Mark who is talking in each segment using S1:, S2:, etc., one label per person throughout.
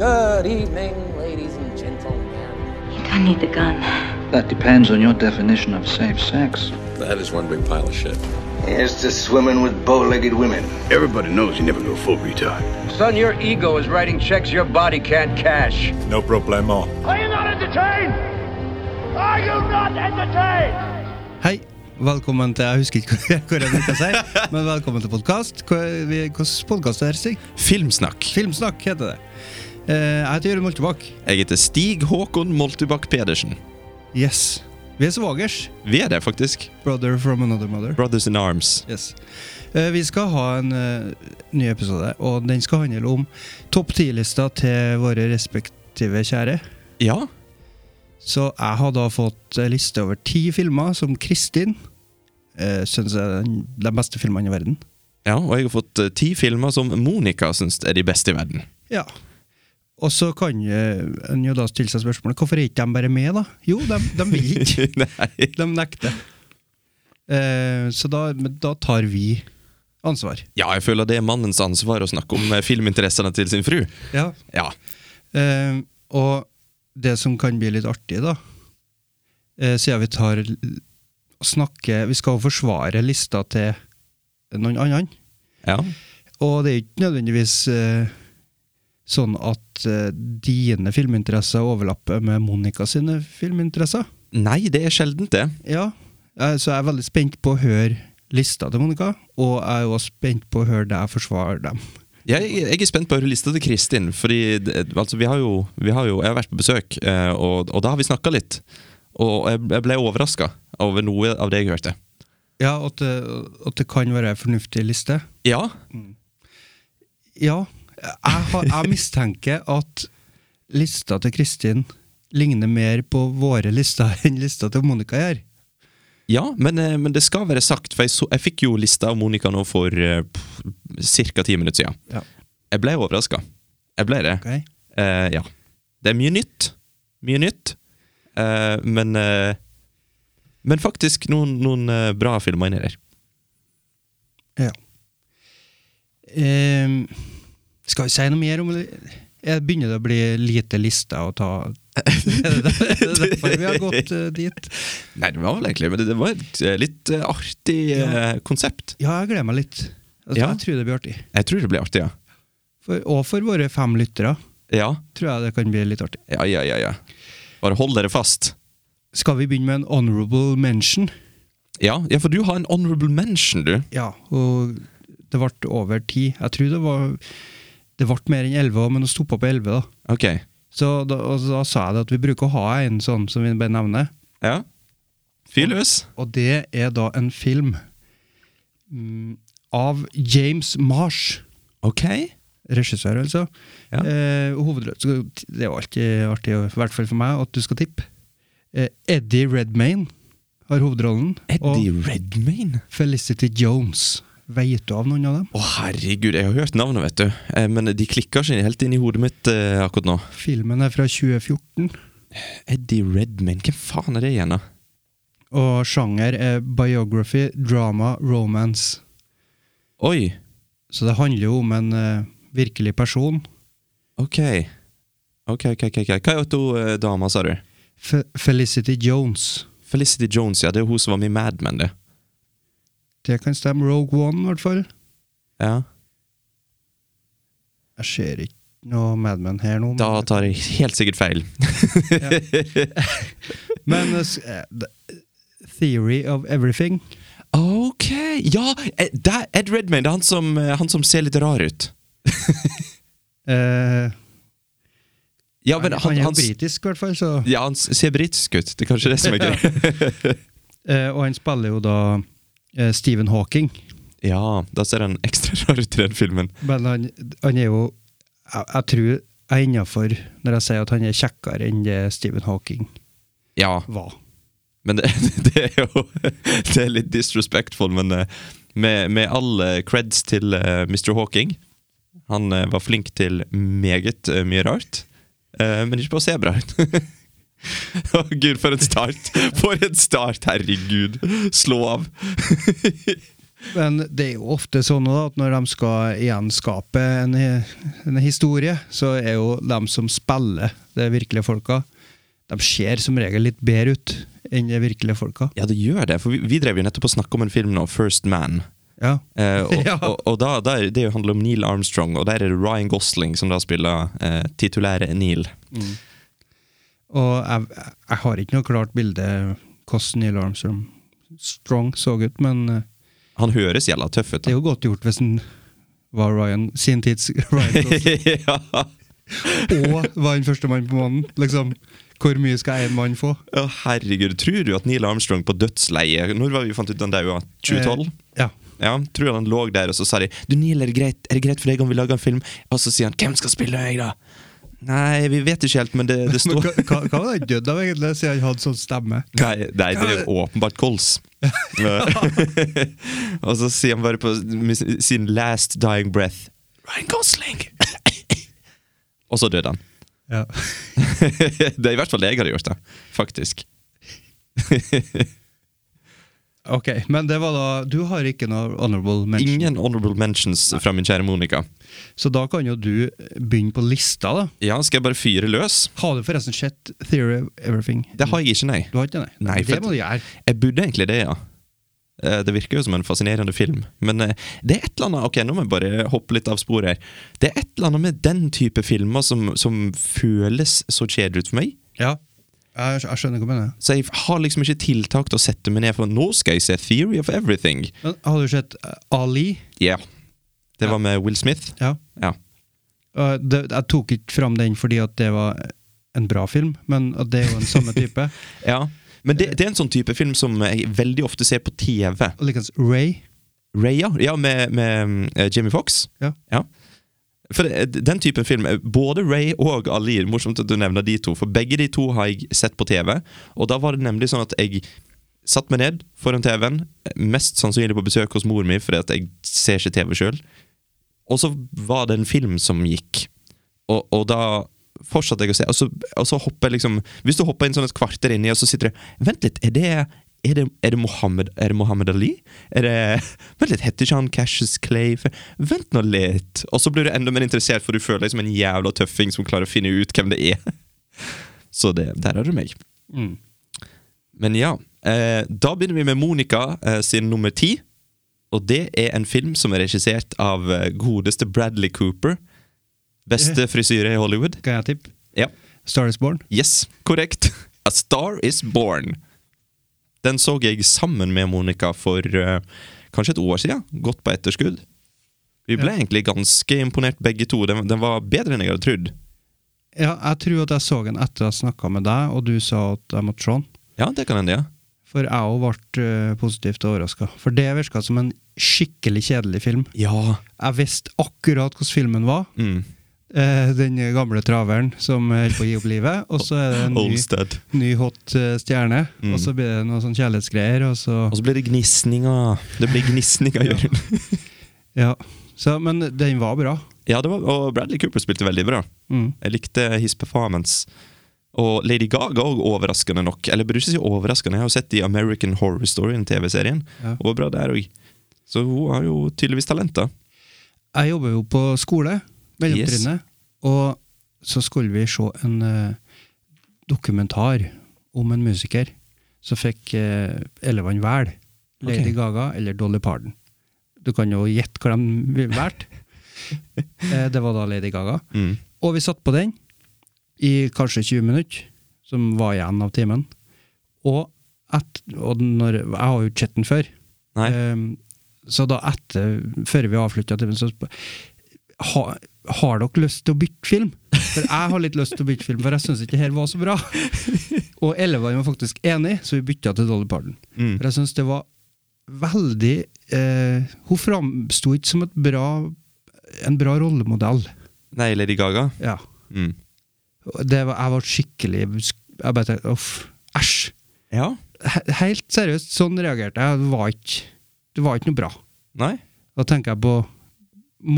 S1: Good evening, ladies and gentlemen.
S2: You don't need the gun.
S3: That depends on your definition of safe sex.
S4: That is one big pile of shit.
S5: Here's to swimming with bow-legged women.
S6: Everybody knows you never go full retard.
S7: Son, your ego is writing checks your body can't cash.
S8: No problemo.
S9: Are you not entertained? Are you not entertained?
S10: Hei, velkommen til Jeg husker ikke hvor- hvor jeg brukte å si, men velkommen til podkast. Hvilken podkast er det? Stig?
S11: Filmsnakk.
S10: Filmsnakk heter det. Eh, Jeg heter Jørund Moltebakk.
S11: Jeg heter Stig Håkon Moltebakk Pedersen.
S10: Yes. Vi er svogers.
S11: Vi er det, faktisk.
S10: Brother from another mother.
S11: Brothers in Arms.
S10: Yes. Eh, Vi skal ha en eh, ny episode, og den skal handle om topp ti-lista til våre respektive kjære.
S11: Ja.
S10: Så jeg har da fått en liste over ti filmer som Kristin eh, syns er den- de beste filmene i verden.
S11: ja. Og jeg har fått eh, ti filmer som Monica syns er de beste i verden.
S10: Ja. Og så kan eh, en jo da stille seg spørsmålet hvorfor er ikke de bare med, da? Jo, de, de vil ikke.
S11: Nei.
S10: De nekter. Eh, så da, men da tar vi ansvar.
S11: Ja, jeg føler det er mannens ansvar å snakke om eh, filminteressene til sin fru.
S10: Ja.
S11: Ja.
S10: Eh, og det som kan bli litt artig, da eh, Siden vi tar l- snakke, Vi skal jo forsvare lista til noen annen.
S11: ja.
S10: Og det er jo ikke nødvendigvis eh, sånn at eh, dine filminteresser overlapper med Monica sine filminteresser.
S11: Nei, det er sjeldent, det.
S10: Ja, eh, så jeg er veldig spent på å høre lista til Monica, og jeg er jo også spent på å høre deg forsvare dem.
S11: Jeg, jeg er spent på å høre lista til Kristin. Fordi det- altså, vi har jo, vi har jo, Jeg har vært på besøk, eh, og, og da har vi snakka litt. Og jeg, jeg ble overraska over noe av det jeg hørte.
S10: Ja, at det, at det kan være en fornuftig liste.
S11: Ja.
S10: Ja, jeg, har, jeg mistenker at lista til Kristin ligner mer på våre lister enn lista til Monica gjør.
S11: Ja, men, eh, men det skal være sagt, for jeg, så, jeg fikk jo lista av Monica nå for uh, ca. ti minutter siden.
S10: Ja.
S11: Jeg ble overraska. Jeg ble det.
S10: Ok.
S11: Eh, ja. Det er mye nytt. Mye nytt. Eh, men eh, Men faktisk noen, noen eh, bra filmer inni der.
S10: Ja. Ehm, skal vi si noe mer om det? Jeg begynner det å bli lite liste å ta Er det der- er det derfor vi har gått eh, dit?
S11: Nei, det var vel egentlig Men det, det var et eh, litt eh, artig eh, konsept.
S10: Ja, jeg gleder meg litt. Altså,
S11: Ja.
S10: Jeg tror det blir artig.
S11: Jeg tror det blir artig, ja.
S10: For, og for våre fem lyttere
S11: Ja,
S10: tror jeg det kan bli litt artig.
S11: ja, ja. ja, ja. Bare hold dere fast.
S10: Skal vi begynne med en honorable mention?
S11: Ja, ja, for du har en honorable mention, du.
S10: Ja, og det ble over ti. Jeg tror det var Det ble mer enn elleve, men det stoppa på elleve. Da.
S11: Ok.
S10: Så da, og da sa jeg det at vi bruker å ha en sånn som vi bare nevner.
S11: Ja. Fyr løs.
S10: Og det er da en film mm, av James Marsh,
S11: Ok.
S10: regissør altså.
S11: Ja.
S10: Eh, hovedrø- så Det er jo alltid artig, i hvert fall for meg, at du skal tippe. Eh, Eddie Redmayne har hovedrollen.
S11: Eddie
S10: Og
S11: Redmayne?
S10: Felicity Jones. Vet du av noen av dem?
S11: Å, herregud, jeg har hørt navnet, vet du. Eh, Men de klikker ikke helt inn i hodet mitt eh, akkurat nå.
S10: Filmen er fra 2014,
S11: Eddie Redmayne, hvem faen er det igjen, da?
S10: og sjanger er biography, drama, romance.
S11: Oi,
S10: Så det handler jo om en eh, virkelig person.
S11: ok. Ok, ok, ok. ok. Hva er to eh, damer, sa du?
S10: Fe Felicity Jones.
S11: Felicity Jones, ja. Det er hun som var med i Mad Men, det.
S10: Det kan stemme. Rogue One, i hvert fall.
S11: Ja.
S10: Jeg ser ikke noe Mad Men her nå. men-
S11: Da tar jeg helt sikkert feil.
S10: Men eh, s- eh, d- Theory of Everything.
S11: Ok, ja! eh, Det er Ed Redmayne. Det er han som, eh, han som ser litt rar ut.
S10: Eh,
S11: Ja, men
S10: han,
S11: han,
S10: er jo
S11: han, s-
S10: britisk, i hvert fall. Så,
S11: ja, han s- ser britisk ut. Det er kanskje det som er greia.
S10: Eh, og han spiller jo da eh, Stephen Hawking.
S11: Ja, da ser han ekstra rar ut i den filmen.
S10: Men han, han er jo Jeg, jeg tror jeg er innafor når jeg sier at han er kjekkere enn det Stephen Hawking
S11: Ja,
S10: var.
S11: Men det, det er jo Det er litt disrespectful, men eh, med, med all eh, creds til eh, Mr. Hawking Han eh, var flink til meget eh, mye rart, eh, men ikke på å se bra ut. Å, gud, for en start! For en start, herregud! Slå av!
S10: Men det er jo ofte sånn da, at når de skal gjenskape en, en historie, så er jo de som spiller det virkelige folka, de ser som regel litt bedre ut enn det virkelige folka.
S11: Ja, det gjør det. For vi, vi drev jo nettopp og snakka om en film nå, First Man.
S10: Ja.
S11: Eh, og
S10: Ja.
S11: og, og da, da, er- det jo handler om Neil Armstrong, og der er det Ryan Gosling som da spiller eh, titulære Neil.
S10: Og jeg, jeg har ikke noe klart bilde hvordan Neil Armstrong Strong så ut, men eh,
S11: Han høres jævla tøff ut.
S10: det er jo godt gjort hvis han var Ryan sin tids Ryan Gosling.
S11: ja.
S10: og var den første mannen på månen. Liksom, hvor mye skal en mann få? Eh,
S11: Å, herregud, tror du at Neil Armstrong på dødsleiet Når var vi fant ut den der? ja? 2012?
S10: Eh, ja.
S11: Ja, tror han lå der, og så sa de Du Neil, er det greit, er det greit for deg om vi lager en film? Og så sier han Hvem skal spille meg, da? Nei, vi vet ikke helt, men det, det
S10: Men
S11: står
S10: hva, hva- hva var han dødd av, egentlig, siden han hadde sånn stemme?
S11: Nei, nei, det er jo åpenbart kols. og så sier han bare på med sin last dying breath Ryan Gosling! og så døde han.
S10: Ja.
S11: det er i hvert fall det jeg hadde gjort, da. Faktisk.
S10: Ok, men det var da Du har ikke noe honorable mention.
S11: Ingen honorable mentions fra min kjære Monica.
S10: Så da kan jo du begynne på lista, da.
S11: Ja, skal jeg bare fyre løs?
S10: Har du forresten sett Theory of Everything?
S11: Det har jeg ikke, nei.
S10: Du har ikke det?
S11: Nei, for-
S10: det må du gjøre.
S11: Jeg burde egentlig det, ja. Eh, Det virker jo som en fascinerende film, men eh, det er et eller annet Ok, nå må jeg bare hoppe litt av sporet her. Det er et eller annet med den type filmer som, som føles så kjedelig ut for meg.
S10: Ja. Jeg, jeg skjønner hva du mener.
S11: Så jeg har liksom ikke tiltak til å sette meg ned for nå skal jeg se Theory of Everything.
S10: Men har du sett eh, Ali?
S11: Ja. Det var med Will Smith.
S10: Ja.
S11: Ja.
S10: Eh, det, jeg tok ikke fram den fordi at det var en bra film, men at det er jo en samme type.
S11: ja. Men det, det er en sånn type film som jeg veldig ofte ser på TV.
S10: Og likeens Ray.
S11: Raya, ja, med, med eh, Jamie Foxx.
S10: Ja.
S11: For eh, den typen film, eh, både Ray og Ali, morsomt at du nevner de to, for begge de to har jeg sett på TV, og da var det nemlig sånn at jeg satt meg ned foran TV-en, eh, mest sannsynlig på besøk hos mor mi, fordi at jeg ser ikke TV sjøl, og så var det en film som gikk, og, og da fortsatte jeg å se, og så, og så hopper jeg liksom, hvis du hopper inn sånn et kvarter inni, og så sitter du, vent litt, er det... Er det, er, det Mohammed, er det Mohammed Ali? Er det, vent litt, Heter ikke han Cassius Clay? Vent nå litt! Og så blir du enda mer interessert, for du føler deg som en jævla tøffing som klarer å finne ut hvem det er. Så det, der har du meg.
S10: Mm.
S11: Men ja. Eh, da begynner vi med Monica eh, sin nummer ti. Og det er en film som er regissert av eh, godeste Bradley Cooper. Beste frisyre i Hollywood.
S10: Kan jeg tippe?
S11: Ja.
S10: Star is Born.
S11: Yes, korrekt. A Star Is Born. Den så jeg sammen med Monica for eh, kanskje et år siden. Godt på etterskudd. Vi ble egentlig ganske imponert begge to. Den, den var bedre enn jeg hadde trodd.
S10: Ja, jeg tror at jeg så den etter jeg snakka med deg, og du sa at jeg måtte se den.
S11: Ja, det kan hende, ja.
S10: For jeg òg ble eh, positivt overraska. For det virka som en skikkelig kjedelig film.
S11: Ja.
S10: Jeg visste akkurat hvordan filmen var.
S11: Mm.
S10: Eh, den gamle traveren som holder på å gi opp livet, og så er det en ny,
S11: Olsted.
S10: ny hot eh, stjerne. Og så blir det noe sånn kjærlighetsgreier, og så
S11: Og så blir det gnisninger. Det blir gnisninger, Jørund.
S10: Ja. Så, men den var bra.
S11: Ja, det var, og Bradley Cooper spilte veldig bra.
S10: Mm.
S11: Jeg likte his performance. Og Lady Gaga òg, overraskende nok. Eller burde ikke si overraskende, jeg har jo sett i American Horror Story, den TV-serien.
S10: Ja.
S11: Hun var bra der òg. Så hun har jo tydeligvis talenter.
S10: Jeg jobber jo på skole, mellomtrinnet, og så skulle vi se en eh, dokumentar om en musiker som fikk uh, elevene velge Lady
S11: Ok.
S10: Gaga eller Dolly Parton. Du kan jo gjette hva de valgte. Eh, det var da Lady Gaga.
S11: Mm.
S10: Og vi satt på den i kanskje 20 minutter, som var igjen av timen. Og, et, og når, jeg har jo ikke sett den før.
S11: Nei.
S10: Ehm, så da etter, før vi avslutta timen, så sp- ha, har dere lyst til å bytte film? For jeg har litt lyst til å bytte film, for jeg syns ikke det her var så bra. Og elevene var faktisk enig, så vi bytta til Dolly Parton.
S11: Mm.
S10: For jeg syns det var veldig eh, Hun framsto ikke som et bra, en bra rollemodell.
S11: Nei, Lady Gaga.
S10: Ja.
S11: Mm.
S10: Det var, jeg var skikkelig Jeg bare tenkte uff, æsj.
S11: Ja.
S10: He- Helt seriøst, sånn reagerte jeg. Det var ikke, det var ikke noe bra.
S11: Nei.
S10: Da tenker jeg på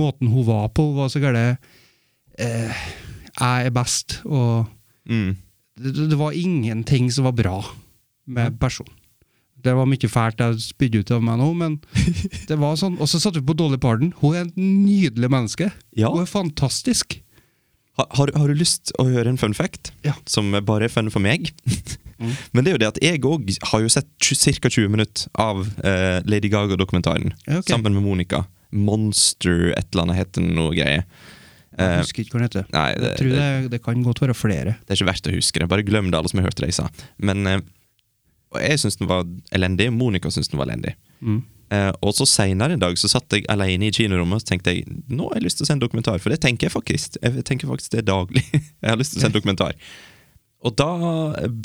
S10: måten hun var på. Hun var så gæren eh, Jeg er best, og
S11: Mm.
S10: det, det var ingenting som var bra med personen. Det var mye fælt jeg spydde ut av meg nå, men det var sånn. Og så satte vi på Dolly Parton. Hun er et nydelig menneske.
S11: Ja.
S10: Hun er fantastisk.
S11: Ha, har, har du lyst å høre en fun fact?
S10: Ja. Mm.
S11: Som bare er fun for meg. Men det er jo det at jeg òg har jo sett ca. 20 minutter av eh, Lady Gaga-dokumentaren.
S10: Ja, ok.
S11: Sammen med Monica. Monster et eller annet heter den noe greie. Eh,
S10: Jeg husker ikke hva den heter.
S11: nei, det-
S10: jeg tror det, det kan godt være flere.
S11: det er ikke verdt å huske det. Bare glem det, alle som har hørt det jeg sa. Men eh, og jeg syns den var elendig. Monica syns den var elendig. Eh, og så Seinere en dag så satt jeg alene i kinorommet og så tenkte jeg, nå har jeg lyst til å se en dokumentar. For det tenker jeg faktisk. Jeg tenker faktisk det daglig. jeg har lyst til å se en dokumentar. Og da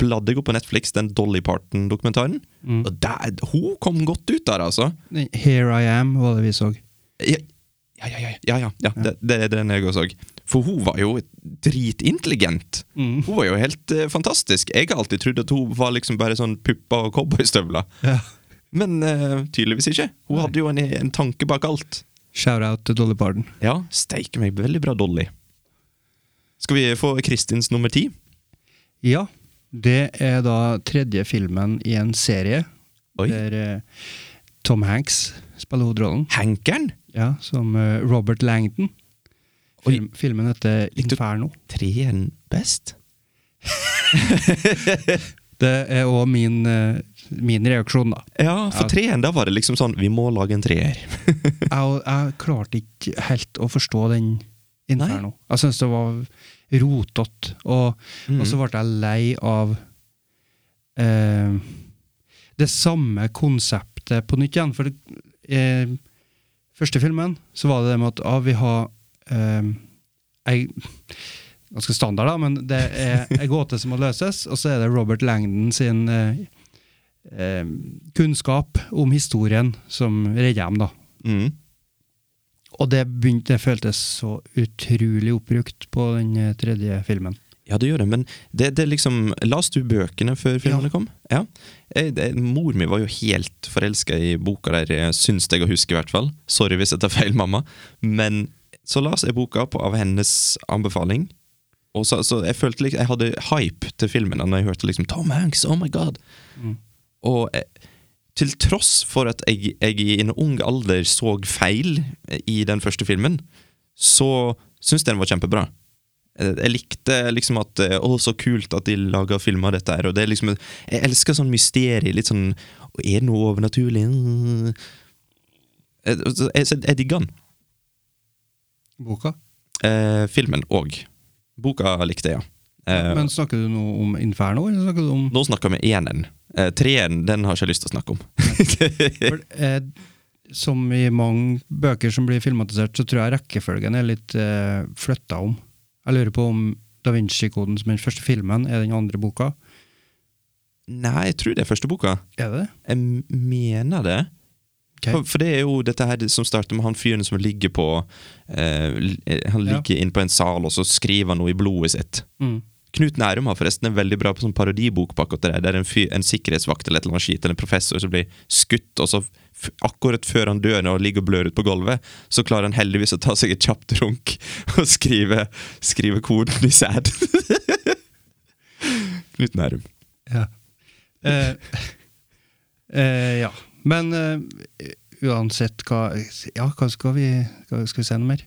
S11: bladde jeg opp på Netflix den Dolly Parton-dokumentaren. Og der, hun kom godt ut der, altså.
S10: Den Here I Am var det vi så.
S11: Ja, ja, ja. ja, ja, ja, ja. Det, det er den jeg også så. For hun var jo dritintelligent. Hun var jo helt eh, fantastisk. Jeg har alltid trodd at hun var liksom bare sånn pupper og cowboystøvler.
S10: Ja.
S11: Men eh, tydeligvis ikke. Hun hadde jo en, en tanke bak alt.
S10: Shout out til Dolly Parton.
S11: Ja, steike meg. Veldig bra Dolly. Skal vi få Kristins nummer ti?
S10: Ja, det er da tredje filmen i en serie
S11: Oi.
S10: der eh, Tom Hanks spiller hovedrollen.
S11: Hankeren?
S10: Ja, som eh, Robert Langton. Film, filmen heter
S11: Likte-
S10: Inferno.
S11: Treen best?
S10: Det er òg min, eh, min reaksjon, da.
S11: Ja, for
S10: Ja.
S11: treen, da var det liksom sånn Vi må lage en treer.
S10: Jeg, jeg klarte ikke helt å forstå den Inferno. Jeg syntes det var rotete, og, og så ble jeg lei av eh, det samme konseptet på nytt igjen. For det, eh, første filmen så var det det med at ah, vi har eh, ei ganske standard, da, men det er ei gåte som må løses, og så er det Robert Langdon sin eh, eh, kunnskap om historien som redder dem, da.
S11: Mm.
S10: Og det, begynte, det føltes så utrolig oppbrukt på den eh, tredje filmen.
S11: Ja, det gjør det, men det, det er liksom Las du bøkene før filmene
S10: Ja.
S11: kom? Ja. Jeg, det, mor mi var jo helt forelska i boka der, eh, syns jeg å huske, i hvert fall. Sorry hvis jeg tar feil, mamma. Men så las jeg boka på, av hennes anbefaling. Og så, så jeg følte liksom, jeg hadde hype til filmen da når jeg hørte liksom Tom Hanks, oh my god! Og jeg, til tross for at jeg, jeg i en ung alder så feil eh, i den første filmen, så syns jeg den var kjempebra. Eh, Jeg likte liksom at eh, Å, så kult at de lager film av dette her. Og det er liksom, jeg elsker sånn mysterium. Litt sånn Er det noe overnaturlig? Mm. Eh, så Jeg, så jeg digger den.
S10: Boka.
S11: Eh, filmen òg. Boka likte jeg, ja. Eh,
S10: Men snakker du nå om Inferno, eller snakker du om
S11: nå snakker vi eneren. Eh, Treeren den har jeg ikke lyst til å snakke om.
S10: For, eh, Som i mange bøker som blir filmatisert, så tror jeg rekkefølgen er litt eh, flytta om. Jeg lurer på om Da Vinci-koden, som er den første filmen, er den andre boka.
S11: Nei, jeg tror det er første boka.
S10: Er det det?
S11: Jeg m- mener det.
S10: Ok.
S11: For, for det er jo dette her som starter med han fyren som ligger på eh, l- eh, Han
S10: Ja.
S11: ligger inne på en sal, og så skriver han noe i blodet sitt.
S10: Mm.
S11: Knut Nærum har forresten en veldig bra sånn parodibok bak at det der, der en, fyr, en sikkerhetsvakt eller et eller annet skit, eller en professor som blir skutt, og så f akkurat før han dør og ligger og blør ut på gulvet, så klarer han heldigvis å ta seg et kjapt runk og skrive, skrive koden i sæd. Knut Nærum.
S10: Ja. Eh, eh, ja. Men eh, uansett hva Ja, hva skal vi, hva skal vi se noe mer?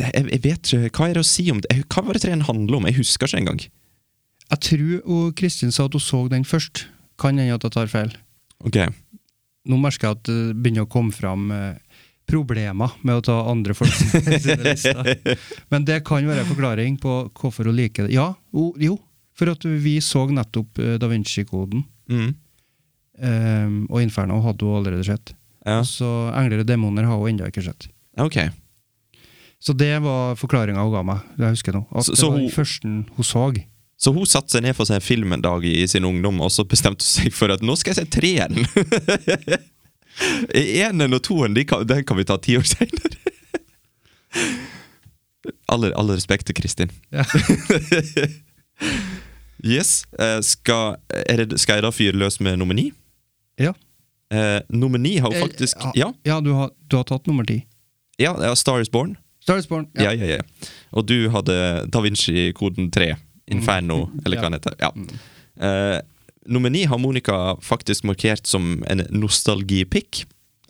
S11: Det, jeg, jeg vet ikke, Hva er det å si om det? Hva var det treen handler om? Jeg husker ikke engang.
S10: Jeg tror og Kristin sa at hun så den først. Kan hende at jeg tar feil.
S11: Ok,
S10: Nå merker jeg at det begynner å komme fram eh, problemer med å ta andre folk sine lister. Men det kan være en forklaring på hvorfor hun liker det. Ja, jo, jo for at vi så nettopp eh, Da Vinci-koden
S11: mm.
S10: eh, og Inferno hadde hun allerede sett.
S11: Ja.
S10: Så Engler og demoner har hun ennå ikke sett.
S11: Ok.
S10: Så det var forklaringa hun ga meg. Jeg husker nå. At
S11: Så-
S10: det
S11: så
S10: var
S11: hun-
S10: den første hun så.
S11: Så hun satte seg ned for å se en film en dag i sin ungdom, og så bestemte hun seg for at nå skal jeg se treeren. Eneren og toeren de kan, den kan vi ta ti år seinere. All, all respekt til Kristin.
S10: Ja.
S11: Yes. eh, Skal, er det, skal jeg da fyre løs med nummer ni?
S10: Ja.
S11: Eh, nummer ni har jo faktisk
S10: Eh,
S11: Ja,
S10: ja du, har, du har tatt nummer ti.
S11: ja, ja Star is Born.
S10: Star Is Born.
S11: Ja, ja, ja. Og du hadde Da Vinci-koden 3. Inferno, eller hva den heter. Ja. Eh, Nummer ni har Monica faktisk markert som en nostalgipick.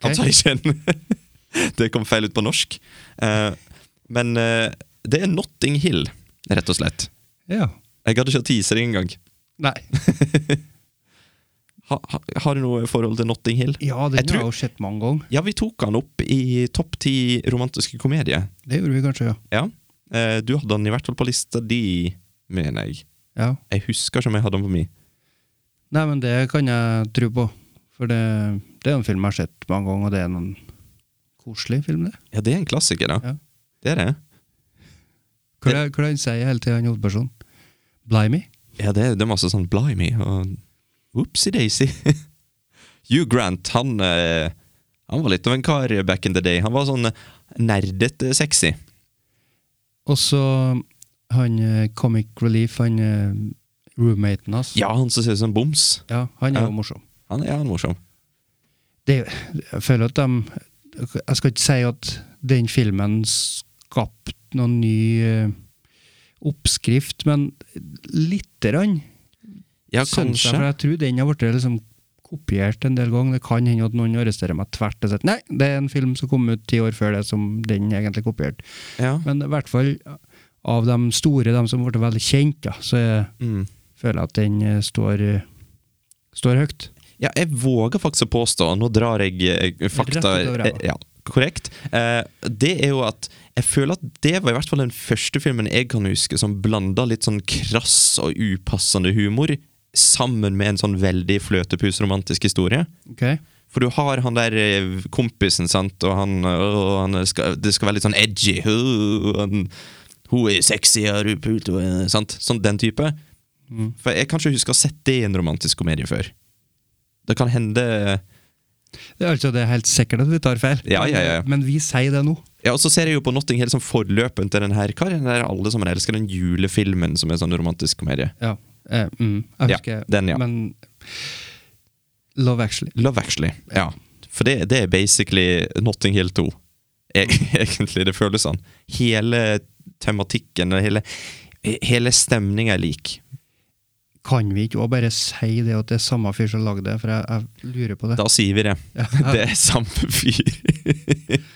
S11: Altså ikke en Det kom feil ut på norsk. Eh, men eh, det er Notting Hill, rett og slett.
S10: Ja.
S11: Jeg hadde ikke hatt teaser engang.
S10: Nei.
S11: Ha, ha, har du noe forhold til Notting Hill?
S10: Ja,
S11: Jeg
S10: den
S11: tror-
S10: har jeg jo sett mange ganger.
S11: Ja, vi tok han opp i topp ti romantiske komedier.
S10: Det gjorde vi kanskje, ja.
S11: Ja. Eh, du hadde han i hvert fall på lista di, mener jeg.
S10: ja.
S11: Jeg husker ikke om jeg hadde han på mi.
S10: Nei, men det kan jeg tro på. For det, det er en film jeg har sett mange ganger, og det er en koselig film, det.
S11: Ja, det er en klassiker, da.
S10: Ja.
S11: Det er det.
S10: Hva er det hva er det han sier hele tida, han hovedpersonen? Blimey?
S11: Ja, det, det er masse sånn blimey og oopsie-daisy. Hugh Grant, han eh, Han var litt av en kar back in the day. Han var sånn nerdete sexy.
S10: Og så han eh, Comic Relief, han eh, roommaten hans.
S11: Ja, han som ser ut som en boms.
S10: Ja, han er
S11: Ja.
S10: jo morsom.
S11: Han er han er morsom.
S10: Det, jeg føler at de Jeg skal ikke si at den filmen skapte noen ny eh, oppskrift, men lite grann.
S11: Ja,
S10: Synes
S11: kanskje.
S10: jeg, for jeg tror den har blitt liksom kopiert en del ganger. Det kan hende at noen arresterer meg tvert og sier nei, det er en film som kom ut ti år før det som den egentlig kopierte.
S11: Ja.
S10: Men i hvert fall av de store, de som ble veldig kjent, da, så jeg
S11: Mm.
S10: føler jeg at den eh, står, eh, står høyt.
S11: Ja, jeg våger faktisk å påstå, og nå drar jeg eh, fakta
S10: Rett ut av ræva.
S11: eh, ja, korrekt, eh, det er jo at jeg føler at det var i hvert fall den første filmen jeg kan huske som blanda litt sånn krass og upassende humor sammen med en sånn veldig fløtepus romantisk historie.
S10: Ok?
S11: For du har han der eh, kompisen, sant, og han, øh, han skal, Det skal være litt sånn edgy. øh, han, hun er sexy, har du pult og, eh, Sant? Sånn den type. For jeg kan ikke huske å ha sett det i en romantisk komedie før. Det kan hende
S10: Det er altså det er helt sikkert at vi tar feil,
S11: Ja, ja, ja.
S10: men vi sier det nå.
S11: Ja, og så ser jeg jo på Notting Hill som forløpen til den her Hva er den der alle som elsker den julefilmen som er sånn romantisk komedie?
S10: Ja. Eh, mm, jeg
S11: Ja,
S10: husker,
S11: den, ja.
S10: men Love Actually.
S11: Love Actually. Ja. For det, det er basically Notting Hill 2. E egentlig, det føles sånn. Hele tematikken og hele, hele stemninga er lik.
S10: Kan vi ikke også bare si det at det er samme fyr som lagde det, for jeg, jeg lurer på det.
S11: Da sier vi det.
S10: Ja.
S11: Det er samme fyr.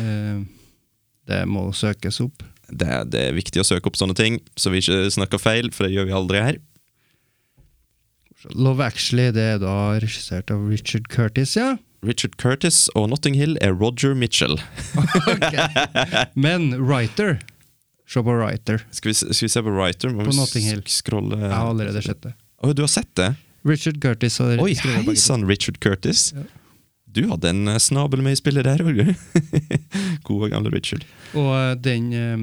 S10: Eh, det må søkes opp.
S11: Det, er- det er viktig å søke opp sånne ting, så vi ikke snakker feil, for det gjør vi aldri her.
S10: Love Actually det er da regissert av Richard Curtis, ja.
S11: Richard Curtis og Notting Hill er Roger Mitchell.
S10: Men Writer Se på Writer.
S11: Skal vi, s- skal vi se på Writer? Må vi
S10: På Notting Hill.
S11: sk- Scrolle
S10: Jeg har allerede sett det.
S11: Å, du har sett det?
S10: Richard Curtis har
S11: Oi,
S10: skrevet begge
S11: hei sann, Richard Curtis. Du hadde en eh, snabel med i spillet der òg, du. Gode, gamle Richard.
S10: to. Og eh, den eh,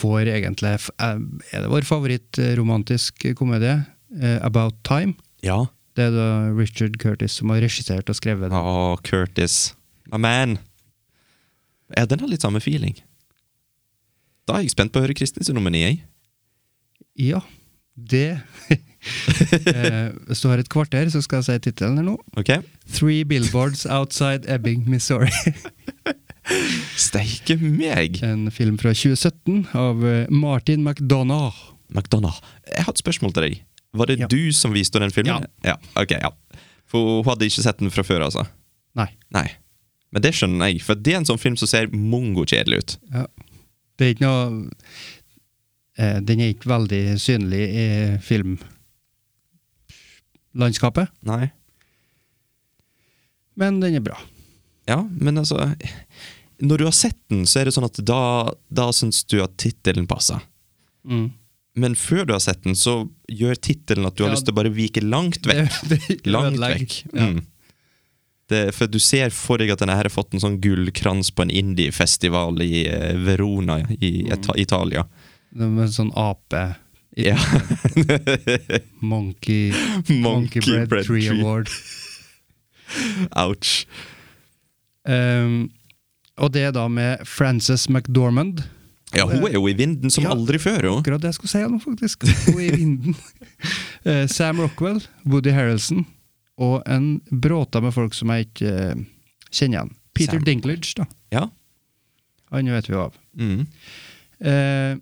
S10: vår egentlig f- eh, Er det vår favoritt-romantisk komedie? eh, About Time.
S11: Ja.
S10: Det er da Richard Curtis som har regissert og skrevet
S11: Å,
S10: den.
S11: Curtis. My man. Ja, den har litt samme feeling. Da er jeg spent på å høre Kristin sin nummer ni. jeg.
S10: Ja, det Eh, Hvis du har et kvarter, så skal jeg si tittelen her nå.
S11: Ok?
S10: Three Billboards Outside Ebbing, Missouri.
S11: Steike meg!
S10: En film fra 2017 av eh, Martin McDonagh.
S11: McDonagh, jeg har et spørsmål til deg. Var det
S10: Ja.
S11: du som viste henne den filmen? Ja. Ok, ja. For hun hadde ikke sett den fra før, altså?
S10: Nei.
S11: Nei. Men det skjønner jeg, for det er en sånn film som ser mongo-kjedelig ut.
S10: Ja. Det er ikke noe eh, Den er ikke veldig synlig i filmlandskapet,
S11: Nei.
S10: men den er bra.
S11: Ja, men altså Når du har sett den, så er det sånn at da, da syns du at tittelen passer. Mm. Men før du har sett den, så gjør tittelen at du har
S10: Ja.
S11: lyst til å bare vike langt vekk.
S10: Det- det
S11: langt
S10: ødelegger.
S11: vekk.
S10: Ja.
S11: Mm. Det, for du ser for deg at denne her har fått en sånn gullkrans på en indiefestival i eh, Verona i
S10: Mm.
S11: Eta Italia.
S10: Det er en sånn ape
S11: Ja.
S10: Monkey, Monkey Bread, Tree Award.
S11: Ouch.
S10: Um, og det er da med Frances McDormand.
S11: Ja, hun er jo i vinden som
S10: Ja.
S11: aldri før, hun.
S10: Akkurat det jeg skulle si nå, faktisk. Hun er i vinden. Eh, Sam Rockwell, Woody Harrelson og en bråta med folk som jeg ikke eh, kjenner igjen. Peter
S11: Sam-
S10: Dinklage, da.
S11: Ja.
S10: Han vet vi jo av.
S11: Mm.
S10: Eh,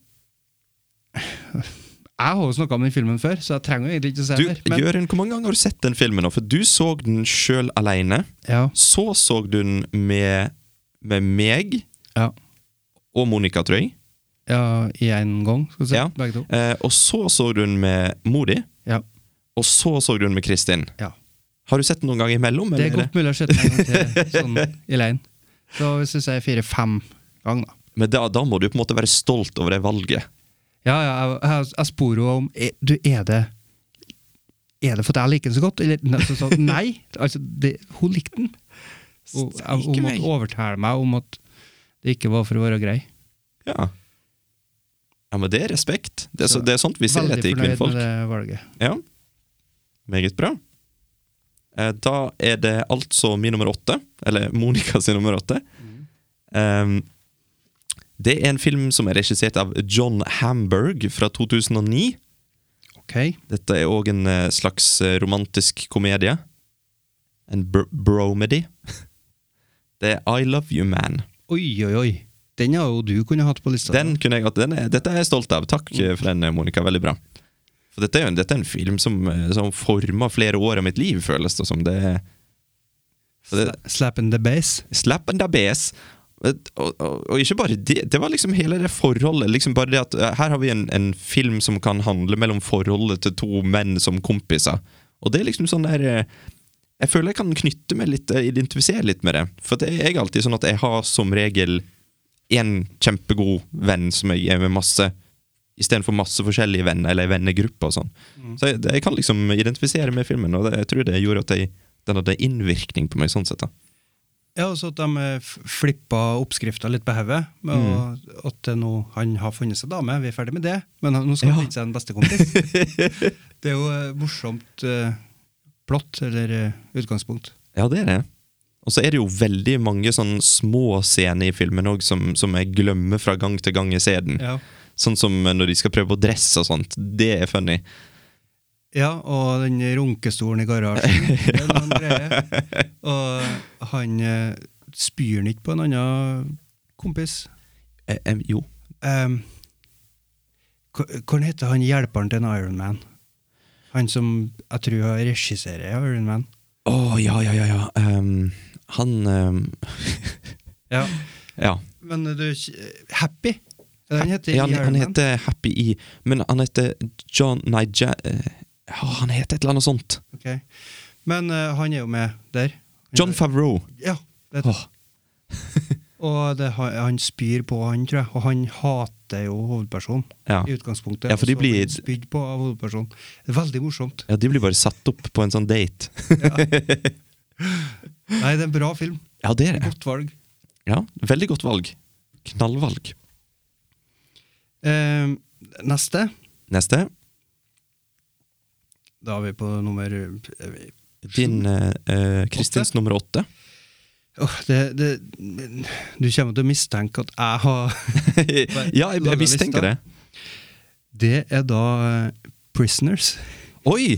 S10: Jeg har jo snakka om den filmen før, så jeg trenger jo egentlig ikke å se
S11: Du,
S10: den. her, Men,
S11: Jørund, hvor mange ganger har du sett den filmen? nå? For du så den sjøl aleine.
S10: ja,
S11: Så så du den med, med meg
S10: ja,
S11: og Monica, tror jeg.
S10: ja, i en gang, skal vi si.
S11: Ja.
S10: Begge to.
S11: Eh, og så så du den med mor di,
S10: Ja.
S11: og så så du den med Kristin.
S10: ja.
S11: Har du sett den noen gang imellom?
S10: Det er
S11: eller?
S10: godt mulig å sette meg en gang til sånn i leien. Så hvis jeg sier fire-fem ganger, da.
S11: Men da, da må du på en måte være stolt over det valget.
S10: Ja, ja, jeg, jeg, jeg spor jo om eh, Du, er det Er det for at jeg liker den så godt? Eller nei, så, så, nei altså, det, hun likte den. Og jeg,
S11: Steike
S10: hun
S11: meg.
S10: måtte overtale meg om at det ikke var for å være grei.
S11: Ja. ja, men det er respekt. Det er, så,
S10: Så
S11: det er sånt vi ser
S10: Veldig
S11: etter i
S10: fornøyd
S11: kvinnfolk.
S10: med det valget.
S11: Ja. Meget bra. Eh, Da er det altså min nummer åtte, eller Monica sin nummer åtte.
S10: Mm.
S11: Ehm, det er en film som er regissert av John Hamburg fra 2009.
S10: Ok.
S11: Dette er òg en eh, slags eh, romantisk komedie. En br bromedy. Det er I Love You Man.
S10: Oi, oi, oi. Den har jo du kunne hatt på lista.
S11: Den kunne jeg hatt. Den er, dette er jeg stolt av. Takk eh, for den, eh, Monica. Veldig bra. For dette er jo en, dette er en film som, eh, som forma flere år av mitt liv, føles det som. Det er for det-
S10: Sla- Slap in the base.
S11: Slap and abes. Og, og, og ikke bare det, det var liksom hele det forholdet. liksom bare det at eh, Her har vi en, en film som kan handle mellom forholdet til to menn som kompiser. Og det er liksom sånn der eh, Jeg føler jeg kan knytte meg litt, eh, identifisere litt med det. For det er jeg alltid sånn at jeg har som regel én kjempegod venn som jeg er med masse, istedenfor masse forskjellige venner eller vennegrupper og sånn. Så jeg, jeg kan liksom identifisere med filmen, og det, jeg tror det gjorde at jeg, den hadde innvirkning på meg sånn sett. da
S10: Ja, og så at de eh, f- flippa oppskrifta litt på hodet. med å- At det nå, han har funnet seg dame, vi er ferdig med det, men han, nå skal han
S11: Ja.
S10: finne seg en bestekompis. det er jo eh, morsomt eh, plott, eller eh, utgangspunkt.
S11: Ja, det er det. Og så er det jo veldig mange sånn små scener i filmen òg som, som jeg glemmer fra gang til gang jeg ser den.
S10: Ja.
S11: Sånn som når de skal prøve å dresse og sånt. Det er funny.
S10: ja, og den runkestolen i garasjen. Det er noen greier. Og han eh, spyr han ikke på en annen kompis.
S11: Eh, em, jo.
S10: Um, hvordan heter han hjelperen til en Iron Man? Han som jeg tror har regisserer Iron Man.
S11: Å, ja, ja, ja, ja. Em, han em,
S10: Ja.
S11: Ja.
S10: Men du Happy? Er det Han heter
S11: Ja,
S10: i
S11: han,
S10: Iron
S11: han
S10: Man.
S11: heter Happy E, men han heter John Nei, Ja- eh, å, han heter et eller annet sånt.
S10: Ok. Men eh, han er jo med der.
S11: John Favreau.
S10: Ja. Det,
S11: Åh,
S10: Og det, han han spyr på han, tror jeg. Og han hater jo hovedpersonen
S11: ja.
S10: i utgangspunktet.
S11: Ja, for de
S10: og så blir
S11: blir-
S10: han spydd på av hovedpersonen. Det er veldig morsomt.
S11: ja, de blir bare satt opp på en sånn date.
S10: Nei, det er en bra film.
S11: Ja, det er det.
S10: Godt valg.
S11: Ja, Veldig godt valg. Knallvalg.
S10: Eh, neste.
S11: Neste.
S10: Da er vi på nummer er vi-
S11: Din eh, eh, Kristins nummer åtte.
S10: Åh, det, det, du kommer til å mistenke at jeg har
S11: ja, jeg, jeg mistenker det.
S10: Det er da eh, Prisoners,
S11: Oi!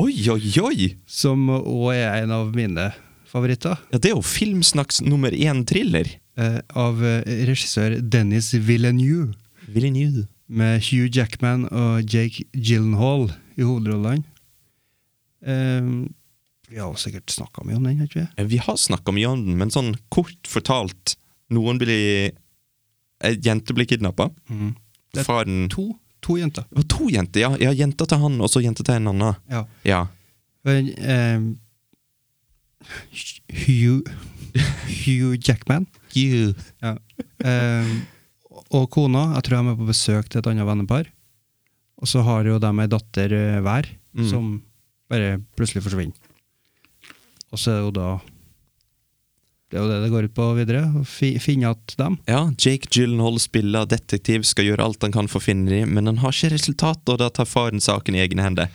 S11: Oi, oi, oi!
S10: som òg er en av mine favoritter.
S11: Ja, det er jo Filmsnakks nummer én-thriller.
S10: eh, av eh, regissør Dennis Villeneuve,
S11: Villeneuve.
S10: med Hugh Jackman og Jake Gyllenhaal i hovedrollene. Eh, vi har jo sikkert snakka mye om den, har ikke vi?
S11: Eh, Vi har snakka mye om den, men sånn kort fortalt Noen blir Ei jente blir kidnappa.
S10: Mm. Det er
S11: Faren Det
S10: To, to jenter.
S11: var to jenter, ja. ja. Jenta til han, og så jenta til en annen.
S10: Ja.
S11: Ja.
S10: Men, eh, Hugh, Hugh Jackman
S11: You.
S10: Ja. Ehm, og kona, jeg tror de er på besøk til et annet vennepar. Og så har jo de ei datter eh, hver,
S11: Mm.
S10: som bare plutselig forsvinner. Og så er det jo da Det er jo det det går ut på videre. Å fi, finne igjen dem.
S11: Ja, Jake Gyllenhaal spiller detektiv, skal gjøre alt han kan for å finne dem, men han har ikke resultat, og da tar faren saken i egne hender.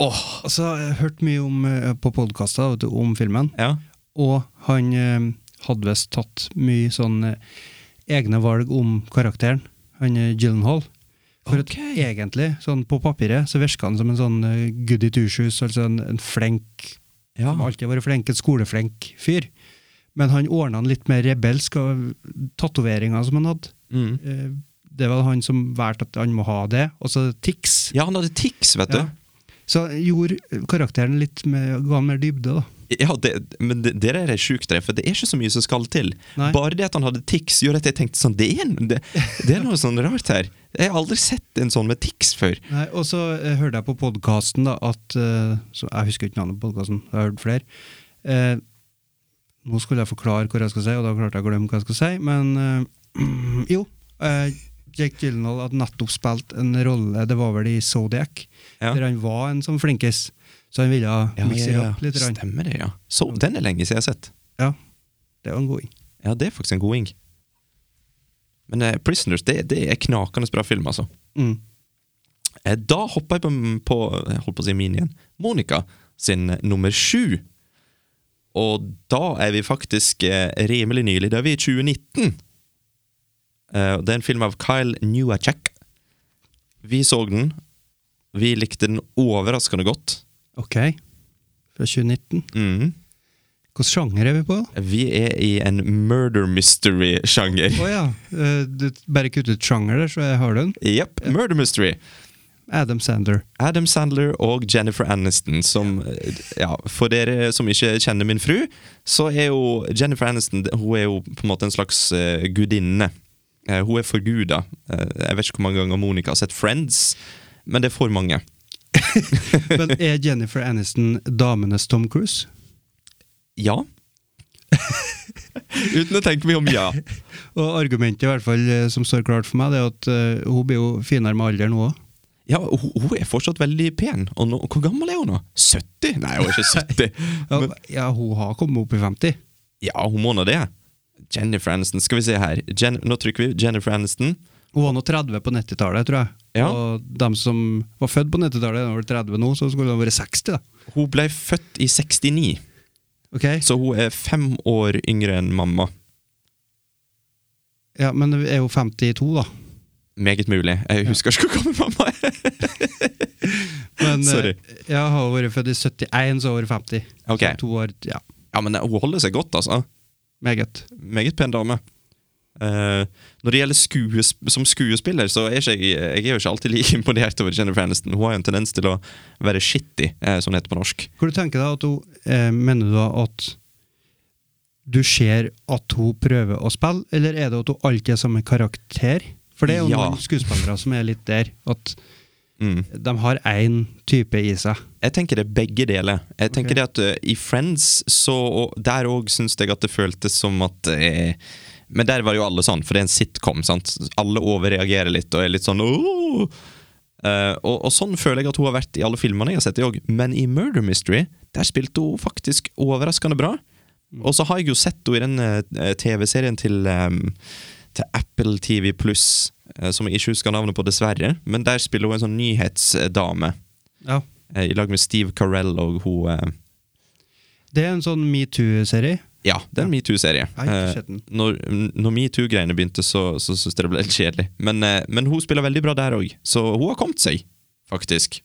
S11: Åh!
S10: Og så har jeg hørt mye om, eh, på podkaster vet du, om filmen,
S11: Ja.
S10: og han eh, hadde visst tatt mye sånn eh, egne valg om karakteren, han eh, Gyllenhaal. For at
S11: Ok.
S10: egentlig, sånn på papiret, så virka han som en sånn eh, goody two-shoes, altså en, en flenk,
S11: Ja.
S10: som alltid har vært flink, en skoleflenk fyr. Men han ordna han litt mer rebelsk, og tatoveringa som han hadde,
S11: Mm.
S10: eh, det var han som valgte at han må ha det. Og så tics.
S11: Ja, han hadde tics, vet
S10: Ja.
S11: du.
S10: Så gjorde karakteren litt mer, ga han mer dybde, da.
S11: Ja, det, men det, det der er sjukt, det, for det er ikke så mye som skal til.
S10: Nei.
S11: Bare det at han hadde tics, gjorde at jeg tenkte sånn Det er, det, det er noe sånn rart her. Jeg har aldri sett en sånn med tics før.
S10: Nei, og så eh, hørte jeg på podkasten at eh, så Jeg husker ikke navnet på podkasten, jeg har hørt flere. Eh, nå skulle jeg forklare hva jeg skal si, og da klarte jeg å glemme hva jeg skal si. Men eh, jo, eh, Jake Gyllenhaal hadde nettopp spilt en rolle, det var vel i Zodiac,
S11: Ja.
S10: der han var en sånn flinkis. Så han ville mikse det opp litt. grann.
S11: Stemmer det, ja. Så, den er lenge siden jeg har sett.
S10: Ja, det var en god ing.
S11: Ja, det er faktisk en goding. Men eh, Prisoners det, det er knakende bra film, altså.
S10: Mm.
S11: Eh, Da hopper jeg på, på jeg holdt på å si min igjen, Monica sin nummer sju. Og da er vi faktisk eh, rimelig nylig. Da er vi i 2019. Eh, og det er en film av Kyle Newacek. Vi så den. Vi likte den overraskende godt.
S10: Ok. Fra 2019.
S11: Mhm.
S10: Hvilken sjanger er vi på? da?
S11: Vi er i en murder mystery-sjanger.
S10: Å ja. eh, du bare kutt ut sjanger der, så jeg har den.
S11: Jepp, murder mystery.
S10: Adam Sander.
S11: Adam Sandler og Jennifer Aniston, som ja, For dere som ikke kjenner min fru, så er jo Jennifer Aniston Hun er jo på en måte en slags eh, gudinne. Eh, hun er forguda. Eh, jeg vet ikke hvor mange ganger Monica har sett Friends, men det er for mange.
S10: Men er Jennifer Aniston damenes Tom Cruise?
S11: Ja. Uten å tenke meg om, ja.
S10: Og argumentet i hvert fall eh, som står klart for meg, det er at eh, hun blir jo finere med alderen hun òg.
S11: Ja, hun, hun er fortsatt veldig pen. Og nå, hvor gammel er hun nå? 70? Nei, hun er ikke 70.
S10: Ja,
S11: Men,
S10: ja, hun har kommet opp i 50.
S11: ja, hun må nå det. Jennifer Aniston, skal vi se her. Jen, nå trykker vi Jennifer Aniston.
S10: Hun var nå 30 på 90-tallet, tror jeg.
S11: Ja.
S10: Og de som var født på 90-tallet, er vel 30 nå, så skulle de vært 60, da.
S11: Hun ble født i 69,
S10: Ok?
S11: så hun er fem år yngre enn mamma.
S10: Ja, Men er hun 52, da?
S11: Meget mulig. Jeg husker ikke hvor gammel mamma er.
S10: Men, eh,
S11: Sorry.
S10: Ja, har hun vært født i 71, så er hun 50.
S11: Ok.
S10: Så to år, ja.
S11: Ja, men hun holder seg godt, altså.
S10: Meget.
S11: Meget pen dame. Eh, når det gjelder skuesp som skuespiller, så er ikke jeg, jeg er jo ikke alltid like imponert over Jennifer Aniston. Hun har jo en tendens til å være shitty, eh, som det heter på norsk.
S10: Hvor du tenker deg at hun, eh, Mener du da at du ser at hun prøver å spille, eller er det at hun alltid er samme karakter? For det er jo
S11: Ja.
S10: noen skuespillere som er litt der, at
S11: Mm.
S10: de har én type i seg.
S11: Jeg tenker det er begge deler. Jeg tenker
S10: Ok.
S11: det at ø, I Friends så og Der òg syns jeg at det føltes som at eh, Men der var jo alle sånn, for det er en sitcom. sant? Alle overreagerer litt og er litt sånn «Åh!» Eh, og, og sånn føler jeg at hun har vært i alle filmene jeg har sett, jeg òg. Men i Murder Mystery der spilte hun faktisk overraskende bra. Og så har jeg jo sett henne i den eh, TV-serien til, eh, til Apple TV Pluss, eh, som jeg ikke husker navnet på, dessverre. Men der spiller hun en sånn nyhetsdame
S10: Ja.
S11: eh, i lag med Steve Carell og hun eh,
S10: Det er en sånn metoo-serie.
S11: Ja, det er en metoo-serie.
S10: Jeg har ikke
S11: Eh,
S10: sett den.
S11: Når, når metoo-greiene begynte, så, så syntes jeg det ble litt kjedelig. Men, eh, men hun spiller veldig bra der òg, så hun har kommet seg, faktisk.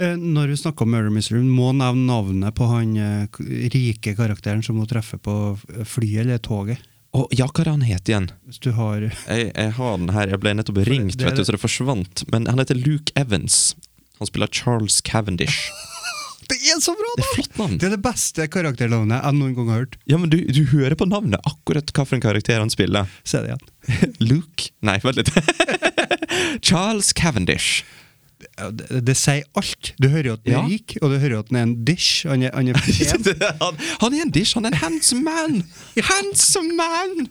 S10: Eh, Når vi snakker om Murder Mystery, vi må nevne navnet på han eh, k- rike karakteren som hun treffer på f- flyet eller toget.
S11: Å, ja, hva er det han het igjen?
S10: Hvis du har
S11: Jeg, jeg har den her, jeg ble nettopp ringt,
S10: det er-
S11: vet du, så det forsvant. Men han heter Luke Evans. Han spiller Charles Cavendish.
S10: Det er så bra,
S11: Det er flott navn!
S10: Det er det beste karakternavnet jeg noen gang har hørt.
S11: Ja, men du, du hører på navnet akkurat hva for en karakter han spiller.
S10: Se det igjen.
S11: Luke Nei, vent litt. Charles Cavendish.
S10: Ja, det, det sier alt. Du hører jo at den
S11: Ja.
S10: er rik, og du hører jo at den er en dish. Han er, han er pen.
S11: han, han er en dish, han er en handsome man! Handsome man!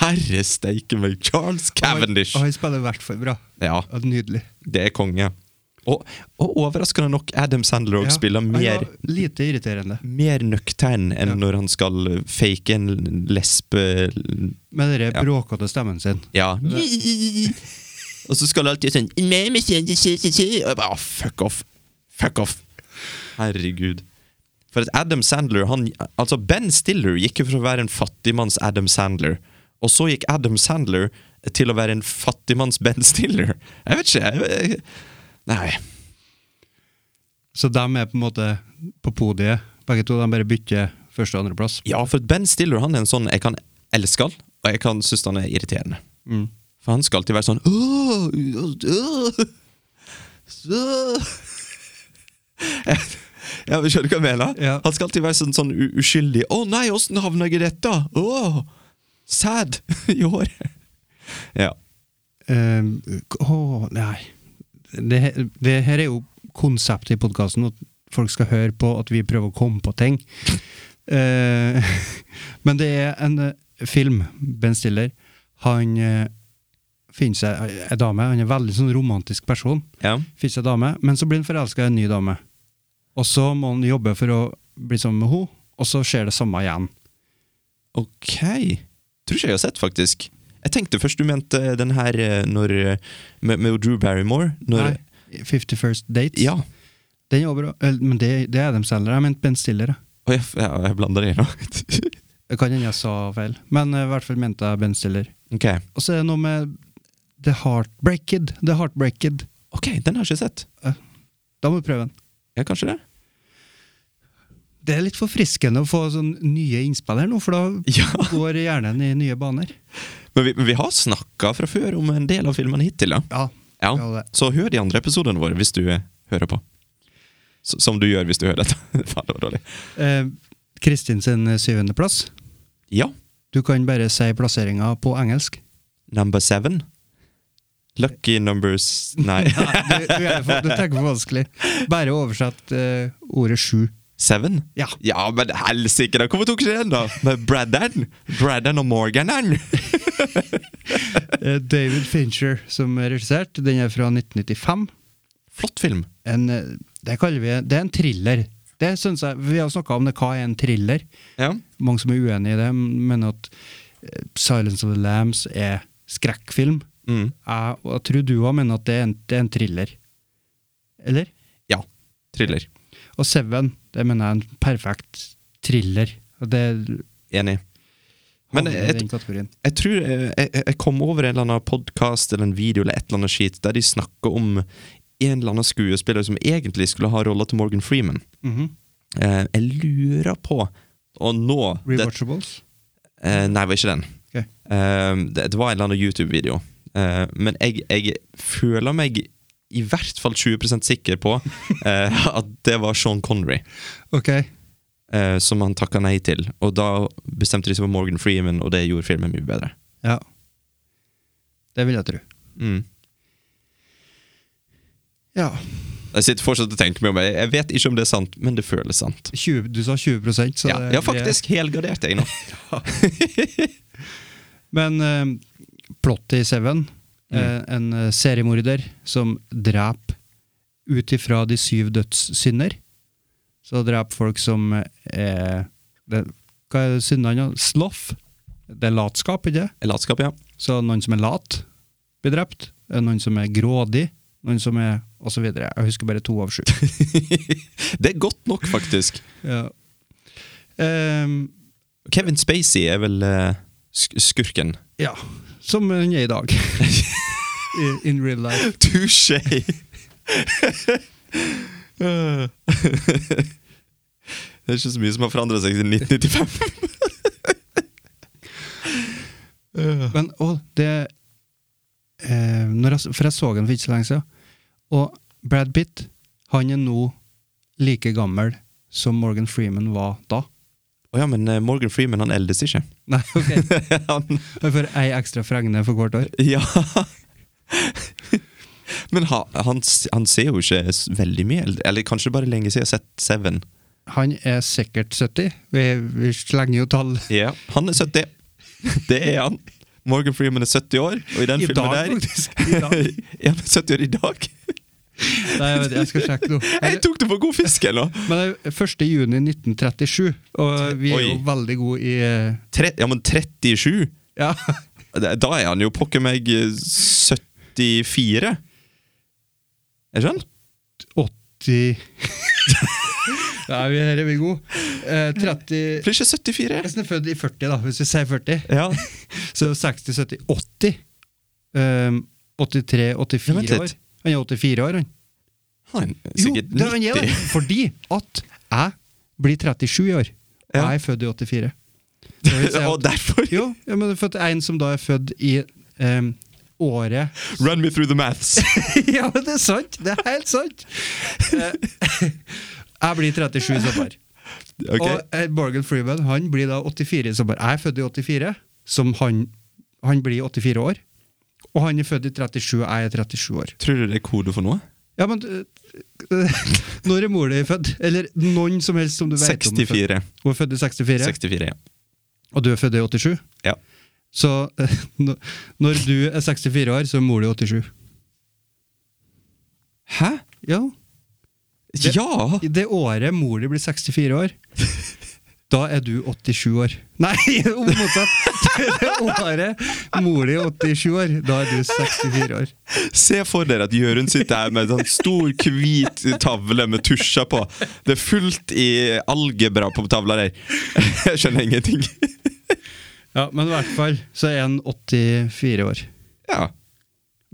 S11: Herre steike meg, Charles Cavendish!
S10: Og han spiller i hvert fall bra.
S11: Ja,
S10: Ja, Nydelig.
S11: det er konge. Og, og overraskende nok, Adam Sandler også
S10: Ja,
S11: spiller
S10: han
S11: mer,
S10: var Lite irriterende.
S11: mer nøktern enn
S10: Ja.
S11: når han skal fake en lesbe...
S10: Med den
S11: Ja.
S10: bråkete stemmen sin.
S11: Ja. Og så skal det alltid sånn «Mamma, sånn, sånn, sånn, sånn», Og jeg bare, «Å, Fuck off. Fuck off. Herregud. For at Adam Sandler han, Altså Ben Stiller gikk jo fra å være en fattigmanns Adam Sandler, og så gikk Adam Sandler til å være en fattigmanns Ben Stiller. Jeg vet ikke. Jeg, jeg, nei.
S10: Så de er på en måte på podiet, begge to. De bare bytter første- og andreplass.
S11: Ja, for Ben Stiller han er en sånn jeg kan elske han, og jeg kan synes han er irriterende.
S10: Mm.
S11: For han skal alltid være sånn «Åh, åh, åh, så». Jeg jeg skjønner hva jeg mener.
S10: Ja.
S11: Han skal alltid være sånn, sånn u- uskyldig. 'Å nei, åssen havna jeg i dette?' Åh, sad i håret. Ja.
S10: Ehm, åh, nei. Det, he- det her er jo konseptet i podkasten, at folk skal høre på at vi prøver å komme på ting. Eh, men det er en eh, film, Ben Stiller. Han eh, finner seg ei- ei dame, han er en veldig sånn romantisk person.
S11: ja.
S10: Finner seg ei dame, men så blir han forelska i en ny dame. Og så må han jobbe for å bli sammen med henne, og så skjer det samme igjen.
S11: Ok. Tror ikke jeg har sett, faktisk. Jeg tenkte først du mente den her eh, når, eh, med, med Drew Barrymore. Når,
S10: Nei, 51st Dates.
S11: Ja.
S10: Den er bra, eller, men det, det er de selger. Jeg mente Ben Stiller. jeg.
S11: Og jeg, jeg, jeg blander det nå.
S10: Det kan hende jeg sa feil, men eh, i hvert fall mente jeg Ben Stiller.
S11: ok.
S10: Og så er det noe med The Heartbreak Kid. The Heartbreak Kid.
S11: ok, den har jeg ikke sett.
S10: Da må vi prøve den.
S11: Ja, kanskje det?
S10: Det er litt forfriskende å få sånn nye innspill her nå, for da
S11: Ja.
S10: går hjernen i nye baner.
S11: Men vi, men vi har snakka fra før om en del av filmene hittil, ja.
S10: Ja.
S11: ja.
S10: vi har det.
S11: Så hør de andre episodene våre hvis du eh, hører på. S som du gjør hvis du hører dette. Faen, det var dårlig.
S10: Eh, Kristin sin syvendeplass.
S11: Ja.
S10: Du kan bare si plasseringa på engelsk.
S11: Number seven. Lucky numbers Nei.
S10: Du, du, gjør det for, du tenker for vanskelig. Bare oversett eh, ordet sju.
S11: Seven?
S10: Ja.
S11: Ja, men helsike, da! Hvorfor tok ikke den, da? Med Braddan? Braddan og Morganan?
S10: Eh, David Fincher som er regissert. Den er fra 1995.
S11: Flott film.
S10: En, eh, det kaller vi Det er en thriller. Det synes jeg, Vi har snakka om det, hva er en thriller?
S11: Ja.
S10: Mange som er uenig i det, mener at eh, 'Silence of the Lambs' er skrekkfilm.
S11: Mm.
S10: Jeg, og jeg tror du òg mener at det er, en, det er en thriller. Eller?
S11: ja. Thriller.
S10: Og 'Seven' det mener jeg er en perfekt thriller. Og det
S11: Enig. Men
S10: havner i
S11: jeg-
S10: den kategorien.
S11: Jeg tror eh, jeg, jeg kom over en eller annen podkast eller en video eller et eller annet skit der de snakker om en eller annen skuespiller som egentlig skulle ha rolla til Morgan Freeman.
S10: Mhm.
S11: Eh, jeg lurer på Og nå det,
S10: Rewatchables.
S11: Eh, nei, det var ikke den.
S10: Ok.
S11: Eh, det, det var en eller annen YouTube-video. Eh, men jeg, jeg føler meg i hvert fall 20 sikker på eh, at det var Sean Connery
S10: Ok.
S11: eh, som han takka nei til. Og da bestemte de seg for Morgan Freeman, og det gjorde filmen mye bedre.
S10: Ja. Det vil jeg tro.
S11: Mm.
S10: Ja.
S11: Jeg sitter fortsatt og tenker meg om. Jeg, jeg vet ikke om det er sant, men det føles sant.
S10: 20, du sa 20 så
S11: Ja,
S10: det-
S11: jeg har faktisk helgardert jeg nå.
S10: Men uh, plottet i Seven, eh, en eh, seriemorder som dreper ut ifra de syv dødssynder. Så dreper folk som eh, er det, Hva er syndene? da? Sloth. Det er latskap, ikke det?
S11: Latskap, ja.
S10: Så noen som er lat, blir drept. Eh, Noen som er grådig. Noen som er Og så videre. Jeg husker bare to av sju.
S11: Det er godt nok, faktisk.
S10: ja. Ehm,
S11: Kevin Spacey er vel eh, sk skurken.
S10: ja. Som hun er i dag. I- In real life.
S11: Touché! det er ikke så mye som har forandret seg siden 1995.
S10: Men å, det eh, når jeg, For jeg så den for ikke så lenge siden. Og Brad Pitt han er nå like gammel som Morgan Freeman var da.
S11: Å ja, men eh, Morgan Freeman han eldes ikke.
S10: Nei, ok.
S11: han,
S10: Jeg får ei ekstra fregne for hvert år.
S11: ja. men ha, han, s- han ser jo ikke s- veldig mye eldre Eller kanskje bare lenge siden jeg har sett Seven.
S10: Han er sikkert 70. Vi, vi slenger jo tall.
S11: Ja, Han er 70. Det er han. Morgan Freeman er 70 år, og i den
S10: I
S11: filmen
S10: dag,
S11: der
S10: faktisk. I dag.
S11: er han 70 år i dag?
S10: Nei, jeg, vet, jeg skal sjekke nå.
S11: Jeg tok det for god fisk, eller?
S10: Men det er 1. juni 1937, og vi er jo
S11: Oi.
S10: veldig gode i eh,
S11: Tre, ja, men 37?
S10: Ja.
S11: Da da er han jo pokker meg eh, 74. Er ikke han?
S10: 80 Nei, vi- her er vi gode. Eh, 30
S11: Blir ikke 74?
S10: Hvis er født i 40, da, hvis vi sier 40,
S11: Ja.
S10: så 60, 70, 80 ehm, 83, 84
S11: Ja, vent
S10: år.
S11: litt.
S10: Han er 84 år, han.
S11: Han er
S10: Jo,
S11: sikkert
S10: det er han er det!
S11: 90.
S10: Fordi at jeg blir 37 i år. Og
S11: Ja.
S10: jeg er født i 84. Det vil si at-
S11: Og derfor
S10: Jo, ja, men det er født en som da er født i eh, året
S11: Run me through the maths!
S10: Ja, men det er sant! Det er helt sant! Eh, jeg blir 37 i sommer.
S11: Ok,
S10: Og eh, Morgan Freeman han blir da 84 i sommer. Jeg er født i 84, som han, han blir 84 år. Og han er født i 37, jeg er 37 år.
S11: Tror du det er kode for noe?
S10: Ja, men øh, øh, Når er mor di født? Eller noen som helst som du vet om. er født.
S11: 64.
S10: Hun er født i 64,
S11: 64, ja.
S10: og du er født i 87.
S11: ja.
S10: Så øh, nå- når du er 64 år, så er mor di 87.
S11: Hæ?
S10: Ja. Det-
S11: Ja!
S10: I det året mor di blir 64 år, da er du 87 år. Nei, om motsatt! Det året mor di er 87 år, da er du 64 år.
S11: Se for dere at Jørund sitter her med en sånn stor, hvit tavle med tusjer på. Det er fullt i algebra på tavla der. Jeg skjønner ingenting.
S10: Ja, Men i hvert fall så er han 84 år.
S11: Ja.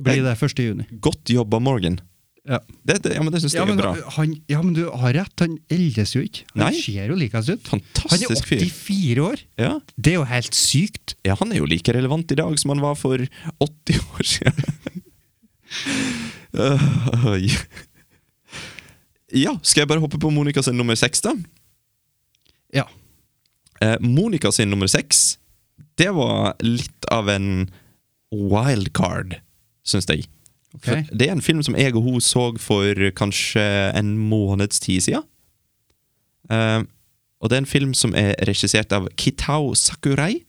S10: Blir det 1. juni.
S11: Godt jobba, Morgan.
S10: Ja.
S11: Det, det, ja, men det syns jeg
S10: Ja men,
S11: er bra.
S10: han, ja, men du har rett. Han eldes jo ikke. Han
S11: Nei.
S10: ser jo likens ut.
S11: Fantastisk
S10: Han
S11: fyr.
S10: er 84 år!
S11: Ja.
S10: Det er jo helt sykt.
S11: ja, han er jo like relevant i dag som han var for 80 år siden. Øy. Ja, skal jeg bare hoppe på Monica sin nummer seks, da?
S10: Ja.
S11: Eh, Monica sin nummer seks, det var litt av en wildcard, syns jeg.
S10: Ok.
S11: For Det er en film som jeg og hun så for kanskje en måneds tid siden. Eh, og det er en film som er regissert av Kitao Sakurai.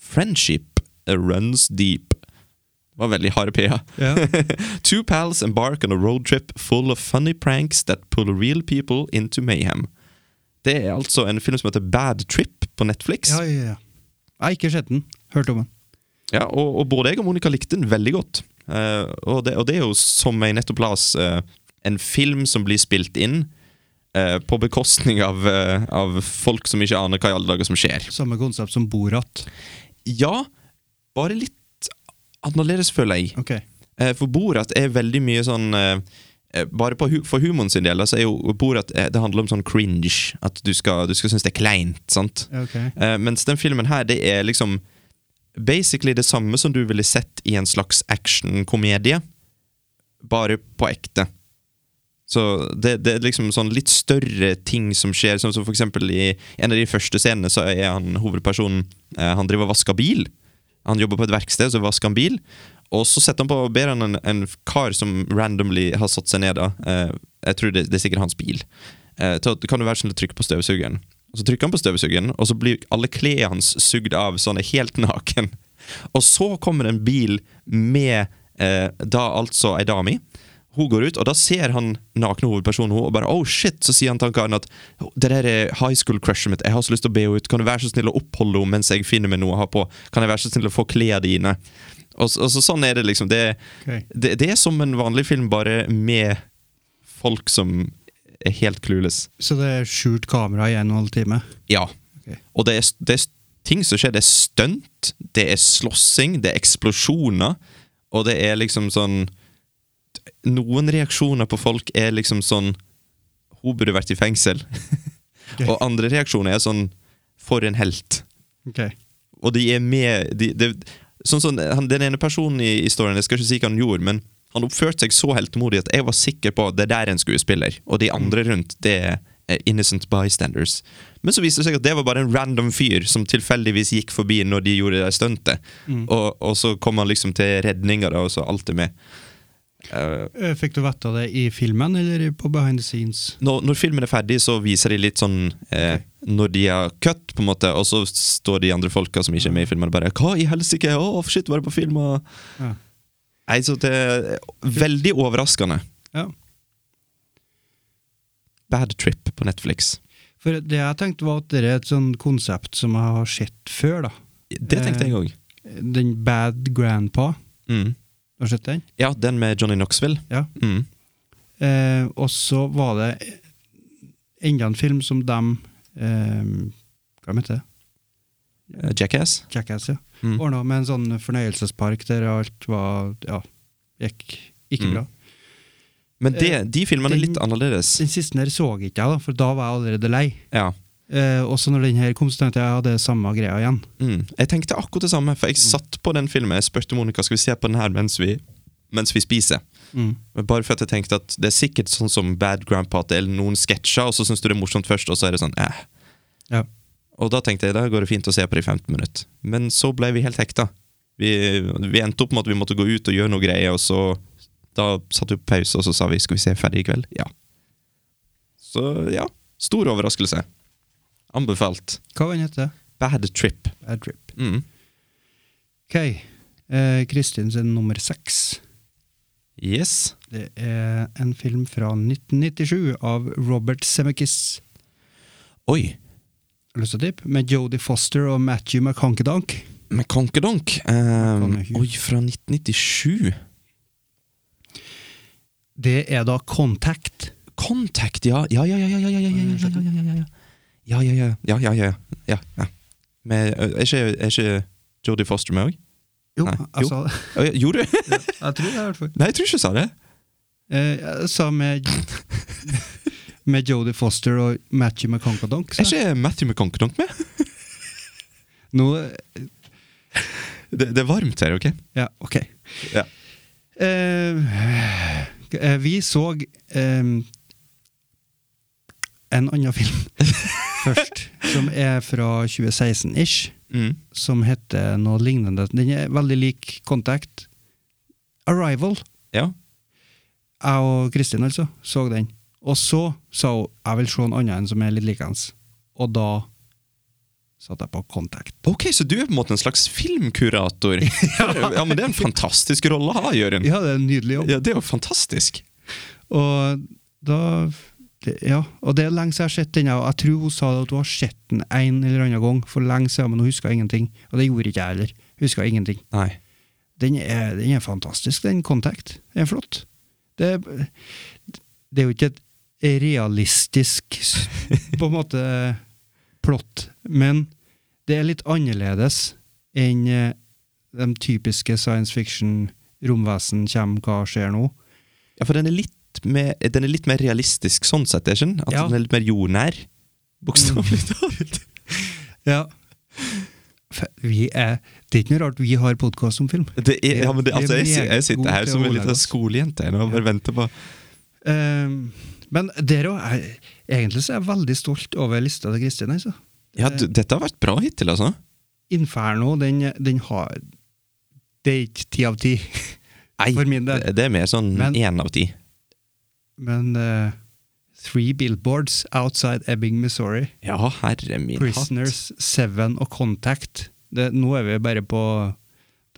S11: 'Friendship Runs Deep'. Det var veldig harde p-er.
S10: Ja.
S11: Two pals embark on a road trip full of funny pranks that pull real people into mayhem. Det er altså en film som heter Bad Trip på Netflix.
S10: Ja, ja, ja. Jeg har ikke sett den. Hørt om den.
S11: Ja, og, og både jeg og Monica likte den veldig godt. Eh, og, det, og det er jo, som jeg nettopp las, eh, en film som blir spilt inn eh, på bekostning av, eh, av folk som ikke aner hva i alle dager som skjer.
S10: Samme konsept som Borat.
S11: Ja, bare litt annerledes, føler jeg.
S10: Ok.
S11: Eh, For Borat er veldig mye sånn eh, eh, Bare på, hu- for humoren sin del da, så er jo Borat eh, Det handler om sånn cringe. At du skal, du skal synes det er kleint. sant?
S10: Ok.
S11: Eh, Mens den filmen her, det er liksom basically det samme som du ville sett i en slags actionkomedie. Bare på ekte. Så det, det er liksom sånn litt større ting som skjer. Sånn som for eksempel i en av de første scenene så er han hovedpersonen eh, Han driver og vasker bil. Han jobber på et verksted, så vasker han bil. Og så setter han på ber han en, en kar som randomly har satt seg ned, da eh, Jeg tror det, det er sikkert hans bil. Eh, til at- kan du være snill å trykke på støvsugeren? Og så trykker han på støvsugeren, og så blir alle klærne hans sugd av, så han er helt naken. Og så kommer en bil med eh, da altså ei dame i. Hun går ut, og da ser han nakne hovedpersonen hun, og bare oh shit, så sier han til han karen at det der er high school crushet mitt, jeg har så lyst til å be henne ut, kan du være så snill å oppholde henne mens jeg finner meg noe å ha på, kan jeg være så snill å få klær dine? Og, så- og så sånn er det liksom, det,
S10: Ok.
S11: det, det er som en vanlig film, bare med folk som er helt clueless.
S10: Så det er skjult kamera i en og en halv time?
S11: Ja.
S10: Ok.
S11: Og det er, det er ting som skjer. Det er stunt, det er slåssing, det er eksplosjoner, og det er liksom sånn Noen reaksjoner på folk er liksom sånn Hun burde vært i fengsel. og andre reaksjoner er sånn For en helt.
S10: Ok.
S11: Og de er med de, de, sånn, sånn, han, Den ene personen i historien Jeg skal ikke si hva han gjorde, men han oppførte seg så heltemodig at jeg var sikker på at det der er en skuespiller, og de andre rundt, det er eh, innocent bystanders. Men så viste det seg at det var bare en random fyr som tilfeldigvis gikk forbi når de gjorde det stuntet. Og, og så kom han liksom til redninga, da, og så alt er med.
S10: Eh, Fikk du vite det i filmen eller på behind the scenes?
S11: når, når filmen er ferdig, så viser de litt sånn eh, Når de har cut, på en måte, og så står de andre folka som ikke er med i filmen, og bare 'Hva i helsike? Å, shit, var det på film?' Og...
S10: Ja.
S11: Nei, så det er Veldig overraskende.
S10: ja.
S11: Bad Trip på Netflix.
S10: For det jeg tenkte var at det er et sånn konsept som jeg har sett før, da.
S11: Det tenkte jeg òg.
S10: Den Bad Grandpa.
S11: Mm.
S10: Har du sett den?
S11: Ja, den med Johnny Knoxville.
S10: Ja.
S11: Mm.
S10: Eh, og så var det enda en film som dem eh, Hva heter det?
S11: Eh, Jackass.
S10: Jackass, ja.
S11: Mm.
S10: Ordna med en sånn fornøyelsespark der alt var Ja, gikk ikke
S11: Mm.
S10: bra.
S11: Men det, de filmene er litt
S10: Den-
S11: annerledes.
S10: Den siste der så ikke jeg, da, for da var jeg allerede lei.
S11: Ja.
S10: Eh, også når den her kom, så tenkte jeg ja, det er samme greia igjen.
S11: Mm. Jeg tenkte akkurat det samme, for jeg satt på den filmen. Jeg spurte Monica skal vi se på den her mens vi, mens vi spiser.
S10: Mm.
S11: Bare for at jeg tenkte at det er sikkert sånn som Bad Grandpa at det er noen sketsjer, og så syns du det er morsomt først, og så er det sånn eh.
S10: Ja.
S11: Og da tenkte jeg da går det fint å se på det i 15 minutter. Men så ble vi helt hekta. Vi, vi endte opp med at vi måtte gå ut og gjøre noe greier, og så da satte vi på pause, og så sa vi skal vi se ferdig i kveld? Ja. Så ja, stor overraskelse. Anbefalt.
S10: Hva var den heter?
S11: Bad Trip.
S10: Bad Trip.
S11: Mm.
S10: Ok. Eh, Kristin sin nummer seks.
S11: Yes.
S10: Det er en film fra 1997 av Robert Zemeckis.
S11: Oi.
S10: Har du lyst til å tippe? Med Jodie Foster og Matthew McConkedonk.
S11: Med Konkedonk. Um,
S10: McConaughey.
S11: oi, fra 1997.
S10: Det er da Contact.
S11: Contact, ja. Ja, ja, ja, ja, ja, ja, ja, ja, ja, ja, ja, ja, ja. Ja, ja, ja, ja, ja, ja, ja, ja. Med, ø, er ikke, er ikke Jodie Foster med òg?
S10: Jo, altså-
S11: Nei,
S10: jeg
S11: jo.
S10: sa det.
S11: Gjorde du?
S10: Jeg tror det, i hvert fall.
S11: Nei, jeg tror ikke jeg sa det.
S10: Eh, jeg sa med Med Jodie Foster og Matthew McConkedonk.
S11: Er ikke Matthew McConkedonk med?
S10: Nå
S11: Det, det er varmt her, OK?
S10: Ja, ok.
S11: Ja.
S10: Eh, eh, vi så eh, en annen film først, som er fra 2016-ish,
S11: Mm.
S10: som heter noe lignende. Den er veldig lik Contact. Arrival.
S11: Ja.
S10: Jeg og Kristin altså, så den. Og så sa hun jeg vil se en annen en som er litt likens. Og da satte jeg på Contact.
S11: Ok, så du er på en måte en slags filmkurator. ja, men det er en fantastisk rolle å ha, Jørund.
S10: Ja, det er en nydelig jobb.
S11: Ja, det er jo fantastisk.
S10: Og da det- Ja, og det er lenge siden jeg har sett den. Og jeg tror hun sa at hun har sett den en eller annen gang for lenge siden, men hun huska ingenting. Og det gjorde ikke jeg heller. Huska ingenting.
S11: Nei.
S10: Den er, den er fantastisk, den Contact. Den er flott. Det, er- det er jo ikke et realistisk, s- på en måte, plott, men det er litt annerledes enn eh, de typiske science fiction romvesen kommer, hva skjer nå?
S11: Ja, for den er litt mer, den er litt mer realistisk sånn sett, er ikke den? At
S10: Ja.
S11: den er litt mer jordnær. Bokstavelig talt.
S10: Ja. F- Vi er, det er ikke noe rart vi har podkast om film.
S11: Det er, ja, men det,
S10: Vi er
S11: altså, jeg, si-
S10: meget
S11: jeg sitter
S10: gode altså.
S11: her
S10: til
S11: som
S10: å
S11: en liten
S10: ordlegge oss.
S11: skolejente jeg, nå, og bare venter på
S10: Ehm, men dere òg er- Egentlig så er jeg veldig stolt over lista til Kristin. Altså.
S11: Ja, du, dette har vært bra hittil, altså.
S10: Inferno, den, den har Det er ikke ti av ti
S11: Nei,
S10: for min del.
S11: det, det er mer sånn
S10: Men-
S11: én av ti.
S10: Men eh, Three Billboards Outside Ebbing, Missouri,
S11: Ja, herre min hatt.
S10: Prisoners, Seven og Contact det, Nå er vi bare på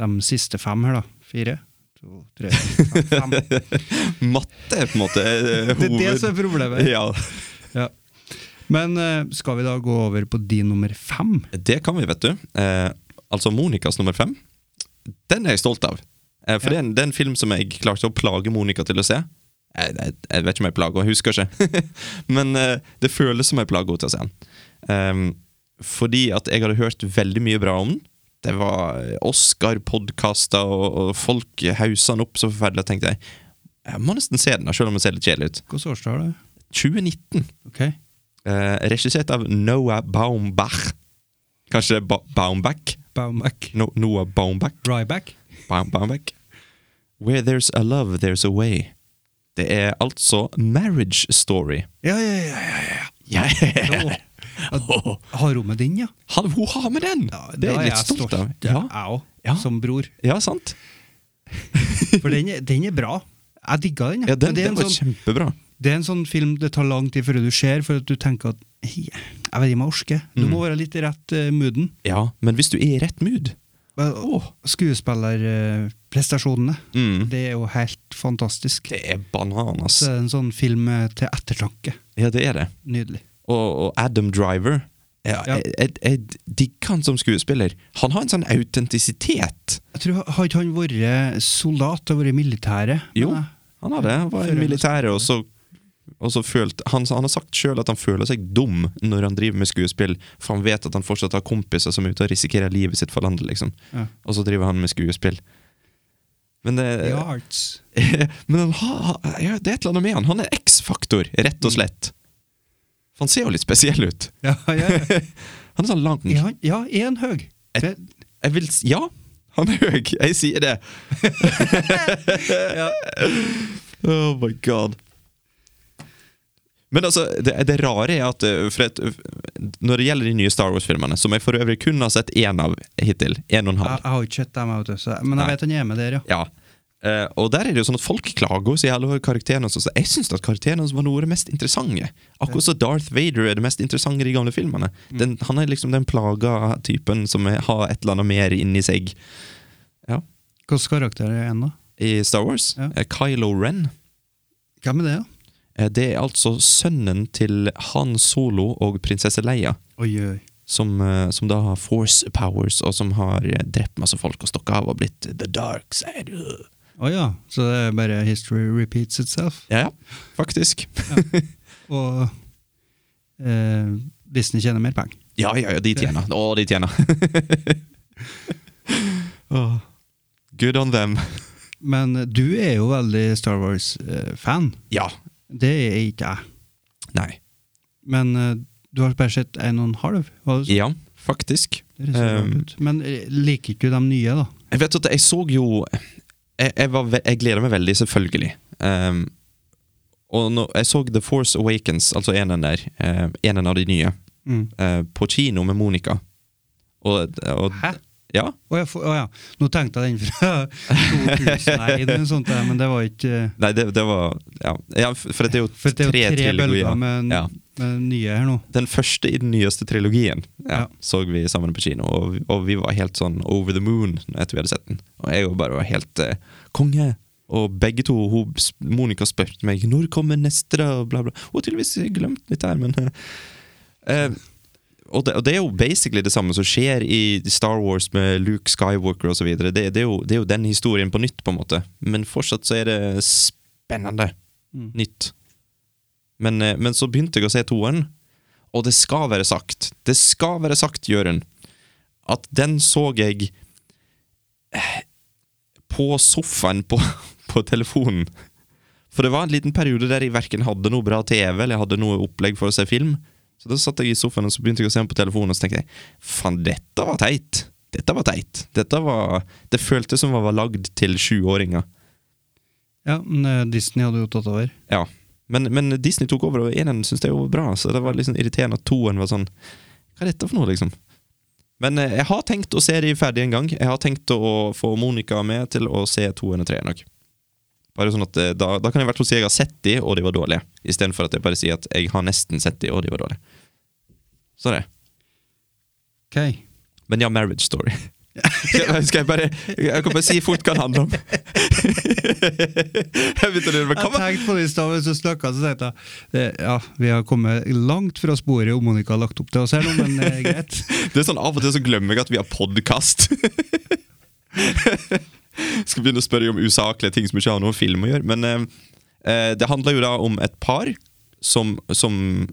S10: de siste fem her, da. Fire, to, tre, fire, fem.
S11: Matte er på en måte eh,
S10: Det er det
S11: hoved-
S10: som er problemet.
S11: Ja,
S10: Ja. Men eh, skal vi da gå over på din nummer fem?
S11: Det kan vi, vet du. Eh, altså Monicas nummer fem. Den er jeg stolt av. Eh, for det, er en, det er en film som jeg klarte å plage Monica til å se. Jeg, jeg, jeg vet ikke om jeg plager henne, jeg husker ikke. Men eh, det føles som jeg plager henne til å se den. Ehm, fordi at jeg hadde hørt veldig mye bra om den. Det var Oscar-podkaster, og, og folk hausa den opp så forferdelig. Og tenkte jeg jeg må nesten se den, da, selv om den ser litt kjedelig ut.
S10: Hvilket årstall er det?
S11: 2019.
S10: Ok.
S11: Eh, regissert av Noah Baumbach. Kanskje det er ba Baumbach?
S10: Baumack.
S11: No, Noah Baumbach.
S10: Ryback.
S11: Baum, Baumbach. Where there's a love, there's a way. Det er altså Marriage Story.
S10: Ja, ja, ja. ja, ja.
S11: Ja,
S10: Å, at- Har hun med den, ja?
S11: Han, hun har med den! det
S10: da
S11: er jeg litt stolt, av.
S10: Ja,
S11: Ja,
S10: jeg òg,
S11: Ja.
S10: som bror.
S11: ja sant?
S10: For den, er- den er bra. Jeg digga den.
S11: Ja, den,
S10: Men det, er
S11: den
S10: en
S11: var
S10: sånn,
S11: kjempebra.
S10: det er en sånn film det tar lang tid før du ser, for at du tenker at «Hei, jeg vet ikke om jeg orker. Du
S11: Mm.
S10: må være litt i rett eh, mooden.
S11: Ja, men hvis du er i rett mood
S10: Oh. Skuespillerprestasjonene. eh,
S11: Mm.
S10: Det er jo helt fantastisk.
S11: Det er bananas.
S10: Så er det en sånn film eh, til ettertanke.
S11: Ja, det er det.
S10: Nydelig.
S11: og, og Adam Driver jeg,
S10: Ja.
S11: jeg, jeg, jeg digger han som skuespiller. Han har en sånn autentisitet.
S10: Jeg tror, Har ikke han vært soldat og vært i militæret?
S11: Jo,
S10: Men, eh,
S11: han har det. Han var i
S10: Før eller
S11: militæret, og så, og så følt, han, han har sagt sjøl at han føler seg dum når han driver med skuespill, for han vet at han fortsatt har kompiser som er ute og risikerer livet sitt for landet, liksom.
S10: Ja.
S11: Og så driver han med skuespill. Men det,
S10: The eh, Arts. Mm.
S11: Men han har, ja, det er et eller annet med han. Han er X-faktor, rett og slett. For han ser jo litt spesiell ut.
S10: Ja, ja, ja.
S11: han er sånn lang.
S10: Er han- ja, er han høy?
S11: Jeg, jeg vil s- Ja, han er høy. Jeg sier det. Oh my god. Men altså, det, det rare er at eh, for at, eh, når det gjelder de nye Star Wars-filmene, som jeg for øvrig kun har sett én av hittil, én og en
S10: Jeg,
S11: halv
S10: jeg har ikke sett dem, jeg vet du, så- men jeg
S11: Nei.
S10: vet han er med der, ja.
S11: Ja. Eh, og der er det jo sånn at folk klager og sier alle karakterene hans. Jeg syns at karakterene hans var noe av det mest interessante. Akkurat som Darth Vader er det mest interessante i de gamle filmene. Den, han er liksom den plaga typen som er- har et eller annet mer inni seg. Ja.
S10: Hvilken karakter er han, da?
S11: I Star Wars,
S10: Ja.
S11: eh, Kylo Ren,
S10: Hvem er det, da?
S11: eh, det er altså sønnen til Han Solo og prinsesse Leia.
S10: Oi, oi.
S11: Som, eh, som da har force powers, og som har eh, drept masse folk og stokket av og blitt the dark side.
S10: Å ja, så det er bare history repeats itself.
S11: Ja, ja, faktisk.
S10: Og eh, Disney tjener mer penger.
S11: Ja, ja, ja, de tjener. Å, de tjener. Åh. Good on them.
S10: Men du er jo veldig Star Wars-fan.
S11: Ja.
S10: Det er ikke jeg.
S11: Nei.
S10: Men eh, du har bare sett en og en halv. Hva-
S11: Ja, faktisk.
S10: Det ser rart
S11: Um,
S10: ut. Men eh, liker ikke du de nye, da?
S11: jeg vet at jeg så jo Jeg, jeg, var, ve- jeg gleder meg veldig, selvfølgelig. Um, og når jeg så The Force Awakens, altså enen der, eh, enen av de nye,
S10: Mm.
S11: eh, på kino med Monica. Og, og,
S10: Hæ?
S11: Ja.
S10: Å ja, for- å ja, nå tenkte jeg den fra 2001 eller noe sånt, der, men det var ikke eh,
S11: Nei, det, det var Ja, ja for for det er jo
S10: For det er jo tre,
S11: trilogier.
S10: bølger med,
S11: Ja.
S10: med nye her nå.
S11: den første i den nyeste trilogien ja,
S10: Ja.
S11: så vi sammen på kino, og, og vi var helt sånn over the moon etter vi hadde sett den. Og jeg jo bare var helt eh, konge. Og begge to, hun, s- Monica spurte meg når kommer neste, da, og bla, bla. Hun har tydeligvis glemt litt her, men eh, eh, og, det, og det er jo basically det samme som skjer i Star Wars med Luke Skywalker osv. Det, det, er jo- det er jo den historien på nytt, på en måte. Men fortsatt så er det spennende. Nytt. Men, eh, men så begynte jeg å se toeren, og det skal være sagt, det skal være sagt, Jørund, at den så jeg eh, på sofaen på, på telefonen. For det var en liten periode der jeg verken hadde noe bra TV eller jeg hadde noe opplegg for å se film. Så da satt jeg i sofaen og så begynte jeg å se den på telefonen, og så tenkte jeg faen, dette var teit. Dette var teit. Dette var, det føltes som det var lagd til sjuåringer.
S10: Ja, men eh, Disney hadde jo tatt over.
S11: Ja. Men, men Disney tok over, og eneren syntes det var bra, så det var liksom irriterende at toen var sånn Hva er dette for noe, liksom? Men eh, jeg har tenkt å se de ferdig en gang. Jeg har tenkt å få Monica med til å se toen og treeren òg. Bare sånn at eh, da, da kan jeg i hvert fall si jeg har sett de, og de var dårlige. Istedenfor at jeg bare sier at jeg har nesten sett de, og de var dårlige. Så det.
S10: Ok.
S11: Men ja, Marriage Story. Skal jeg, skal jeg bare Jeg kan bare si fort hva det handler om. jeg begynte å lure på
S10: Jeg
S11: hva var-
S10: tenkte på det i stad, mens du snakka, så tenkte jeg eh, ja, vi har kommet langt fra sporet og Monica har lagt opp til oss her nå, men det er greit.
S11: Det er sånn Av og til så glemmer jeg at vi har podkast. Skal begynne å spørre om usaklige ting som ikke har noe film å gjøre. Men eh, eh, det handler jo da om et par som, som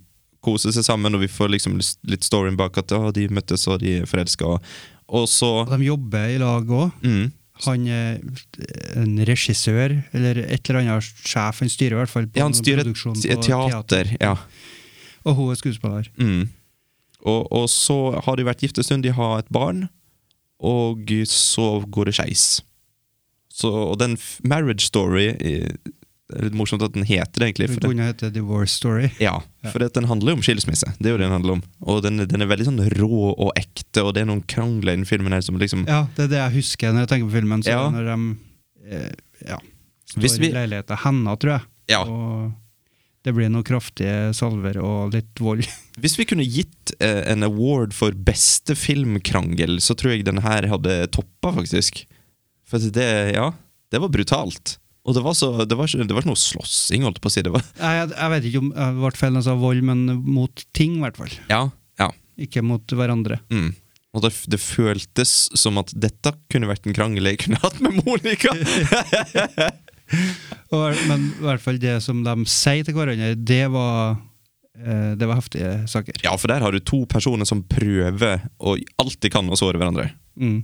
S11: koser seg sammen, og vi får liksom litt storyen bak at «Å, de møttes og de er forelska. Og, og så
S10: Og de jobber i lag òg.
S11: mm,
S10: Han er en regissør, eller et eller annet sjef, han styrer i hvert fall på
S11: Ja, han styrer et
S10: produksjonen
S11: et
S10: på
S11: teater. Ja.
S10: Og hun er skuespiller.
S11: Mm. Og, og så har de vært gift en stund, de har et barn, og så går det skeis. Så, og den f- marriage story eh, Det er litt morsomt at den heter det, egentlig.
S10: Det
S11: For Mm. den,
S10: kunne hete Divorce Story.
S11: ja, for at den handler jo om skilsmisse. Det er jo det den handler om. Og den, den er veldig sånn rå og ekte, og det er noen krangler i den filmen her som liksom
S10: Ja, det er det jeg husker når jeg tenker på filmen. Så
S11: Ja.
S10: Når de eh, ja, står
S11: Hvis vi-
S10: i leiligheten hennes, tror jeg.
S11: Ja.
S10: Og det blir noen kraftige salver og litt vold.
S11: Hvis vi kunne gitt eh, en award for beste filmkrangel, så tror jeg den her hadde toppa, faktisk. For at det, ja, det var brutalt. Og det var, så, det var, ikke, det var ikke noe slåssing, holdt jeg på å si. Det var,
S10: Nei, jeg, jeg vet ikke om det ble feil når jeg sa vold, men mot ting, i hvert fall.
S11: ja, ja.
S10: Ikke mot hverandre.
S11: Mm. Og det, det føltes som at dette kunne vært en krangel jeg kunne hatt med Monica!
S10: Og, men i hvert fall det som de sier til hverandre, det var, eh, det var heftige saker.
S11: ja, for der har du to personer som prøver og alt de kan å såre hverandre.
S10: Mm.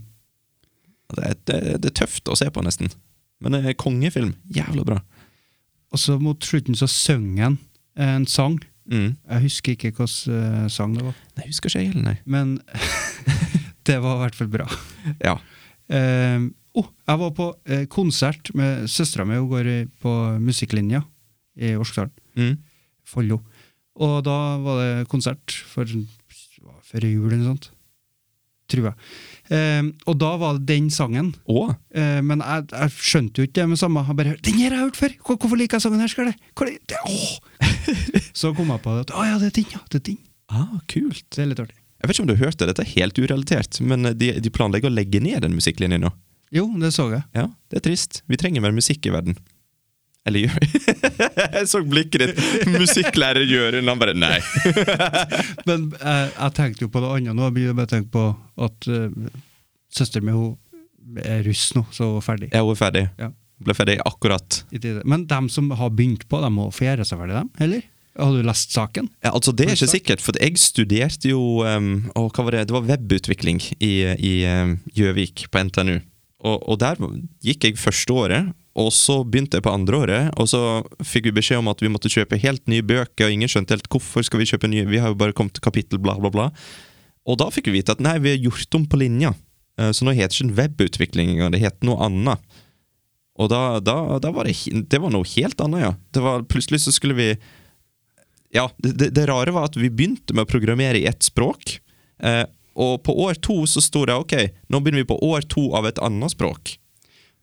S11: Og Det, er- det, det er tøft å se på, nesten. Men eh, kongefilm, jævla bra.
S10: Og så mot slutten så synger han en sang
S11: Mm.
S10: Jeg husker ikke hvilken eh, sang det var,
S11: Nei, husker ikke jeg heller, nei.
S10: men det var i hvert fall bra.
S11: Ja.
S10: Eh, oh, jeg var på eh, konsert med søstera mi, hun går i- på musikklinja i Orskdalen.
S11: Mm.
S10: Follo. Og da var det konsert for før jul eller noe sånt. Tror jeg. Eh, og da var det den sangen.
S11: Og
S10: Eh, men jeg, jeg skjønte jo ikke det med samme. Jeg bare, den her har jeg hørt før! Hvor, hvorfor liker jeg sangen her? Skal det? Hvor, er det, det åh!» Så kom jeg på det. at, Å ja, det er den, ja! Det er den.
S11: ah, kult.
S10: Det er litt artig.
S11: Jeg vet ikke om du hørte, dette er helt urealitert, men de, de planlegger å legge ned den musikklinjen nå.
S10: Jo, det så jeg.
S11: Ja, det er trist. Vi trenger mer musikk i verden. Eller gjør Jeg så blikket ditt. Musikklærer Jørund, han bare nei.
S10: Men eh, jeg tenkte jo på det andre nå. Jeg begynner bare å tenke på at eh, søsteren min hun er russ nå, så hun er ferdig.
S11: Jeg er ferdig.
S10: Ja.
S11: Ble ferdig akkurat.
S10: I tide. Men dem som har begynt på, de må få gjøre seg ferdig, dem, eller? Har du lest saken?
S11: Ja, altså Det er
S10: Har du
S11: ikke
S10: sagt?
S11: sikkert, for jeg studerte jo um, og hva var det? det var webutvikling i i, um, Gjøvik, på NTNU. Og, og der gikk jeg første året, og så begynte jeg på andre året. Og så fikk vi beskjed om at vi måtte kjøpe helt nye bøker, og ingen skjønte helt hvorfor skal vi kjøpe nye, vi har jo bare kommet til kapittel bla, bla, bla. Og da fikk vi vite at nei, vi har gjort om på linja. Eh, Så nå heter det ikke webutvikling engang, det heter noe annet. Og da, da, da var det, he- det var noe helt annet, ja. Det var, plutselig så skulle vi ja, det, det- det rare var at vi begynte med å programmere i ett språk. Eh, og på år to så sto det ok, nå begynner vi på år to av et annet språk.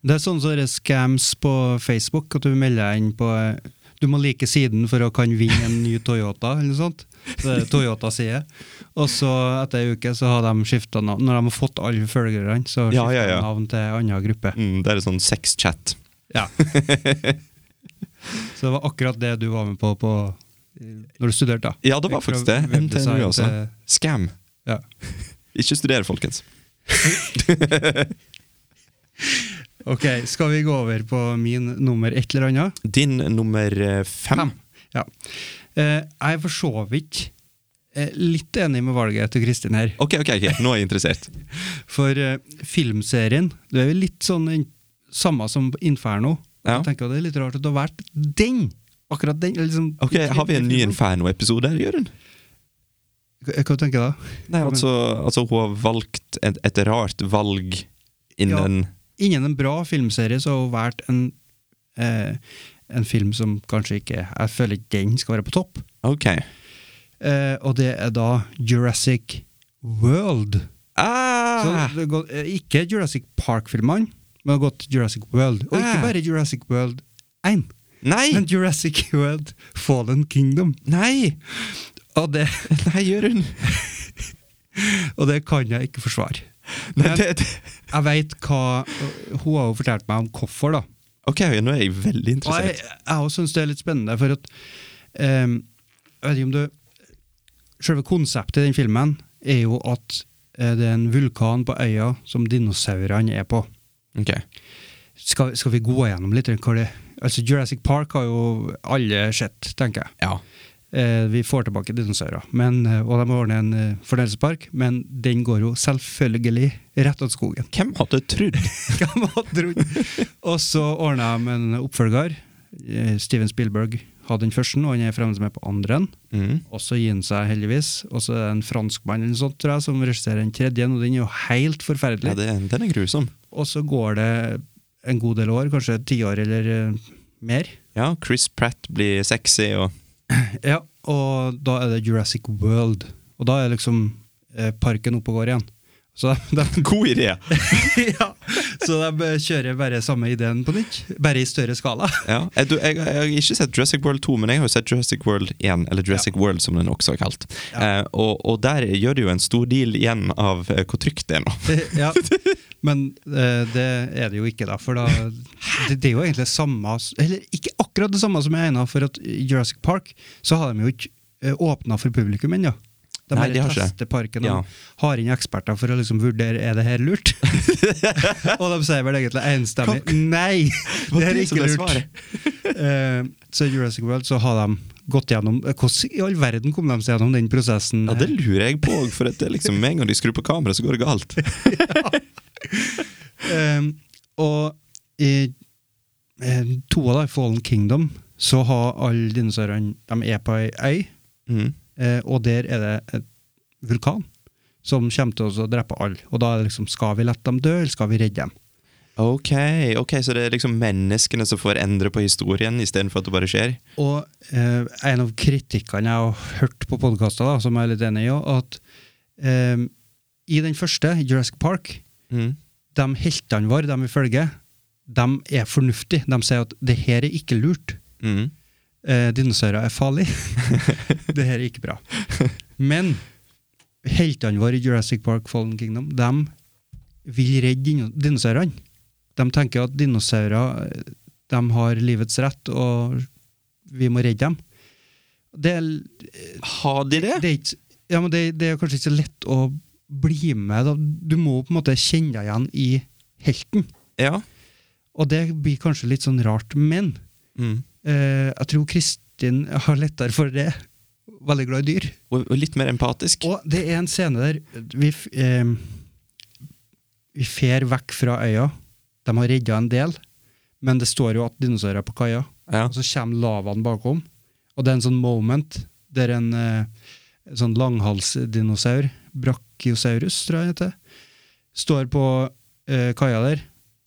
S10: Det er sånn som det er scams på Facebook, at du melder deg inn på eh, Du må like siden for å kan vinne en ny Toyota, eller noe sånt. Det er Toyota sier. Og så, etter ei uke, så har de skifta navn. Når de har fått alle følgerne, så skifter
S11: Ja, ja, ja.
S10: de navn til en annen gruppe.
S11: Mm, det er en sånn sexchat.
S10: Ja. så det var akkurat det du var med på, på når du studerte, da.
S11: Ja, det var faktisk det.
S10: Webdesign
S11: NTNU, altså.
S10: til-
S11: Scam.
S10: Ja.
S11: Ikke studere, folkens.
S10: Ok, skal vi gå over på min nummer et eller annet?
S11: Din nummer eh, fem.
S10: Ja. Eh, jeg er for så vidt eh, litt enig med valget til Kristin her.
S11: Ok, ok, ok, nå er jeg interessert.
S10: For eh, filmserien Det er jo litt sånn in- samme som Inferno.
S11: Ja.
S10: Jeg tenker at Det er litt rart at det har vært den! Akkurat den. eller Liksom,
S11: Ok, Har vi en ny
S10: Hva
S11: Inferno-episode her, Jørund?
S10: hva tenker du da?
S11: Nei, altså, altså hun har valgt et, et rart valg innen
S10: Innen en bra filmserie så har hun valgt en, eh, en film som kanskje ikke Jeg føler ikke den skal være på topp.
S11: Ok.
S10: Eh, og det er da Jurassic World.
S11: Ah!
S10: Så det går, eh, ikke Jurassic Park-filmene, men det har gått Jurassic World. Og ikke
S11: Ah.
S10: bare Jurassic World 1,
S11: Nei!
S10: men Jurassic World Fallen Kingdom.
S11: Nei!
S10: Og det,
S11: Nei, Jørund!
S10: og det kan jeg ikke forsvare.
S11: Nei,
S10: Men
S11: det, det.
S10: jeg veit hva Hun har jo fortalt meg om hvorfor, da.
S11: Ok, nå er jeg veldig
S10: Og jeg,
S11: interessert.
S10: jeg syns det er litt spennende, for at ehm, Jeg vet ikke om du Selve konseptet i den filmen er jo at eh, det er en vulkan på øya som dinosaurene er på.
S11: Ok,
S10: skal, skal vi gå gjennom litt hva det Altså Jurassic Park har jo alle sett, tenker jeg.
S11: ja.
S10: Eh, vi får tilbake dinosaurer, men, eh, og de ordner en eh, fornøyelsespark, men den går jo selvfølgelig rett av skogen.
S11: Hvem hadde trodd?
S10: Hvem hadde trodd? og så ordner de en oppfølger. Eh, Steven Spielberg hadde den første, og han er fremdeles med på andre.
S11: Mm.
S10: Og så gir han seg heldigvis. Og så er det en franskmann eller noe sånt, tror jeg, som regisserer den tredje, og den er jo helt forferdelig.
S11: Ja, det, den er grusom.
S10: Og så går det en god del år, kanskje et tiår eller eh, mer.
S11: Ja, Chris Pratt blir sexy og
S10: Ja, og da er det Jurassic World. Og da er liksom eh, parken oppe og går igjen. Så de,
S11: God idé!
S10: ja, så de eh, kjører bare samme ideen på nytt, bare i større skala.
S11: Ja. Jeg, du, jeg, jeg har ikke sett Jurassic World 2, men jeg har jo sett Jurassic World 1, eller Jurassic World som den også er kalt. Eh, og, og der gjør de jo en stor deal igjen av eh, hvor trygt det er nå.
S10: ja. Men eh, det er det jo ikke, da. For da det, det er jo egentlig samme s- Eller ikke akkurat det samme som jeg egna, for at i Jurassic Park så har de jo ikke åpna for publikum ennå. De
S11: Nei,
S10: bare
S11: de har ikke.
S10: tester parken
S11: Ja.
S10: og har inn eksperter for å liksom vurdere er det her lurt. og de sier vel egentlig enstemmig nei, det her er
S11: det som
S10: ikke
S11: er
S10: lurt. Eh, så i Jurassic World så har de gått gjennom eh, Hvordan i all verden kom de seg gjennom den prosessen?
S11: Ja,
S10: her?
S11: Det lurer jeg på, for at det er liksom, med en gang de skrur på kameraet, så går det galt.
S10: Ehm, og i eh, to av de, Fallen Kingdom, så har alle dinosaurene De er på ei øy,
S11: Mhm.
S10: eh, og der er det et vulkan som kommer til oss å drepe alle. Og da er det liksom Skal vi la dem dø, eller skal vi redde dem?
S11: Ok, ok, så det er liksom menneskene som får endre på historien istedenfor at det bare skjer?
S10: Og eh, en av kritikkene jeg har hørt på podkaster, som jeg er litt enig i, også, at eh, i den første, Jurassic Park,
S11: Mhm.
S10: de heltene våre, de vi følger, de er fornuftige. De sier at det her er ikke lurt.
S11: Mhm.
S10: Eh, dinosaurer er farlige. det her er ikke bra. Men heltene våre i Jurassic Park Fallen Kingdom, de vil redde dino- dinosaurene. De tenker at dinosaurer eh, de har livets rett, og vi må redde dem. Det er,
S11: Har de det?
S10: det er, ikke, ja, men det, det er kanskje ikke så lett å bli med. Da. Du må på en måte kjenne deg igjen i helten.
S11: Ja.
S10: Og det blir kanskje litt sånn rart, men
S11: Mhm.
S10: eh, jeg tror Kristin har lettere for det. Veldig glad i dyr.
S11: Og, og litt mer empatisk.
S10: Og det er en scene der vi, f- eh, vi fer vekk fra øya. De har redda en del, men det står jo at dinosaurer er på kaia.
S11: Ja.
S10: Og så kommer lavaen bakom, og det er en sånn moment der en eh, en sånn langhalsdinosaur, brachiosaurus, tror jeg han heter, står på eh, kaia der,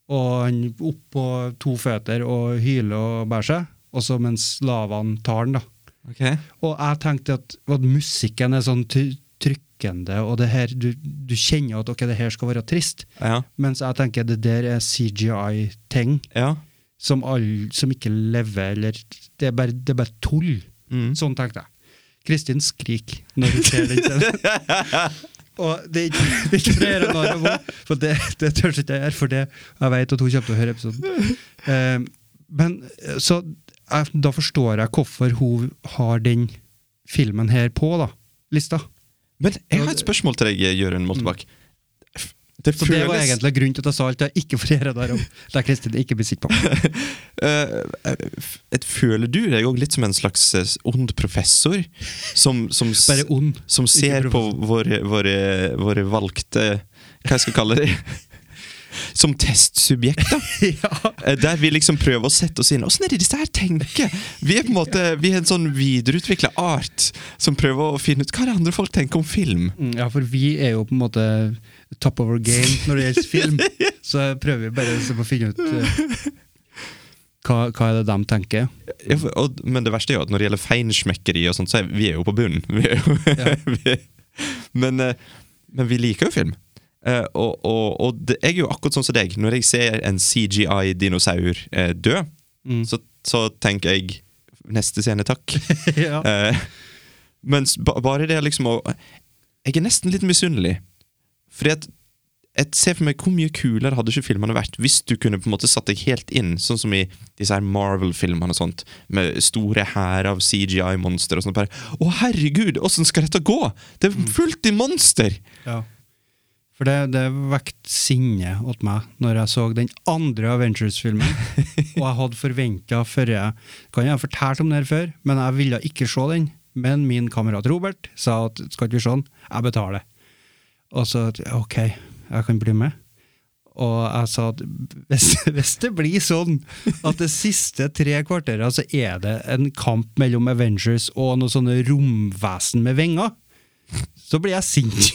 S10: og han opp på to føtter og hyler og bærer seg, og så mens lavaen tar den, da.
S11: Ok.
S10: Og jeg tenkte at, at musikken er sånn ty- trykkende, og det her, du, du kjenner at ok, det her skal være trist,
S11: Ja.
S10: mens jeg tenker det der er CGI-ting
S11: ja.
S10: som, all- som ikke lever, eller det er bare, det er bare tull.
S11: Mhm.
S10: Sånn tenkte jeg. Kristin skriker når hun ser den scenen. Og det er ikke- det er ikke flere enn jeg var, for det, det tør ikke jeg gjøre, for det, jeg vet at hun kommer til å høre episoden. Eh, men eh, så jeg, Da forstår jeg hvorfor hun har den filmen her på da, lista.
S11: Men jeg har et spørsmål til deg, Jørund Moltebakk. Det
S10: Mm. Så det var
S11: føles-
S10: egentlig grunnen til at jeg sa alt jeg ikke får gjøre der om. Der Kristin ikke blir sikker på.
S11: Eh, f- et, føler du deg òg litt som en slags eh, ond professor? Som, som, s-
S10: Bare ond.
S11: som ser
S10: ikke
S11: på
S10: professor.
S11: våre, våre, våre valgte Hva jeg skal kalle det? Som testsubjekter.
S10: ja.
S11: Eh, Der vi liksom prøver å sette oss inn. Åssen er det disse her tenker? Vi er på en måte Vi er en sånn videreutvikla art som prøver å finne ut hva det andre folk tenker om film.
S10: Mm, Ja, for vi er jo på en måte top of our game når det gjelder film. Så prøver vi bare å finne ut eh, hva, hva er det de tenker.
S11: Ja, for- og, men det verste er jo at når det gjelder feinschmeckeri og sånt, så er vi er jo på bunnen. Vi er jo,
S10: Ja.
S11: vi, men, eh, men vi liker jo film. Eh, og og, og det, jeg er jo akkurat sånn som deg. Når jeg ser en CGI-dinosaur eh, dø,
S10: Mm.
S11: så, så tenker jeg Neste scene, takk.
S10: ja.
S11: Eh, mens ba, bare det liksom å Jeg er nesten litt misunnelig. Fordi at jeg ser for meg Hvor mye kulere hadde ikke filmene vært hvis du kunne på en måte satt deg helt inn, sånn som i disse her Marvel-filmene og sånt, med store hærer av CGI-monstre og sånt. Bare, å, herregud, åssen skal dette gå?! Det er fullt i monster!
S10: ja. For det, det vekte sinne åt meg når jeg så den andre Avengers-filmen. Og jeg hadde forventa før jeg Kan jeg ha fortalt om den her før, men jeg ville ikke se den. Men min kamerat Robert sa at skal ikke vi se den? Jeg betaler. Og så at, OK, jeg kan bli med. Og jeg sa at hvis, hvis det blir sånn at det siste tre kvarteret så er det en kamp mellom Avengers og noen sånne romvesen med vinger, så blir jeg sint.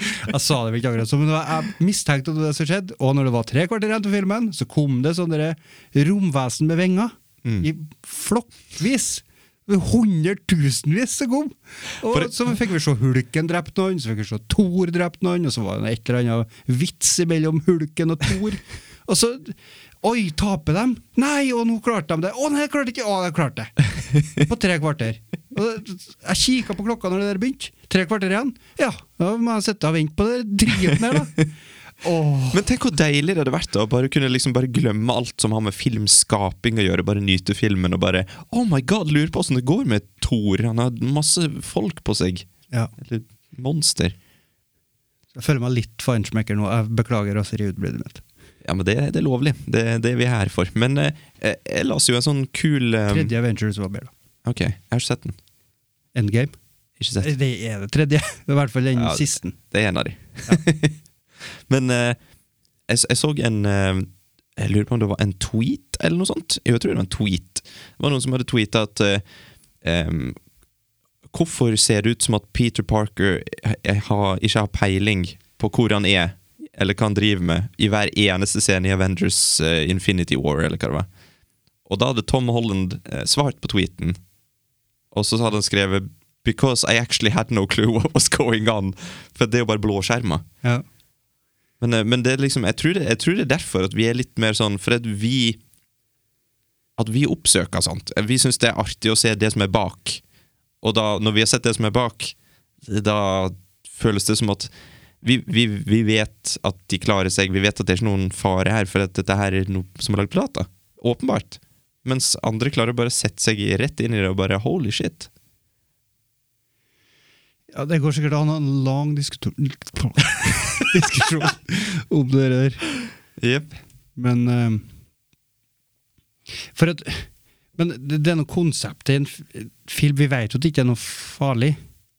S10: Jeg sa det vel ikke akkurat sånn, men det var- jeg mistenkte at det var det som skjedde. Og når det var tre kvarter igjen til filmen, så kom det sånne der romvesen med vinger. I flokkvis. Hundretusenvis som kom! Og
S11: For-
S10: så fikk vi se Hulken drept noen, så fikk vi se Thor drept noen, og så var det et eller annet vits mellom Hulken og Thor. Og så Oi, taper de? Nei, og nå klarte de det! Å, nei, jeg klarte ikke! Å, jeg klarte det! På tre kvarter. Og det- jeg kikka på klokka når det der begynte. Tre kvarter igjen. Ja, da må jeg sitte og vente på det driten her, da. Åh.
S11: Men tenk hvor deilig det hadde vært da, å bare kunne liksom bare glemme alt som har med filmskaping å gjøre. Bare nyte filmen og bare Oh my god, lurer på åssen det går med Thor. Han har masse folk på seg.
S10: Ja.
S11: Eller monster.
S10: Jeg føler meg litt feinschmecker nå. Jeg beklager raseriutbruddet mitt.
S11: Ja, men det, det er lovlig. Det, det er vi her for. Men eh, eh, jeg leste jo en sånn kul eh,
S10: Tredje Avengers var bedre. da.
S11: Ok, jeg har ikke sett den.
S10: Endgame.
S11: Ikke sett.
S10: Det er det tredje. Det er I hvert fall den
S11: Ja, det-
S10: siste.
S11: Det er en av de. men eh, jeg, jeg så en eh, Jeg lurer på om det var en tweet eller noe sånt. Jo, jeg tror det var en tweet. Det var noen som hadde tweeta at eh, em, Hvorfor ser det ut som at Peter Parker eh, har, ikke har peiling på hvor han er, eller hva han driver med, i hver eneste scene i Avengers eh, Infinity War, eller hva det var? Og da hadde Tom Holland eh, svart på tweeten, og så hadde han skrevet 'Because I actually had no clue what was going on', for det er jo bare blåskjermer.
S10: Ja.
S11: Men, eh, men det er liksom, jeg tror det, jeg tror det er derfor at vi er litt mer sånn For at vi At vi oppsøker sånt. Vi syns det er artig å se det som er bak. Og da, når vi har sett det som er bak, da føles det som at vi, vi, vi vet at de klarer seg, vi vet at det er ikke noen fare her, for at dette her er noe som er lagd på data. Åpenbart. Mens andre klarer å bare sette seg rett inn i det og bare holy shit.
S10: ja, det går sikkert an å ha en lang diskusjon Diskusjon om det der.
S11: Yep.
S10: Men eh, For at Men det, det er noe konsept i en f- film. Vi vet jo at det ikke er noe farlig.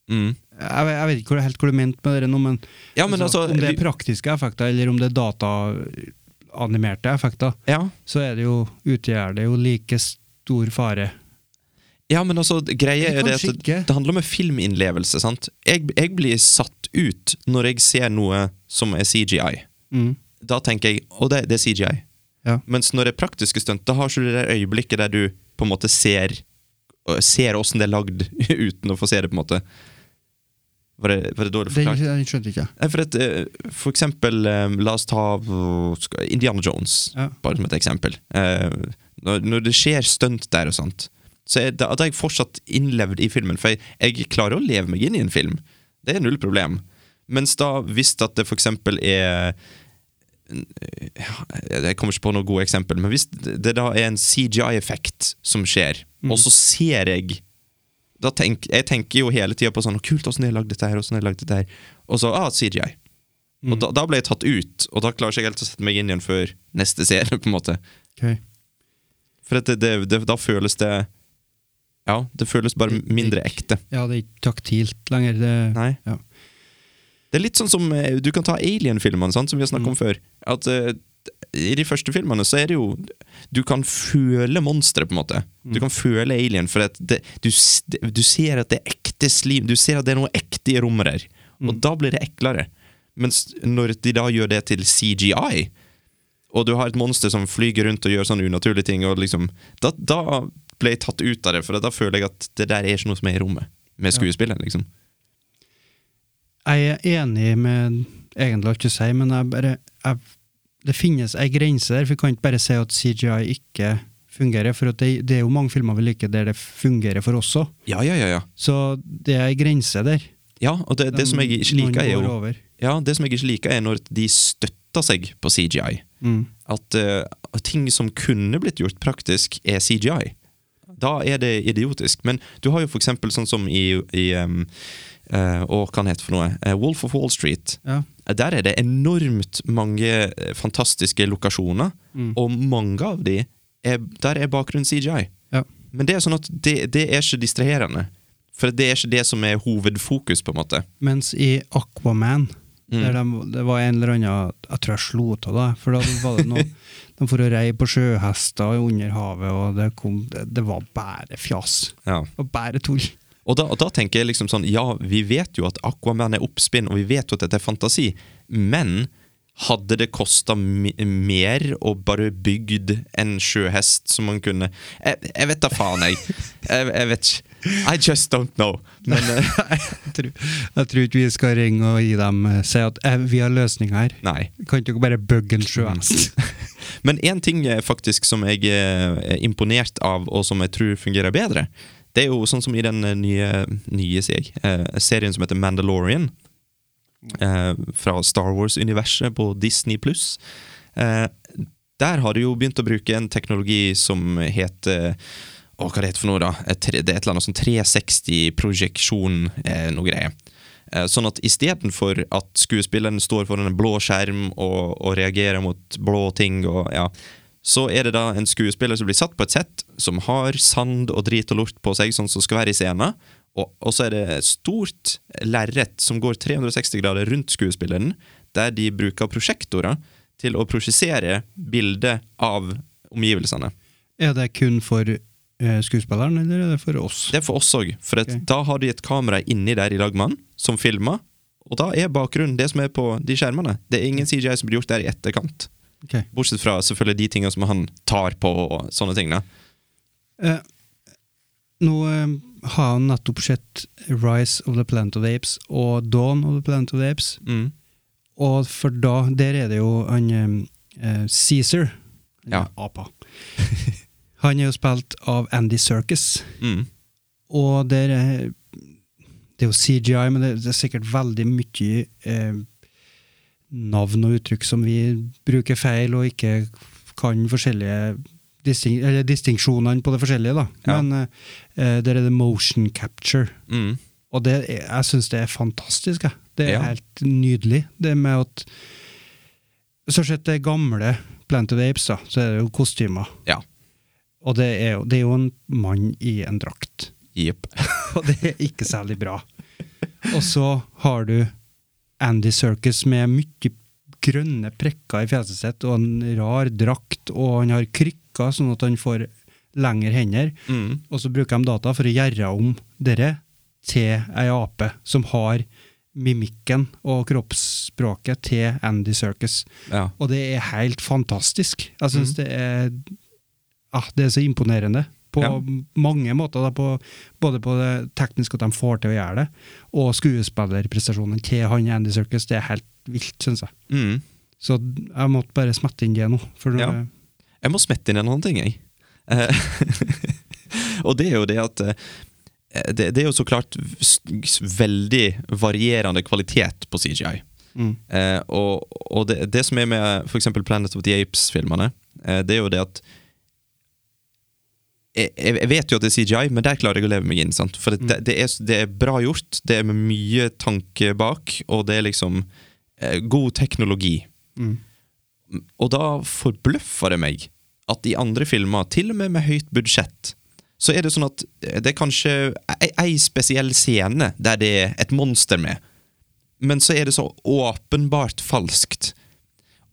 S11: Mm.
S10: Jeg, ve- jeg vet ikke hvor, helt hvor du mente med det nå, men,
S11: Ja, men altså,
S10: om det er
S11: vi-
S10: praktiske effekter, eller om det er dataanimerte effekter,
S11: Ja.
S10: så er det jo utgjør det jo like stor fare.
S11: Ja, men altså, greia
S10: Eller
S11: er det
S10: kanskje
S11: at
S10: ikke.
S11: det handler om en filminnlevelse, sant? Jeg, jeg blir satt ut når jeg ser noe som er CGI.
S10: Mm.
S11: Da tenker jeg, og det, det er CGI.
S10: Ja.
S11: Mens når det er praktiske stunt, da har ikke du det der øyeblikket der du på en måte ser Ser åssen det er lagd, uten å få se det, på en måte. Var det, var det dårlig
S10: Den,
S11: forklart?
S10: den skjønte ikke jeg.
S11: Nei, For, at, eh, for eksempel, eh, la oss ta eh, skal- Indiana Jones,
S10: Ja.
S11: bare som et eksempel. Eh, Når, når det skjer stunt der og sånt, så er, da, da er jeg fortsatt innlevd i filmen. For jeg, jeg klarer å leve meg inn i en film. Det er null problem. Mens da, hvis at det for eksempel er ja, Jeg kommer ikke på noe godt eksempel, men hvis det da er en CGI-effekt som skjer, og så ser jeg da tenk, Jeg tenker jo hele tida på sånn Kult, åssen har jeg lagd dette her? Åssen har jeg lagd dette her? Og så ah, CGI. Og da, da ble jeg tatt ut, og da klarer jeg ikke helt å sette meg inn igjen før neste serie, på en måte.
S10: Ok.
S11: For at det, det, det, da føles det Ja, det føles bare mindre ekte.
S10: Ja, det er ikke taktilt lenger. Det,
S11: Nei.
S10: Ja.
S11: Det er litt sånn som eh, Du kan ta Alien-filmene, sant, som vi har snakket om før. At eh, I de første filmene så er det jo Du kan føle monsteret, på en måte. Du kan føle alien, for at det, du, s- det- du ser at det er ekte slim. Du ser at det er noe ekte i rommet der. Og da blir det eklere. Mens når de da gjør det til CGI, og du har et monster som flyger rundt og gjør sånne unaturlige ting, og liksom, da, da ble jeg tatt ut av det, for da føler jeg at det der er ikke noe som er i rommet med skuespilleren. liksom.
S10: Jeg er enig med Egentlig alt du sier, men jeg bare jeg, Det finnes ei grense der, for vi kan ikke bare si at CGI ikke fungerer. For at det, det er jo mange filmer vi liker der det fungerer for oss òg.
S11: Ja, ja, ja, ja.
S10: Så det er ei grense der.
S11: Ja, og det, det som jeg ikke liker, er
S10: Noen Mm. går
S11: jo
S10: over.
S11: Ja, det som jeg ikke liker, er når de støtter seg på CGI.
S10: Mm.
S11: At eh, at ting som kunne blitt gjort praktisk, er CGI. Da er det idiotisk. Men du har jo for eksempel sånn som i, i um, eh, Å, hva han heter for noe? Eh, Wolf of Wall Street.
S10: Ja.
S11: Der er det enormt mange eh, fantastiske lokasjoner,
S10: Mm.
S11: og mange av de er, Der er bakgrunnen CGI.
S10: Ja.
S11: Men det er sånn at det, det er ikke distraherende. For det er ikke det som er hovedfokus, på en måte.
S10: Mens i Aquaman
S11: Mm.
S10: Der de, det var en eller annen Jeg tror jeg slo av det. For da var det noe De for å rei på sjøhester under havet, og det, kom, det, det var bare fjas.
S11: Ja.
S10: Det var bare tull.
S11: Og da, og da tenker jeg liksom sånn Ja, vi vet jo at Aquaman er oppspinn, og vi vet jo at dette er fantasi, men hadde det kosta mer å bare bygd en sjøhest som man kunne Jeg, jeg vet da faen, jeg. jeg. Jeg vet ikke. I just don't know. Men eh,
S10: Jeg tror, jeg tror ikke vi skal ringe og gi dem eh, si at eh, vi har løsninger her.
S11: nei.
S10: Kan ikke dere bare bugge en sjøhest?
S11: Men én ting er faktisk som jeg eh, er imponert av, og som jeg tror fungerer bedre, det er jo sånn som i den eh, nye, nye sier jeg, eh, serien som heter Mandalorian, eh, fra Star Wars-universet på Disney Eh, pluss. Der har de jo begynt å bruke en teknologi som heter Å, hva det heter for noe, da? Et tre- Det er et eller annet sånn 360-projeksjon, eh, noe greier. Eh, Sånn at istedenfor at skuespilleren står foran en blå skjerm og, og reagerer mot blå ting, og, ja, så er det da en skuespiller som blir satt på et sett, som har sand og drit og lort på seg, sånn som skal være i scenen, og, og så er det et stort lerret som går 360 grader rundt skuespilleren, der de bruker prosjektorer til å prosjisere bildet av omgivelsene.
S10: Er det kun for eh, skuespilleren, eller er det for oss?
S11: Det er for oss òg, for at
S10: Ok.
S11: da har de et kamera inni der i lag med han, som filmer. Og da er bakgrunnen det som er på de skjermene. Det er ingen CGI som blir gjort der i etterkant.
S10: Ok.
S11: Bortsett fra selvfølgelig de tingene som han tar på og sånne ting. da.
S10: Eh, nå eh, har jeg nettopp sett Rise of the Planet of the Apes og Dawn of the Planet of the Apes.
S11: Mm.
S10: Og for da, der er det jo han eh, Caesar, han
S11: Ja.
S10: apa. han er jo spilt av Andy Serkis,
S11: Mm.
S10: og der er det er jo CGI, men det, det er sikkert veldig mye eh, navn og uttrykk som vi bruker feil og ikke kan forskjellige disting, eller distinksjonene på det forskjellige, da.
S11: Ja.
S10: Men eh, der er det motion capture.
S11: Mm.
S10: Og det, er- jeg syns det er fantastisk. Jeg. Det er
S11: Ja.
S10: helt nydelig. Det med at Stort sett det gamle Planet of the Apes, da, så er det jo kostymer.
S11: Ja.
S10: Og det er, jo- det er jo en mann i en drakt.
S11: Jepp.
S10: Og det er ikke særlig bra. Og så har du Andy Circus med mye grønne prekker i fjeset sitt og en rar drakt, og han har krykker sånn at han får lengre hender.
S11: Mm.
S10: Og så bruker de data for å gjøre om dere til ei ape som har mimikken og kroppsspråket til Andy Circus.
S11: Ja.
S10: Og det er helt fantastisk. Jeg
S11: Mhm.
S10: syns det er ah, Det er så imponerende. På
S11: Ja.
S10: mange måter, da, på, både på det tekniske at de får til å gjøre det, og skuespillerprestasjonen til han Andy Circus. Det er helt vilt, syns jeg.
S11: Mm.
S10: Så jeg måtte bare smette inn det nå. For nå-
S11: Ja. Jeg må smette inn en annen ting, jeg. Eh, og det er jo det at eh, det, det er jo så klart s- s- veldig varierende kvalitet på CGI.
S10: Mm.
S11: Eh, og og det, det som er med f.eks. Planet of the Apes-filmene, eh, det er jo det at jeg, jeg jeg vet jo at det er CGI, men der klarer jeg å leve meg inn. sant? For det, det, det, er, det er bra gjort, det er med mye tanke bak, og det er liksom eh, god teknologi. Og da forbløffer det meg at i andre filmer, til og med med høyt budsjett, så er det sånn at det er kanskje ei- ei spesiell scene der det er et monster med, men så er det så åpenbart falskt.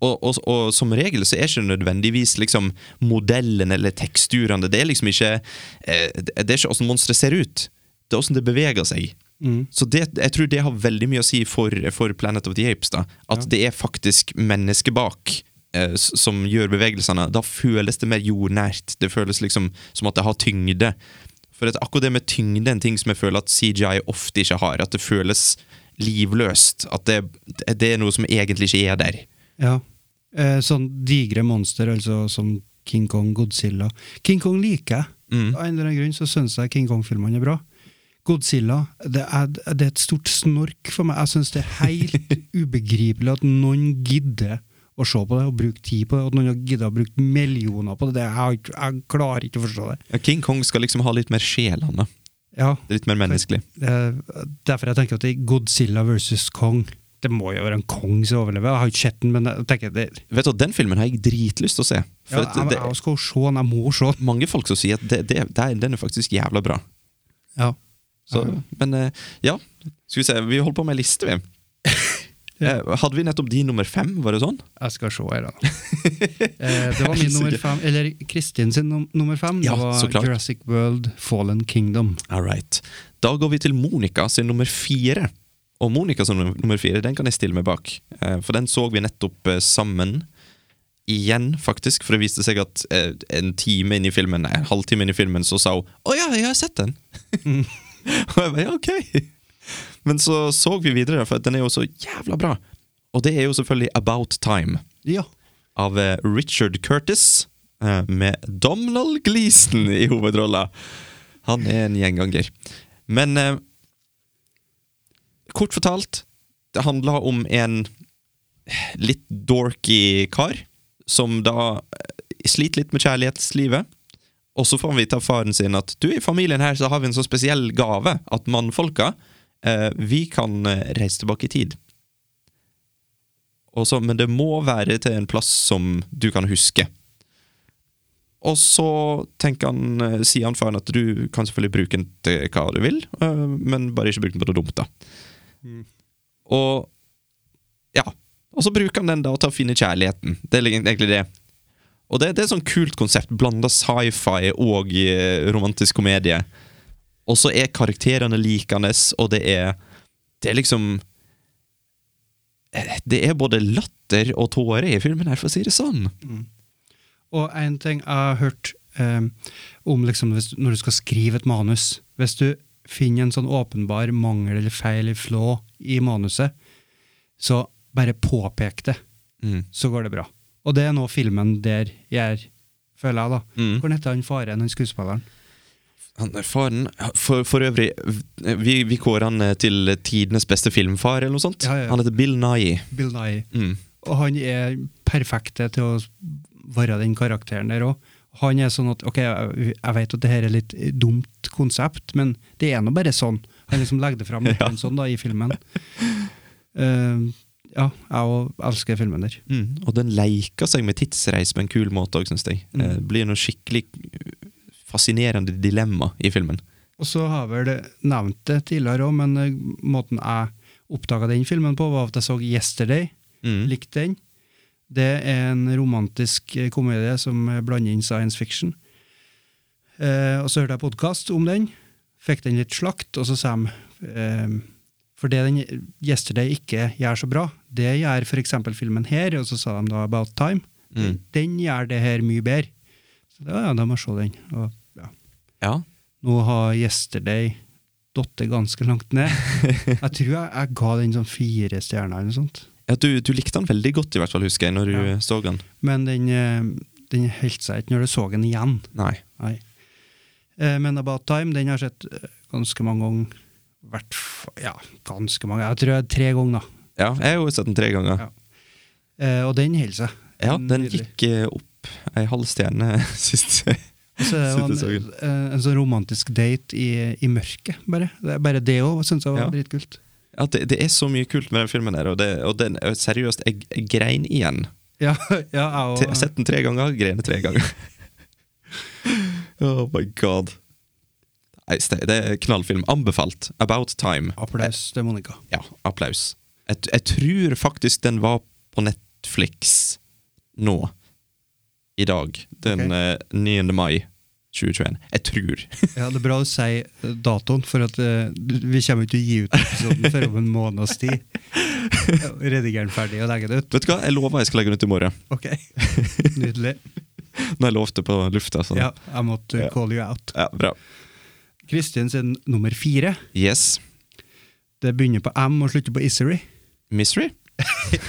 S11: Og, og, og som regel så er ikke det nødvendigvis liksom modellen eller teksturene. Det er liksom ikke eh, Det det er ikke åssen monsteret ser ut. Det er åssen det beveger seg. Så det, jeg tror det har veldig mye å si for, for Planet of the Apes. da At det er faktisk mennesker bak eh, s- som gjør bevegelsene. Da føles det mer jordnært. Det føles liksom som at det har tyngde. For at akkurat det med tyngde er en ting som jeg føler at CGI ofte ikke har. At det føles livløst. At det, det er noe som egentlig ikke er der.
S10: Ja. Eh, sånn digre monster, altså som King Kong, Godzilla. King Kong liker jeg. Av en eller annen grunn så syns jeg King Kong-filmene er bra. Godzilla det er, det er et stort snork for meg. Jeg syns det er helt ubegripelig at noen gidder å se på det og bruke tid på det, og at noen har giddet å bruke millioner på det. det jeg, har ikke- jeg klarer ikke å forstå det.
S11: Ja, King Kong skal liksom ha litt mer sjel, han da.
S10: Ja,
S11: Det er Litt mer menneskelig.
S10: det er derfor jeg tenker at det er Godzilla versus Kong Det må jo være en kong som overlever. Jeg har ikke sett den, men jeg tenker det,
S11: Vet du, hva, Den filmen har jeg dritlyst til å se.
S10: ja,
S11: For
S10: jeg,
S11: at det,
S10: jeg skal se den, jeg må se den.
S11: mange folk som sier at det, det, det, den er faktisk jævla bra.
S10: Ja.
S11: Så, Men eh, ja, skal vi se. Vi holder på med ei liste, vi. Eh, Hadde vi nettopp de nummer fem? Var det sånn?
S10: Jeg skal se her, da. Eh, det var min nummer fem, eller Kristin sin num nummer fem.
S11: Ja,
S10: det
S11: så
S10: var
S11: klart.
S10: Jurassic World Fallen Kingdom.
S11: All right. Da går vi til Monica sin nummer fire. Og Monica sin num- nummer fire den kan jeg stille meg bak, Eh, for den så vi nettopp eh, sammen. Igjen, faktisk, for det viste seg at eh, en time inn i filmen, nei, en halvtime inn i filmen så sa hun 'Å ja, jeg har sett den'. Og jeg bare, ja, ok Men så så vi videre, for at den er jo så jævla bra. Og det er jo selvfølgelig About Time
S10: Ja.
S11: av eh, Richard Curtis eh, med Domhnall Gleeson i hovedrolla. Han er en gjenganger. Men eh, kort fortalt, det handler om en litt dorky kar som da eh, sliter litt med kjærlighetslivet. Og så får han vite av faren sin at du, i familien her så har vi en så spesiell gave at mannfolka, eh, vi kan eh, reise tilbake i tid. Og så, men det må være til en plass som du kan huske. Og så tenker han, eh, sier han faren at du kan selvfølgelig bruke den til hva du vil, eh, men bare ikke bruk den på noe dumt, da. Og ja. Og så bruker han den da til å finne kjærligheten. Det er egentlig det. Og det, det er et sånn kult konsept. Blanda sci-fi og eh, romantisk komedie. Og så er karakterene likende, og det er Det er liksom eh, Det er både latter og tårer i filmen her, for å si det sånn.
S10: Og en ting jeg har hørt eh, om liksom, hvis, når du skal skrive et manus Hvis du finner en sånn åpenbar mangel eller feil eller flå i manuset, så bare påpek det,
S11: Mm.
S10: så går det bra. Og det er nå filmen der gjør, føler jeg, da.
S11: Mm.
S10: Hvor heter han faren, han skuespilleren?
S11: Han er faren For, for øvrig, vi, vi kårer han eh, til tidenes beste filmfar, eller noe sånt.
S10: Ja, ja, ja.
S11: Han heter Bill Nye.
S10: Bill Nye.
S11: Mm.
S10: Og han er perfekt til å være den karakteren der òg. Han er sånn at ok, jeg, jeg vet at det her er litt dumt konsept, men det er nå bare sånn. Han liksom legger det fram litt
S11: Ja.
S10: sånn da, i filmen. Eh, ja, jeg òg elsker filmen der.
S11: Mm. Og den leker seg med tidsreis på en kul måte òg, syns jeg.
S10: Mm.
S11: Eh, Det blir noe skikkelig fascinerende dilemma i filmen.
S10: Og så har jeg vel nevnt det tidligere òg, men eh, måten jeg oppdaga den filmen på, var at jeg så Yesterday.
S11: Mm.
S10: Likte den. Det er en romantisk eh, komedie som eh, blander inn science fiction. Eh, og så hørte jeg podkast om den. Fikk den litt slakt, og så sa de eh, For det den Yesterday ikke gjør så bra, det gjør f.eks. filmen her, og så sa de da About Time.
S11: Mm.
S10: Den gjør det her mye bedre. Så da, ja, da må jeg se den. Og, ja.
S11: Ja.
S10: Nå har Yesterday datt ganske langt ned. Jeg tror jeg, jeg ga den sånn fire stjerner eller noe sånt.
S11: ja du, du likte han veldig godt, i hvert fall, husker jeg, når du
S10: Ja.
S11: så han.
S10: Men den, eh, den holdt seg ikke når du så den igjen.
S11: Nei.
S10: Nei. Eh, Men About Time den har jeg sett eh, ganske mange ganger. Hvert, f- ja, ganske mange. Jeg tror jeg tre ganger. da.
S11: Ja, jeg har jo sett den tre ganger.
S10: Ja. Eh, Og den holder seg.
S11: Ja, den
S10: Nydelig.
S11: gikk eh, opp ei halv stjerne sist.
S10: Og Så er det jo en,
S11: Siste
S10: eh, en sånn romantisk date i, i mørket, bare. Det er bare det òg syns jeg var
S11: Ja.
S10: dritkult.
S11: Ja, det, det er så mye kult med den filmen her, og, det, og den, seriøst, jeg, jeg grein igjen.
S10: Ja, ja, jeg
S11: Tre- Jeg
S10: og-
S11: har sett den tre ganger, grene tre ganger. oh my god. Nei, ste- det er knallfilm. Anbefalt. About time.
S10: Applaus til Monica.
S11: Eh, Ja, applaus. Jeg, t- jeg tror faktisk den var på Netflix nå. I dag. Den
S10: Ok.
S11: eh, 9. mai 2021. Jeg tror.
S10: Ja, Det er bra å si eh, datoen, for at eh, du- vi kommer jo ikke til å gi ut episoden før om en måneds tid. Ja, Redigere den ferdig og legge det ut.
S11: Vet du hva, jeg lover jeg skal legge den ut i morgen.
S10: Ok, Nydelig.
S11: Nå har jeg lovt det på lufta. Så.
S10: Ja, jeg måtte
S11: Ja.
S10: call you out.
S11: ja, bra.
S10: Kristin sin nummer fire.
S11: Yes.
S10: Det begynner på M og slutter på Isery.
S11: Misery?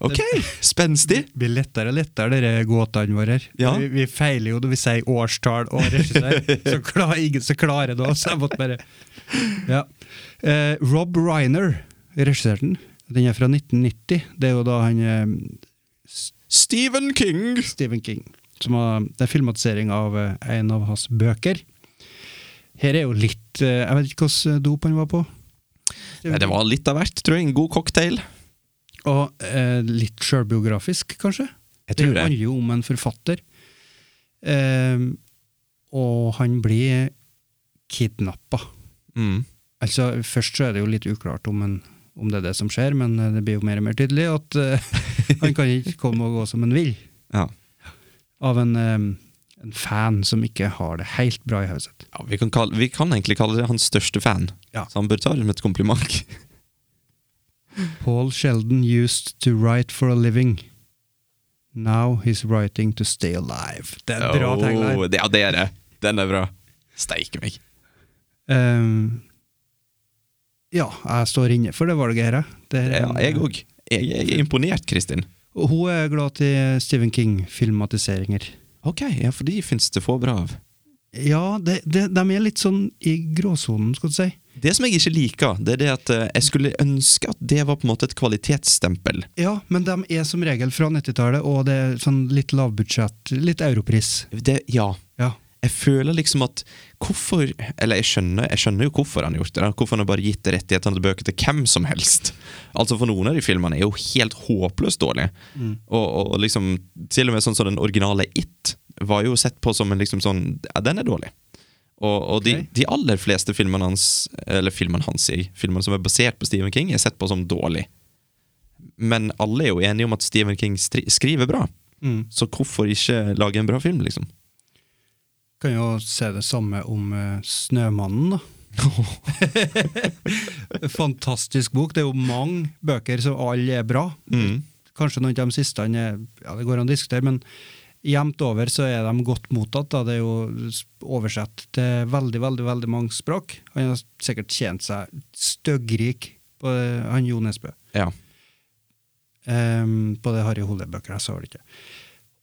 S11: Ok, spenstig.
S10: Det blir lettere og lettere, dere gåtene våre. her.
S11: Ja.
S10: Vi, vi feiler jo når vi sier årstall og regissør, så klarer ingen så klarer det også. Jeg måtte bare ja. eh, Rob Reiner regisserte den. Den er fra 1990. Det er jo da han eh,
S11: Stephen King!
S10: Stephen King. Som har, det er filmatisering av eh, en av hans bøker. Her er jo litt eh, Jeg vet ikke hvilken dop han var på.
S11: Nei, det var litt av hvert, tror jeg. En god cocktail.
S10: Og eh, litt sjølbiografisk, kanskje?
S11: Jeg tror
S10: det
S11: det.
S10: handler jo om en forfatter. Eh, og han blir kidnappa.
S11: Mm.
S10: Altså, først så er det jo litt uklart om, en, om det er det som skjer, men eh, det blir jo mer og mer tydelig at eh, han kan ikke komme og gå som han vil.
S11: Ja.
S10: Av en, eh, en fan som ikke har det helt bra i hodet sitt.
S11: Ja, vi, kan kalle, vi kan egentlig kalle det hans største fan,
S10: Ja.
S11: så han bør ta det som et kompliment.
S10: Paul Sheldon used to write for a living. Now he's writing to stay alive. Det er en bra
S11: Oh,
S10: tagline.
S11: det- ja, det er det. Den er bra. Steike meg.
S10: Ehm, ja, jeg står inne for det valget her. jeg. Det er
S11: Ja,
S10: en-
S11: jeg òg. Jeg, jeg er imponert, Kristin.
S10: Og Hun er glad til Stephen King-filmatiseringer.
S11: Ok, ja, for de fins det få bra av.
S10: Ja, det, det, de er litt sånn i gråsonen, skal du si.
S11: Det som jeg ikke liker, det er det at eh, jeg skulle ønske at det var på en måte et kvalitetsstempel.
S10: Ja, men de er som regel fra 90-tallet, og det er sånn litt lavbudsjett, litt europris.
S11: Det, ja,
S10: Ja.
S11: jeg føler liksom at hvorfor Eller jeg skjønner, jeg skjønner jo hvorfor han har gjort det. da. Hvorfor han har bare gitt rettighetene til bøker til hvem som helst. Altså For noen av de filmene er jo helt håpløst dårlige.
S10: Mm.
S11: Og, og, og liksom Til og med sånn som den originale It var jo sett på som en liksom sånn Ja, den er dårlig. Og, og de,
S10: Ok.
S11: de aller fleste filmene hans Eller filmene hans, sier jeg. Filmene som er basert på Stephen King, er sett på som dårlig. Men alle er jo enige om at Stephen King stri- skriver bra.
S10: Mm.
S11: Så hvorfor ikke lage en bra film, liksom?
S10: Kan jo se det samme om eh, Snømannen, da. Fantastisk bok. Det er jo mange bøker som alle er bra.
S11: Mm.
S10: Kanskje noen av de siste er, ja, det går an å diskutere, men jevnt over så er de godt mottatt. Da. Det er jo s- oversatt til veldig, veldig veldig mange språk. Han har sikkert tjent seg støggrik, på det, han Jo Nesbø.
S11: Ja.
S10: Ehm, på det Harry Hole-bøker. Jeg så det ikke.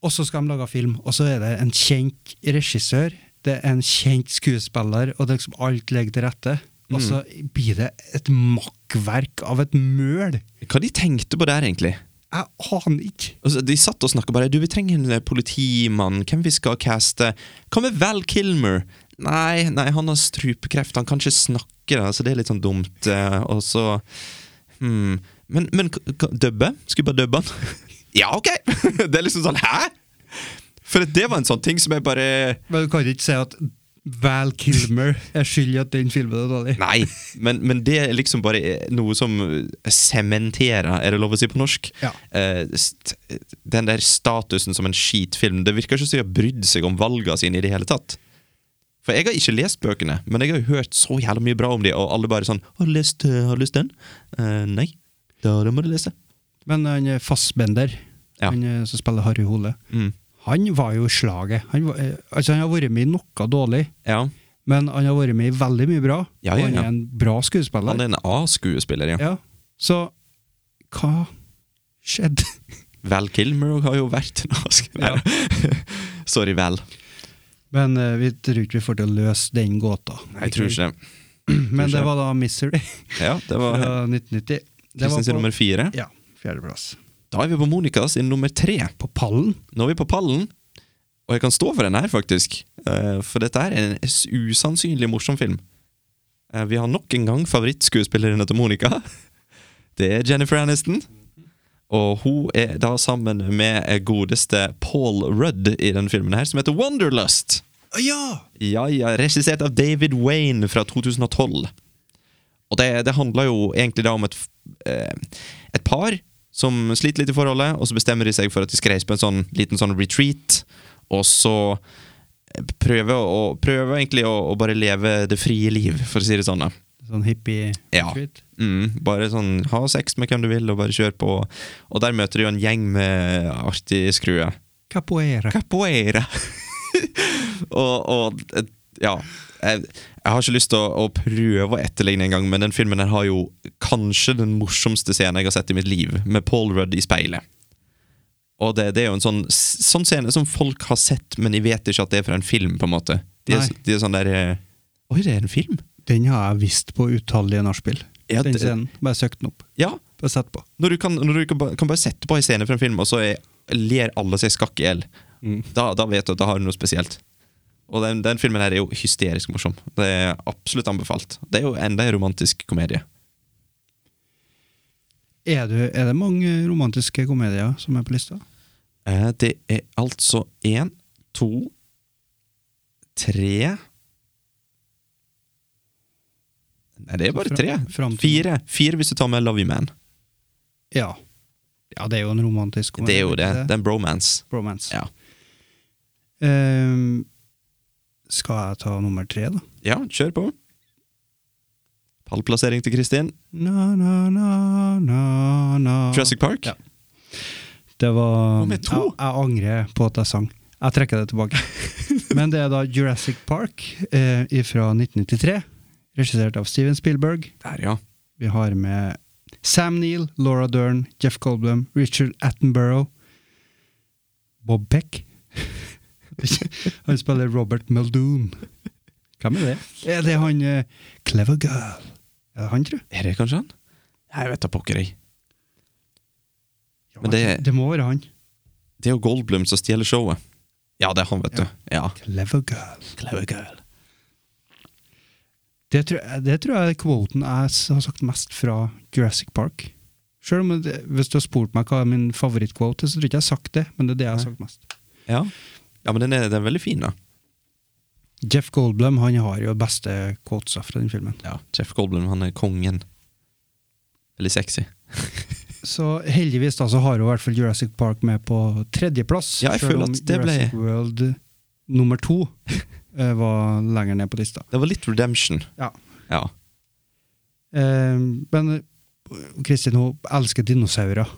S10: Og så skal de lage film, og så er det en kjent regissør, det er en kjent skuespiller, og det er liksom alt ligger til rette. Og så
S11: Mm.
S10: blir det et makkverk av et møl.
S11: Hva de tenkte på der, egentlig?
S10: Jeg aner ikke.
S11: Altså, de satt og snakka bare Du, vi trenger en eh, politimann. Hvem vi skal caste? Hva med Val Kilmer? Nei, nei, han har strupekreft. Han kan ikke snakke, da, så det er litt sånn dumt. eh, Og så hmm. Men, men k- k- dubbe? Skulle bare dubbe han? ja, ok! det er liksom sånn Hæ?! For det var en sånn ting som jeg bare
S10: Men du kan ikke si at Val Kilmer er skyld i at den filmen er dårlig.
S11: Nei! Men, men det er liksom bare eh, noe som sementerer, er det lov å si på norsk?
S10: Ja.
S11: eh, st den der statusen som en skitfilm Det virker ikke som de har brydd seg om valgene sine i det hele tatt. For jeg har ikke lest bøkene, men jeg har jo hørt så jævla mye bra om de, og alle bare sånn 'Har du lest, eh, har du lest den?' Eh, nei. Da må du lese.
S10: Men han er Fassbender,
S11: Ja.
S10: han eh, som spiller Harry Hole,
S11: Mm.
S10: han var jo slaget. Han, var, eh, altså, han har vært med i noe dårlig.
S11: Ja.
S10: Men han har vært med i veldig mye bra,
S11: Ja, ja,
S10: og han
S11: ja.
S10: er en bra
S11: Han
S10: skuespiller.
S11: er en A-skuespiller, ja.
S10: ja. Så hva skjedde?
S11: Val Kilmer har jo vært en A-skuespiller. Sorry, Val.
S10: Men eh, vi tror ikke vi får til å løse den gåta.
S11: Jeg tror ikke det.
S10: Men
S11: ikke.
S10: det var da 'Misery'
S11: Ja, det var
S10: fra 1990. Det var
S11: Kristin sin nummer fire.
S10: ja, fjerdeplass.
S11: Da er vi på Monica sin nummer tre.
S10: På pallen?
S11: Nå er vi på pallen, og jeg kan stå for den her, faktisk. Eh, For dette er en s- usannsynlig morsom film. Eh, Vi har nok en gang favorittskuespilleren til Monica. Det er Jennifer Aniston. Og hun er da sammen med eh, godeste Paul Rudd i den filmen her, som heter Wonderlust.
S10: Ja!
S11: Ja, ja, regissert av David Wayne fra 2012. Og det, det handler jo egentlig da om et, f- eh, et par som sliter litt i forholdet, og så bestemmer de seg for at de skal reise på en sånn liten sånn retreat, og så eh, prøve å, prøve egentlig å, å bare leve det frie liv, for å si det sånn. da.
S10: Sånn
S11: Ja.
S10: hippie-treat.
S11: Mm, bare sånn ha sex med hvem du vil, og bare kjør på. Og der møter de jo en gjeng med artige skruer.
S10: Capoeira.
S11: Capoeira. og, og eh, ja jeg, jeg har ikke lyst til å, å prøve å etterligne engang, men den filmen her har jo kanskje den morsomste scenen jeg har sett i mitt liv, med Paul Rudd i speilet. Og det, det er jo en sånn, s- sånn scene som folk har sett, men de vet ikke at det er fra en film, på en måte. De er,
S10: Nei.
S11: de er sånn der eh, Oi, det er en film?
S10: Den har jeg visst på utallige nachspiel.
S11: Ja,
S10: den
S11: det-
S10: scenen. Bare søkt den opp.
S11: Ja,
S10: Bare sett på.
S11: Når du kan, når du kan, ba- kan bare sette på en scene fra en film, og så er, ler alle seg skakk i hjel, da, da vet du at da har du noe spesielt. Og den, den filmen her er jo hysterisk morsom. Det er absolutt anbefalt. Det er jo enda en romantisk komedie.
S10: Er, du, er det mange romantiske komedier som er på lista?
S11: Eh, Det er altså én, to, tre Nei, det er bare
S10: Fra-
S11: tre.
S10: fram til-
S11: Fire, Fire hvis du tar med Love You Man.
S10: Ja. Ja, det er jo en romantisk komedie.
S11: Det er jo det.
S10: ikke
S11: Det er en bromance.
S10: Bromance.
S11: Ja.
S10: Ehm, skal jeg ta nummer tre, da?
S11: ja, kjør på. Pallplassering til Kristin.
S10: Na, na, na, na, na.
S11: Jurassic Park.
S10: Ja. Det var
S11: Hva med to?
S10: Jeg, jeg angrer på at jeg sang. Jeg trekker det tilbake. Men det er da Jurassic Park eh, fra 1993, regissert av Steven Spielberg.
S11: Der, ja.
S10: Vi har med Sam Neill, Laura Dern, Jeff Goldblum, Richard Attenborough, Bob Beck. han spiller Robert Muldoon. Hvem er det? Er det han eh, Clever Girl? Er det han, tror du?
S11: Er det kanskje han? Jeg vet da pokker, jeg. Men
S10: det...
S11: det-
S10: må være han.
S11: Det er jo Goldblum som stjeler showet. Ja, det er han, vet du. Ja.
S10: Clever Girl. Det tror, jeg- det tror jeg er quoten jeg s- har sagt mest fra Jurassic Park. Selv om det, Hvis du har spurt meg hva er min favorittquote, så tror jeg ikke jeg har sagt det. Men det er det jeg har sagt mest.
S11: Ja. ja, men den er, den er veldig fin, da.
S10: Jeff Goldblum han har jo beste quotesa fra den filmen.
S11: Ja, Jeff Goldblum, han er kongen. Veldig sexy.
S10: Så heldigvis da, så har hun i hvert fall Jurassic Park med på tredjeplass.
S11: Ja, jeg
S10: selv
S11: føler
S10: om
S11: at det ble-
S10: Jurassic World nummer to eh, var lenger ned på lista.
S11: Det var litt redemption.
S10: Ja.
S11: Ja.
S10: Eh, men eh, Kristin hun elsker dinosaurer.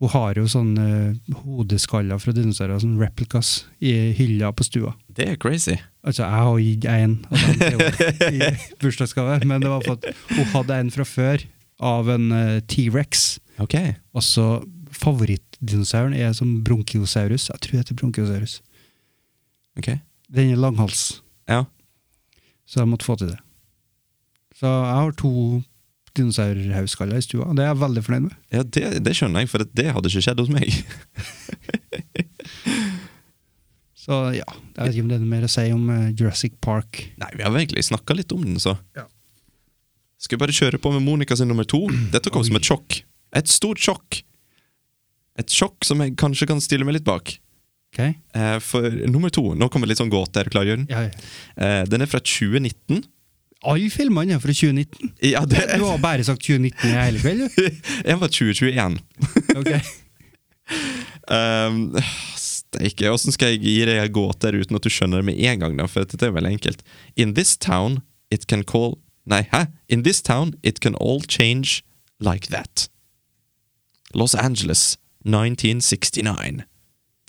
S10: Hun har jo sånne eh, hodeskaller fra dinosaurer, sånne replicas, i hylla på stua.
S11: Det er crazy.
S10: Altså, jeg har gitt en av dem til henne i bursdagsgave, men det var for at hun hadde en fra før av en eh, T-rex.
S11: Ok.
S10: Altså, favorittdinosauren er som bronkiosaurus. Jeg tror det heter bronkiosaurus.
S11: ok.
S10: Den er langhals,
S11: Ja.
S10: så jeg måtte få til det. Så jeg har to dinosaurhaugskaller i stua, og det er jeg veldig fornøyd med.
S11: Ja, det, det skjønner jeg, for det hadde ikke skjedd hos meg.
S10: Så ja, jeg vet ikke om det er noe mer å si om eh, Jurassic Park.
S11: Nei, vi har egentlig snakka litt om den, så.
S10: Ja.
S11: Skal vi bare kjøre på med Monica sin nummer to? Dette kom som et sjokk. Et stort sjokk. Et sjokk som jeg kanskje kan stille meg litt bak.
S10: Ok?
S11: Eh, for nummer to Nå kommer det litt sånn gåte. Er du klar, Jørgen?
S10: Ja, ja.
S11: Eh, den er fra 2019.
S10: Alle filmene er fra 2019.
S11: Ja, det
S10: Du har bare sagt 2019 i hele kveld, du.
S11: Jeg var 2021.
S10: Ok.
S11: Um, Steike, åssen skal jeg gi deg en gåte her uten at du skjønner det med en gang? da, For dette er veldig enkelt. In this town it can call Nei, hæ? In this town it can all change like that. Los Angeles, 1969.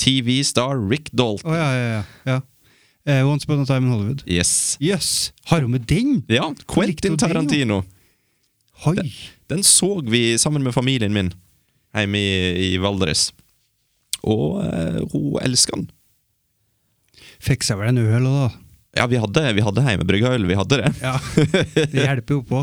S11: TV star Rick Dalton.
S10: Å ja, ja, ja. ja. Eh, Once upon a time in Hollywood.
S11: Yes.
S10: Jøss! Yes. Har hun med den?
S11: Ja, Quentin
S10: Likte du det,
S11: Tarantino.
S10: Hoi!
S11: Den så vi sammen med familien min hjemme i, i Valdres. Og eh, hun elsker den.
S10: Fikk seg vel en øl òg, da.
S11: Ja, vi hadde, vi hadde hjemmebryggeøl, vi hadde det.
S10: Ja, Det hjelper jo på.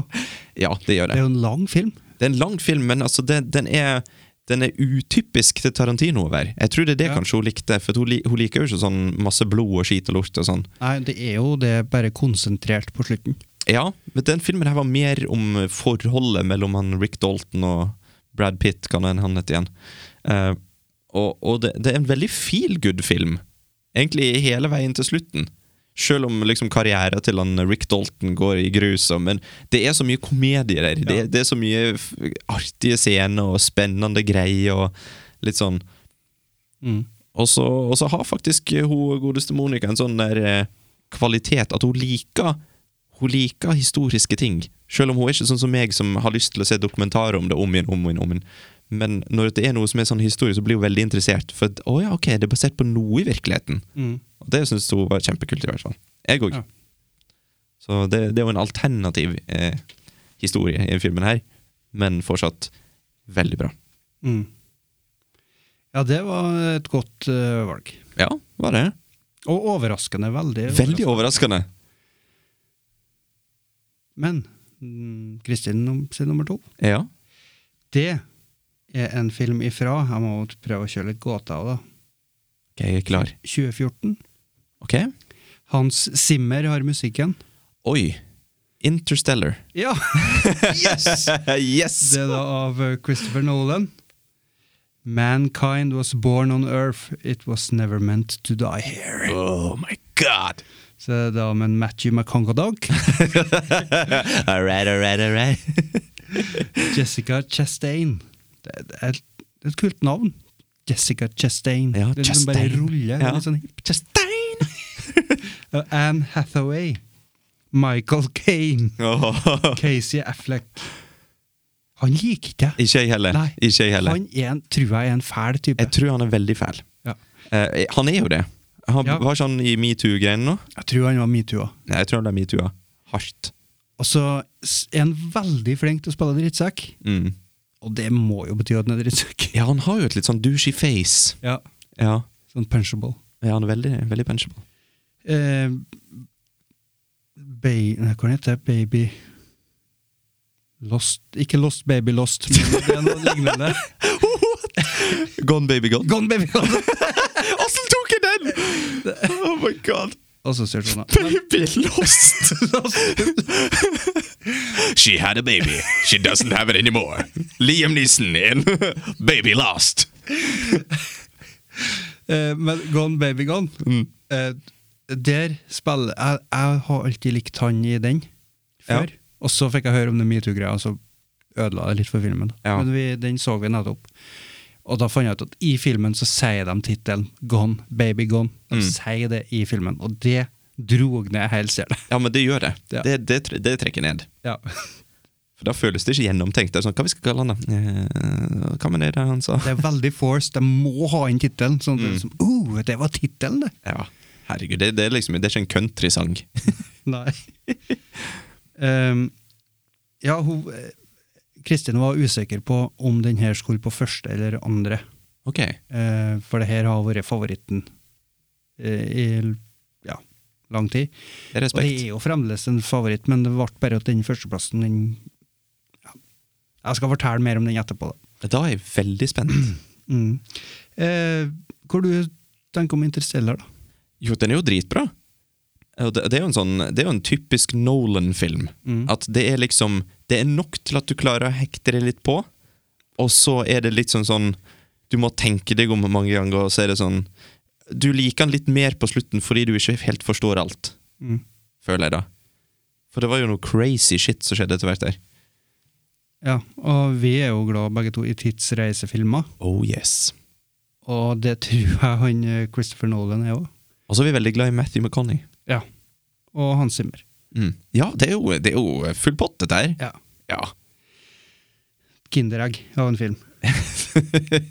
S11: Ja, det gjør
S10: Det er
S11: det.
S10: jo en lang film.
S11: Det er en lang film, men altså, det, den, er, den er utypisk til Tarantino å være. Jeg tror det er det
S10: Ja.
S11: kanskje hun likte, for hun, li- hun liker jo ikke sånn masse blod og skit og lort og sånn.
S10: Nei, det er jo det, bare konsentrert på slutten.
S11: Ja, men den filmen her var mer om forholdet mellom han Rick Dalton og Brad Pitt, kan hende han heter igjen. Eh, og og det, det er en veldig feel good film, egentlig hele veien til slutten. Selv om liksom karrieren til han Rick Dalton går i grus, og- men det er så mye komedie der. Det, det er så mye f- artige scener og spennende greier og litt sånn.
S10: Mm.
S11: Og så, og så har faktisk hun godeste Monica en sånn der eh, kvalitet at hun liker Hun liker historiske ting. Selv om hun er ikke sånn som meg, som har lyst til å se dokumentarer om det om igjen, om igjen, om igjen. Men når det er noe som er sånn historie, så blir hun veldig interessert. For at, å ja, ok, det er basert på noe i virkeligheten. Og det syns hun var kjempekult, i hvert fall. Jeg òg.
S10: Ja.
S11: Så det, det er jo en alternativ eh, historie i filmen her, men fortsatt veldig bra.
S10: Mm. Ja, det var et godt eh, valg.
S11: Ja, var det.
S10: Og overraskende. Veldig
S11: Veldig overraskende.
S10: Men mm, Kristin num- sin nummer to,
S11: Ja.
S10: det er en film ifra Jeg må jo prøve å kjøre litt gåter av, da.
S11: Ok, jeg er klar.
S10: 2014.
S11: Ok.
S10: Hans Zimmer har musikken.
S11: Oi. Interstellar.
S10: Ja!
S11: Yes! yes!
S10: Det er da av eh, Christopher Nolan. Mankind was born on earth, it was never meant to die here.
S11: Oh my god!
S10: Så det er da med en Matthew McCongadog,
S11: All right, all right, all right.
S10: Jessica Chastain. Det er- det er et- det er et kult navn. Jessica Chastain.
S11: Ja,
S10: det er liksom bare
S11: Chastain.
S10: ruller.
S11: Ja.
S10: Litt sånn hipp. Og Anne Hathaway. Michael Kane.
S11: Åh.
S10: Casey Affleck. Han liker ikke jeg.
S11: Ikke jeg heller.
S10: Nei.
S11: Ikke jeg heller.
S10: Han er en, tror jeg er en fæl type.
S11: Jeg tror han er veldig fæl.
S10: Ja.
S11: Eh, han er jo det. Han
S10: Ja.
S11: Var ikke han i metoo-greien nå?
S10: Jeg tror han var metoo. også.
S11: Nei, jeg tror han er metoo-a. Hardt.
S10: Og så s- er han veldig flink til å spille drittsekk.
S11: Mm.
S10: Og det må jo bety at han er drittsekk.
S11: Ja, han har jo et litt sånn douchey face.
S10: Ja.
S11: Ja,
S10: Sånn punchable.
S11: ja han er veldig, veldig punchable.
S10: Eh, Bay... Nei, hva heter det? Baby Lost Ikke Lost Baby Lost, men det er noe lignende.
S11: Gone baby gone.
S10: Gone Baby Lost!
S11: Åssen tok jeg den?! Oh my god.
S10: Og så ser du sånn da.
S11: Baby lost. She had a baby. She doesn't have it anymore. Liam Neeson in Baby Lost.
S10: Eh, men Gone Baby Gone
S11: Mm.
S10: eh, Der spiller jeg, jeg har alltid likt han i den
S11: Ja.
S10: før. Og så fikk jeg høre om det metoo-greia, og så ødela det litt for filmen.
S11: Ja.
S10: Men vi, den så vi nettopp. Og da fant jeg ut at i filmen så sier de tittelen 'Gone, Baby Gone'. De
S11: Mm.
S10: sier det i filmen, og det drog ned hele stedet.
S11: Ja, men det gjør det.
S10: Ja.
S11: Det, det, tre- det trekker ned.
S10: Ja.
S11: For da føles det ikke gjennomtenkt. Det er sånn, Hva vi skal kalle han, da? Eh, Hva med det der han sa?
S10: Det er veldig forced. De må ha inn tittelen. Sånn at det er liksom, oh, det var tittelen, det!
S11: Mm. Ja, herregud, det, det er liksom Det er ikke en countrysang.
S10: Nei. Ehm, ja, hun eh, Kristin var usikker på om den her skulle på første eller andre.
S11: Ok.
S10: Eh, for det her har vært favoritten eh, i ja, lang tid.
S11: Det er
S10: Og det er
S11: respekt.
S10: jo fremdeles en favoritt, men det ble bare at den førsteplassen den, ja. Jeg skal fortelle mer om den etterpå. Da.
S11: Da er jeg veldig spent.
S10: Mm. Eh, hvor du tenker om Interstellar, da?
S11: Jo, den er jo dritbra. Og Det, det, er, jo en sånn, det er jo en typisk Nolan-film. At det er liksom Det er nok til at du klarer å hekte deg litt på, og så er det litt sånn sånn Du må tenke deg om mange ganger, og så er det sånn Du liker den litt mer på slutten fordi du ikke helt forstår alt,
S10: Mm.
S11: føler jeg da. For det var jo noe crazy shit som skjedde etter hvert der.
S10: Ja, og vi er jo glad begge to i tidsreisefilmer,
S11: Oh yes.
S10: og det tror jeg han eh, Christopher Nolan er òg.
S11: Og så er vi veldig glad i Matthew McConney.
S10: Ja. Og Hans Zimmer.
S11: Mm. Ja, det er, jo, det er jo full pott, dette her.
S10: Ja.
S11: Ja.
S10: Kinderegg av en film.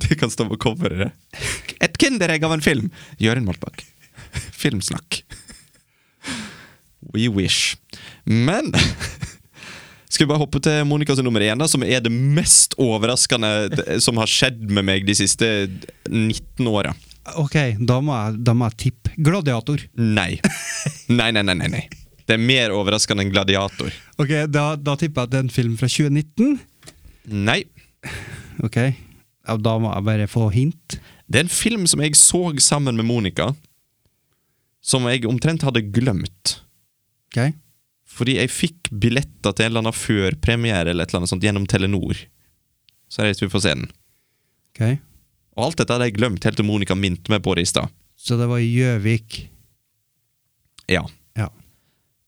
S11: Det kan stå på coveret. det. Et kinderegg av en film! Jørund Moltbakk. Filmsnakk. We wish. Men Skal vi bare hoppe til Monica sin nummer én, da, som er det mest overraskende d- som har skjedd med meg de siste 19 åra.
S10: Ok, da må jeg, da må jeg tippe. Gladiator.
S11: Nei. Nei, nei, nei, nei, nei. Det er mer overraskende enn Gladiator.
S10: Ok, Da, da tipper jeg at det er en film fra 2019.
S11: Nei.
S10: Ok, ja, Da må jeg bare få hint.
S11: Det er en film som jeg så sammen med Monica, som jeg omtrent hadde glemt.
S10: Ok,
S11: Fordi jeg fikk billetter til en eller annen førpremiere eller et eller annet sånt gjennom Telenor. Så reiste vi for scenen.
S10: ok.
S11: Og alt dette hadde jeg glemt helt til Monica minte meg på det i stad.
S10: Så det var i Gjøvik.
S11: Ja.
S10: Ja.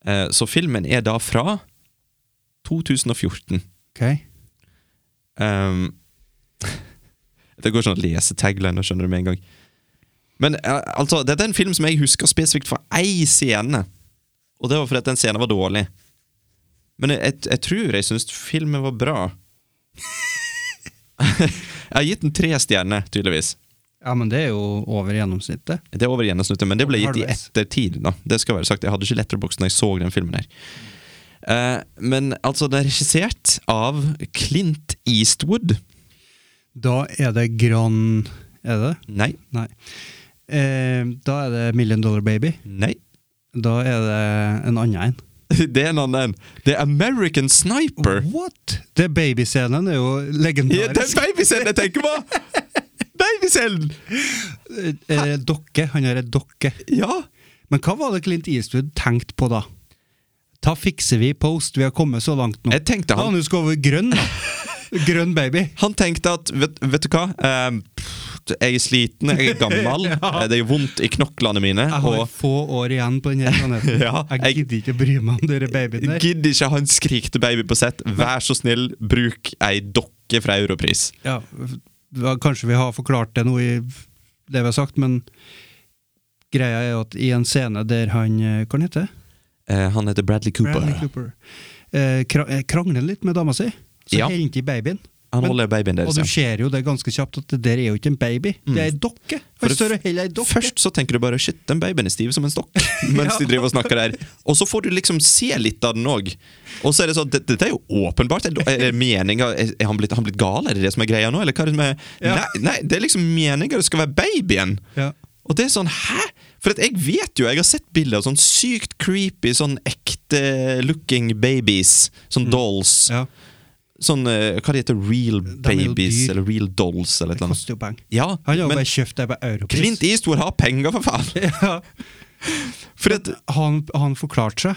S11: Eh, Så filmen er da fra 2014.
S10: Ok.
S11: Ehm, det går sånn å lese tagliner, skjønner du med en gang. Men eh, altså, dette er en film som jeg husker spesifikt for ei scene. Og det var fordi at den scenen var dårlig. Men jeg, jeg, jeg tror jeg syns filmen var bra. jeg har gitt den tre stjerner, tydeligvis.
S10: Ja, men det er jo over gjennomsnittet.
S11: Det er over gjennomsnittet, men det ble gitt i
S10: Halvveis.
S11: ettertid. da Det skal være sagt, Jeg hadde ikke letterbox når jeg så den filmen. her Eh, Men altså, den er regissert av Clint Eastwood.
S10: Da er det Gran Er det det?
S11: Nei,
S10: Nei. Eh, da er det Million Dollar Baby.
S11: nei.
S10: Da er det en annen en.
S11: Det er en annen. Det er American Sniper.
S10: What?! Det Babyscenen er jo
S11: Ja, det er
S10: legendarisk.
S11: babyscenen jeg tenker på! Babyscenen!
S10: Eh, dokke. Han har ei dokke.
S11: Ja.
S10: Men hva var det Clint Eastwood tenkte på da? Ta fikser vi post, vi har kommet så langt nå.
S11: Jeg tenkte han-
S10: Da han skulle over grønn, da. grønn baby.
S11: Han tenkte at Vet, vet du hva? Eh, pff, jeg er sliten, jeg er gammel,
S10: Ja.
S11: eh, det gjør vondt i knoklene mine.
S10: Jeg har
S11: Og
S10: få år igjen på denne planeten.
S11: Ja, jeg-
S10: jeg gidder ikke bry meg om dere babyene der.
S11: gidder ikke ha en skrikete baby på sett. Vær så snill, bruk ei dokke fra Europris.
S10: Ja, da kanskje vi har forklart det noe i det vi har sagt, men greia er at i en scene der han eh, Hva han heter
S11: Eh, han heter Bradley Cooper.
S10: Bradley Cooper. Eh, kra- eh, krangler litt med dama si, så
S11: Ja.
S10: henter de babyen.
S11: Han
S10: Men-
S11: holder babyen
S10: Og
S11: deres.
S10: du
S11: ja. Mm.
S10: ser jo det ganske kjapt at det der er jo ikke en baby, det er ei dokke.
S11: For
S10: Han
S11: det-
S10: står og holder ei dokke.
S11: Først så tenker du bare 'shit, den babyen er stiv som en stokk', mens de driver og snakker der. Og så får du liksom se litt av den òg. Og så er det sånn, det- dette er jo åpenbart Er, er det meninga Er er han blitt, han blitt gal? Er det det som er greia nå? Eller hva er det som er
S10: Ja.
S11: nei, nei, det er liksom meninga det skal være babyen!
S10: Ja.
S11: Og det er sånn, hæ? For at jeg vet jo, jeg har sett bilder av sånn sykt creepy, sånn ekte looking babies. Sånn dolls.
S10: Mm. Ja.
S11: Sånn, eh, hva det heter Real
S10: er jo
S11: babies,
S10: dyr.
S11: eller real dolls, eller et
S10: Det
S11: eller annet.
S10: koster jo penger.
S11: Ja,
S10: Han har jo
S11: men-
S10: bare kjøpt det på europris.
S11: Clint Eastwood har penger, for faen!
S10: ja.
S11: For at,
S10: han, han forklarte seg.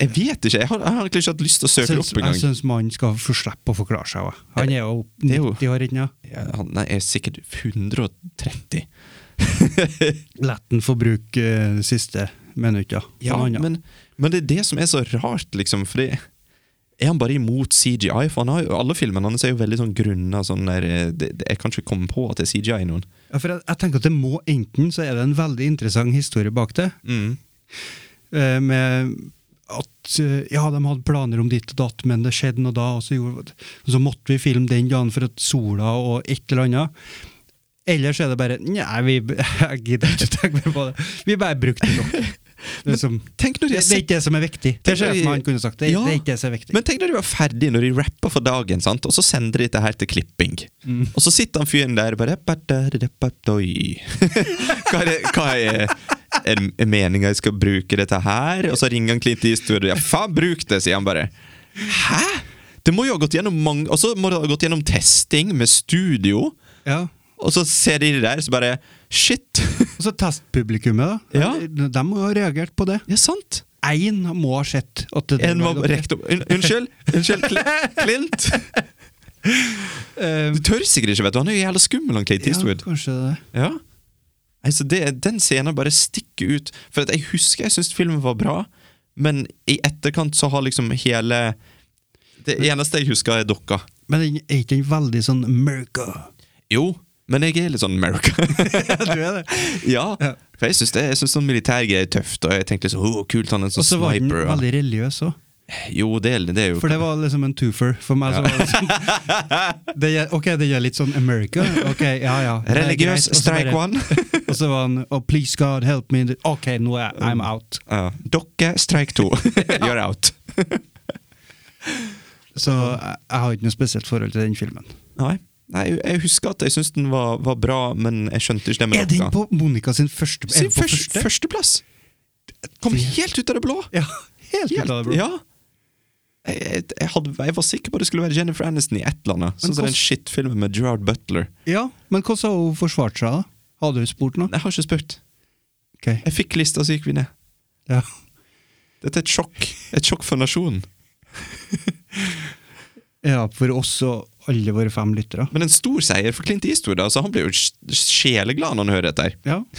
S11: jeg vet ikke, jeg har, jeg har egentlig ikke hatt lyst til å
S10: Jeg
S11: søke det
S10: syns,
S11: opp
S10: jeg
S11: engang.
S10: syns mannen skal få slippe å forklare seg òg. Han er jo
S11: Det er jo-
S10: 90 år ennå.
S11: Ja, han nei, er sikkert 130.
S10: La han få bruke eh, de siste minuttene.
S11: Ja,
S10: Noe annet.
S11: men, men det er det som er så rart, liksom, fordi Er han bare imot CGI? For han har jo, alle filmene hans er jo veldig sånn grunna sånn der eh, det, det, Jeg kan ikke komme på at det er CGI i noen.
S10: Ja, for jeg, jeg tenker at det må enten så er det en veldig interessant historie bak det,
S11: Mm.
S10: eh, med at eh, ja, de hadde planer om ditt og datt, men det skjedde noe da, og så, gjorde, og så måtte vi filme den dagen for at sola og et eller annet. Ellers er det bare Nei, vi, jeg gidder ikke tenke mer på det. Vi bare brukte det nok. Det er, som,
S11: Tenk når de
S10: det,
S11: har
S10: det er
S11: sett
S10: ikke det som er viktig. Det
S11: Tenk når de-
S10: sjefen han kunne sagt. Det,
S11: Ja,
S10: det er ikke det som er viktig.
S11: Men tenk når de var ferdige, når de rappa for dagen, sant? og så sender de dette her til klipping.
S10: Mm.
S11: Og så sitter han fyren der og bare "Badadadabadoi." Hva er, det- hva er, er, er meninga jeg skal bruke dette her? Og så ringer han Clint Eastwood og ja, faen, bruk det, sier han bare. Hæ?! Det må jo ha gått gjennom mange Og så må det ha gått gjennom testing med studio,
S10: ja.
S11: og så ser de det der, så bare Shit!
S10: Og så testpublikummet, da.
S11: Ja.
S10: De, de må ha reagert på det.
S11: Ja, sant?
S10: Én må ha sett at det
S11: En
S10: var
S11: var
S10: dere.
S11: rekt opp Un- Unnskyld! Unnskyld, Cl- Clint!
S10: Eh,
S11: Du tør sikkert ikke, vet du. Han er jo jævla skummel, han Clint Eastwood.
S10: Ja, kanskje det.
S11: Ja. Altså, det, den scenen bare stikker ut. For at jeg husker jeg syntes filmen var bra, men i etterkant så har liksom hele Det eneste jeg husker, er dokka.
S10: Men den er ikke den veldig sånn mørka?
S11: Jo, men jeg er litt sånn America.
S10: du er det.
S11: ja,
S10: Ja.
S11: for jeg syns det- jeg syns sånn militærgreier er tøft, og jeg tenkte liksom Å, kult, han er en
S10: Og
S11: sånn
S10: så var den
S11: sniper. og-
S10: veldig religiøs òg,
S11: Jo, det, er- det er jo
S10: for det var liksom en twofer for meg. Så var det sånn, det gjør, ok, det gjør litt sånn America. Ok, ja, ja. det er
S11: Religiøs
S10: greit. Og så bare-
S11: strike one.
S10: Og så var han Oh, please God, help me. Ok, nå er I'm out.
S11: ja. Dere, strike to. You're out.
S10: Så jeg, jeg har ikke noe spesielt forhold til den filmen.
S11: Nei. Nei, jeg- jeg husker at jeg syntes den var, var bra, men jeg skjønte ikke det med
S10: Er den
S11: dokka.
S10: på Monica sin første? Er
S11: Sin
S10: den på
S11: først,
S10: første?
S11: førsteplass! Kom helt ut av det blå!
S10: Ja, helt, ut av det blå.
S11: ja. jeg, jeg, jeg, hadde, jeg var sikker på at det skulle være Jennifer Aniston i et eller annet. Sånn som
S10: hvordan-
S11: den shitfilmen med Gerard Butler.
S10: Ja, men hvordan har hun forsvart seg, da? Hadde hun spurt noe?
S11: Jeg har ikke spurt.
S10: Ok,
S11: Jeg fikk lista, så gikk vi ned.
S10: ja.
S11: Dette er et sjokk. Et sjokk for nasjonen.
S10: Ja, for oss og alle våre fem lyttere.
S11: Men en stor seier for Clint Eastwood. Altså, han blir jo sj- sjeleglad når han hører dette. her
S10: Ja.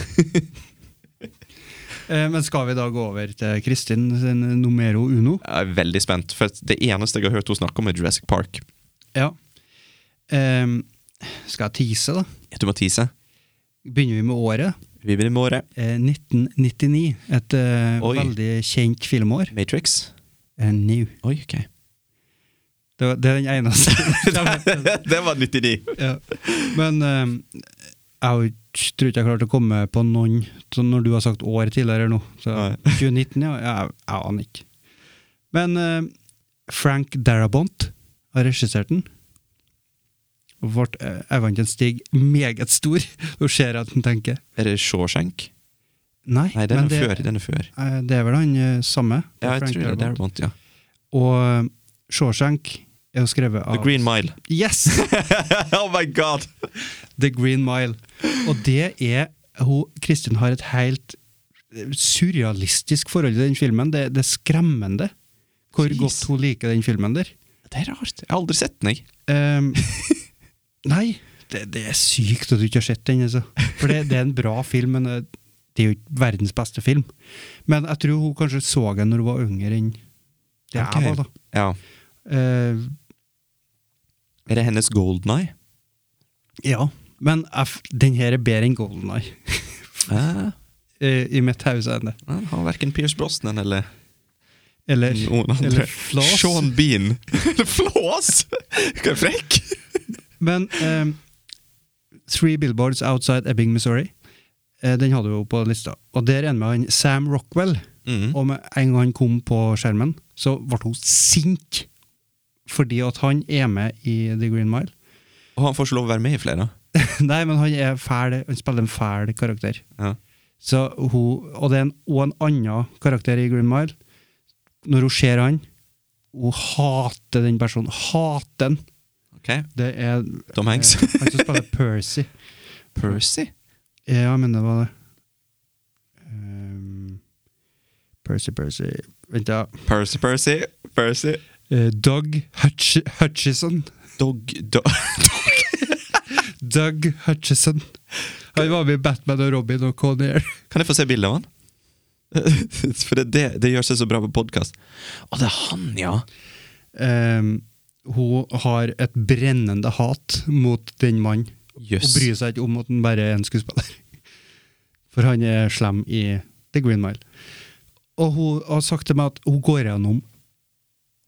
S10: Eh, Men skal vi da gå over til Kristin sin numero uno?
S11: Jeg er veldig spent, for det eneste jeg har hørt henne snakke om, er Jurassic Park.
S10: Ja. Ehm, skal jeg tease, da?
S11: Du må tease.
S10: Begynner vi med året?
S11: Vi begynner med året.
S10: Eh, 1999. Et eh,
S11: Oi.
S10: veldig kjent filmår.
S11: Matrix.
S10: Eh, New.
S11: Oi, ok.
S10: Det, var- det er den eneste.
S11: det var 99.
S10: ja. Men eh, jeg har jo ikke- tror ikke jeg klarte å komme på noen sånn når du har sagt år tidligere nå. Så
S11: Nei.
S10: 2019, ja. Jeg, jeg aner ikke. Men eh, Frank Darabont har regissert den. Og ble eh, evnen til Stig meget stor. Du ser at han tenker
S11: Er det Shawshank?
S10: Nei,
S11: Nei, den
S10: men
S11: er
S10: det,
S11: før. Den er før.
S10: eh, det er vel han eh, samme. det er
S11: Ja, jeg
S10: Frank
S11: tror det er
S10: Darabont.
S11: Darabont, ja.
S10: Og eh, Shawshank er jo skrevet av
S11: The Green Mile.
S10: Yes!
S11: oh my god!
S10: The Green Mile. Og det er hun, Kristin har et helt surrealistisk forhold til den filmen. Det, det er skremmende hvor
S11: Jeez.
S10: godt hun liker den filmen der.
S11: Det er rart. Jeg har aldri sett den, jeg.
S10: Ehm, nei, det, det er sykt at du ikke har sett den. Altså. For det, det er en bra film, men eh, det er jo ikke verdens beste film. Men jeg tror hun kanskje så den når hun var yngre enn det
S11: Ok.
S10: jeg var. da.
S11: Ja.
S10: Eh,
S11: Er det hennes Golden Eye?
S10: ja, men jeg f- den her er bedre enn Golden Eye,
S11: Eh,
S10: i mitt hauseende.
S11: han har verken Pierce Brosnan eller
S10: Eller,
S11: noen andre.
S10: eller Flaws.
S11: Sean Bean. eller Flås! Hva er frekk?
S10: Men ehm, Three Billboards Outside Ebbing, Missouri, eh, den hadde vi jo på lista. Og der ender med han Sam Rockwell.
S11: Mhm.
S10: Og med en gang han kom på skjermen, så ble hun sint fordi at han er med i The Green Mile.
S11: Og han får ikke lov å være med i flere.
S10: Nei, men han er fæl, han spiller en fæl karakter.
S11: Ja.
S10: Så hun, og det er en, og en annen karakter i Green Mile. Når hun ser han, hun hater den personen. Hater han!
S11: Ok,
S10: Det er
S11: Tom Hanks.
S10: eh, han som spiller Percy.
S11: Percy?
S10: Ja, jeg mener det var det. Ehm, Percy, Percy Vent, da.
S11: Percy, Percy, Percy.
S10: Eh, Doug Hutch Hutchison.
S11: Dog, dog.
S10: Doug Hutchison. Han var med i Batman og Robin og Conair.
S11: Kan jeg få se bildet av han? For det, det, det gjør seg så bra på podkast. Å, det er han, ja!
S10: ehm, hun har et brennende hat mot den mannen.
S11: Jøss.
S10: Og bryr seg ikke om at han bare er en skuespiller. For han er slem i The Green Mile. Og hun har sagt til meg at hun går gjennom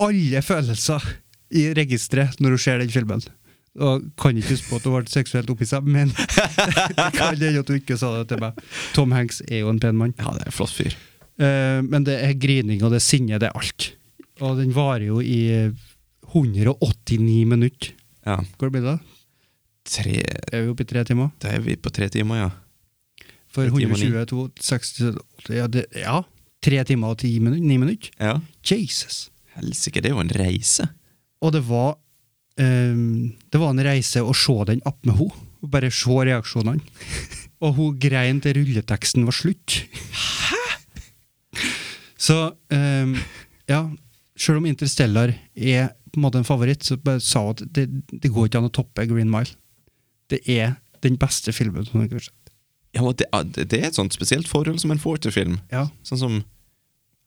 S10: alle følelser i registeret når hun ser den filmen. Og kan ikke huske på at hun ble seksuelt opphissa, men det kan hende at hun ikke sa det til meg. Tom Hanks er jo en pen mann.
S11: Ja, det er en flott fyr.
S10: Eh, men det er grining og det er sinne, det er alt. Og den varer jo i 189 minutter.
S11: Ja.
S10: Hvor blir det?
S11: Tre
S10: Er vi oppe i tre timer?
S11: Da er vi på tre timer, ja.
S10: For
S11: Tre timer og ni.
S10: 120, 2, 60 ja, det, ja. Tre timer og ti minutter. Ni minutter.
S11: Ja.
S10: Jesus!
S11: Helsike, det er jo en reise.
S10: Og det var ehm, Det var en reise å se den opp med henne. Og bare se reaksjonene. og hun grein til rulleteksten var slutt. Hæ?! Så ehm, ja, sjøl om Interstellar er på en måte en favoritt, så bare sa hun at det, det går ikke an å toppe Green Mile. Det er den beste filmen hun har sett.
S11: Ja, og det, det er et sånt spesielt forhold som en får til film.
S10: Ja.
S11: Sånn som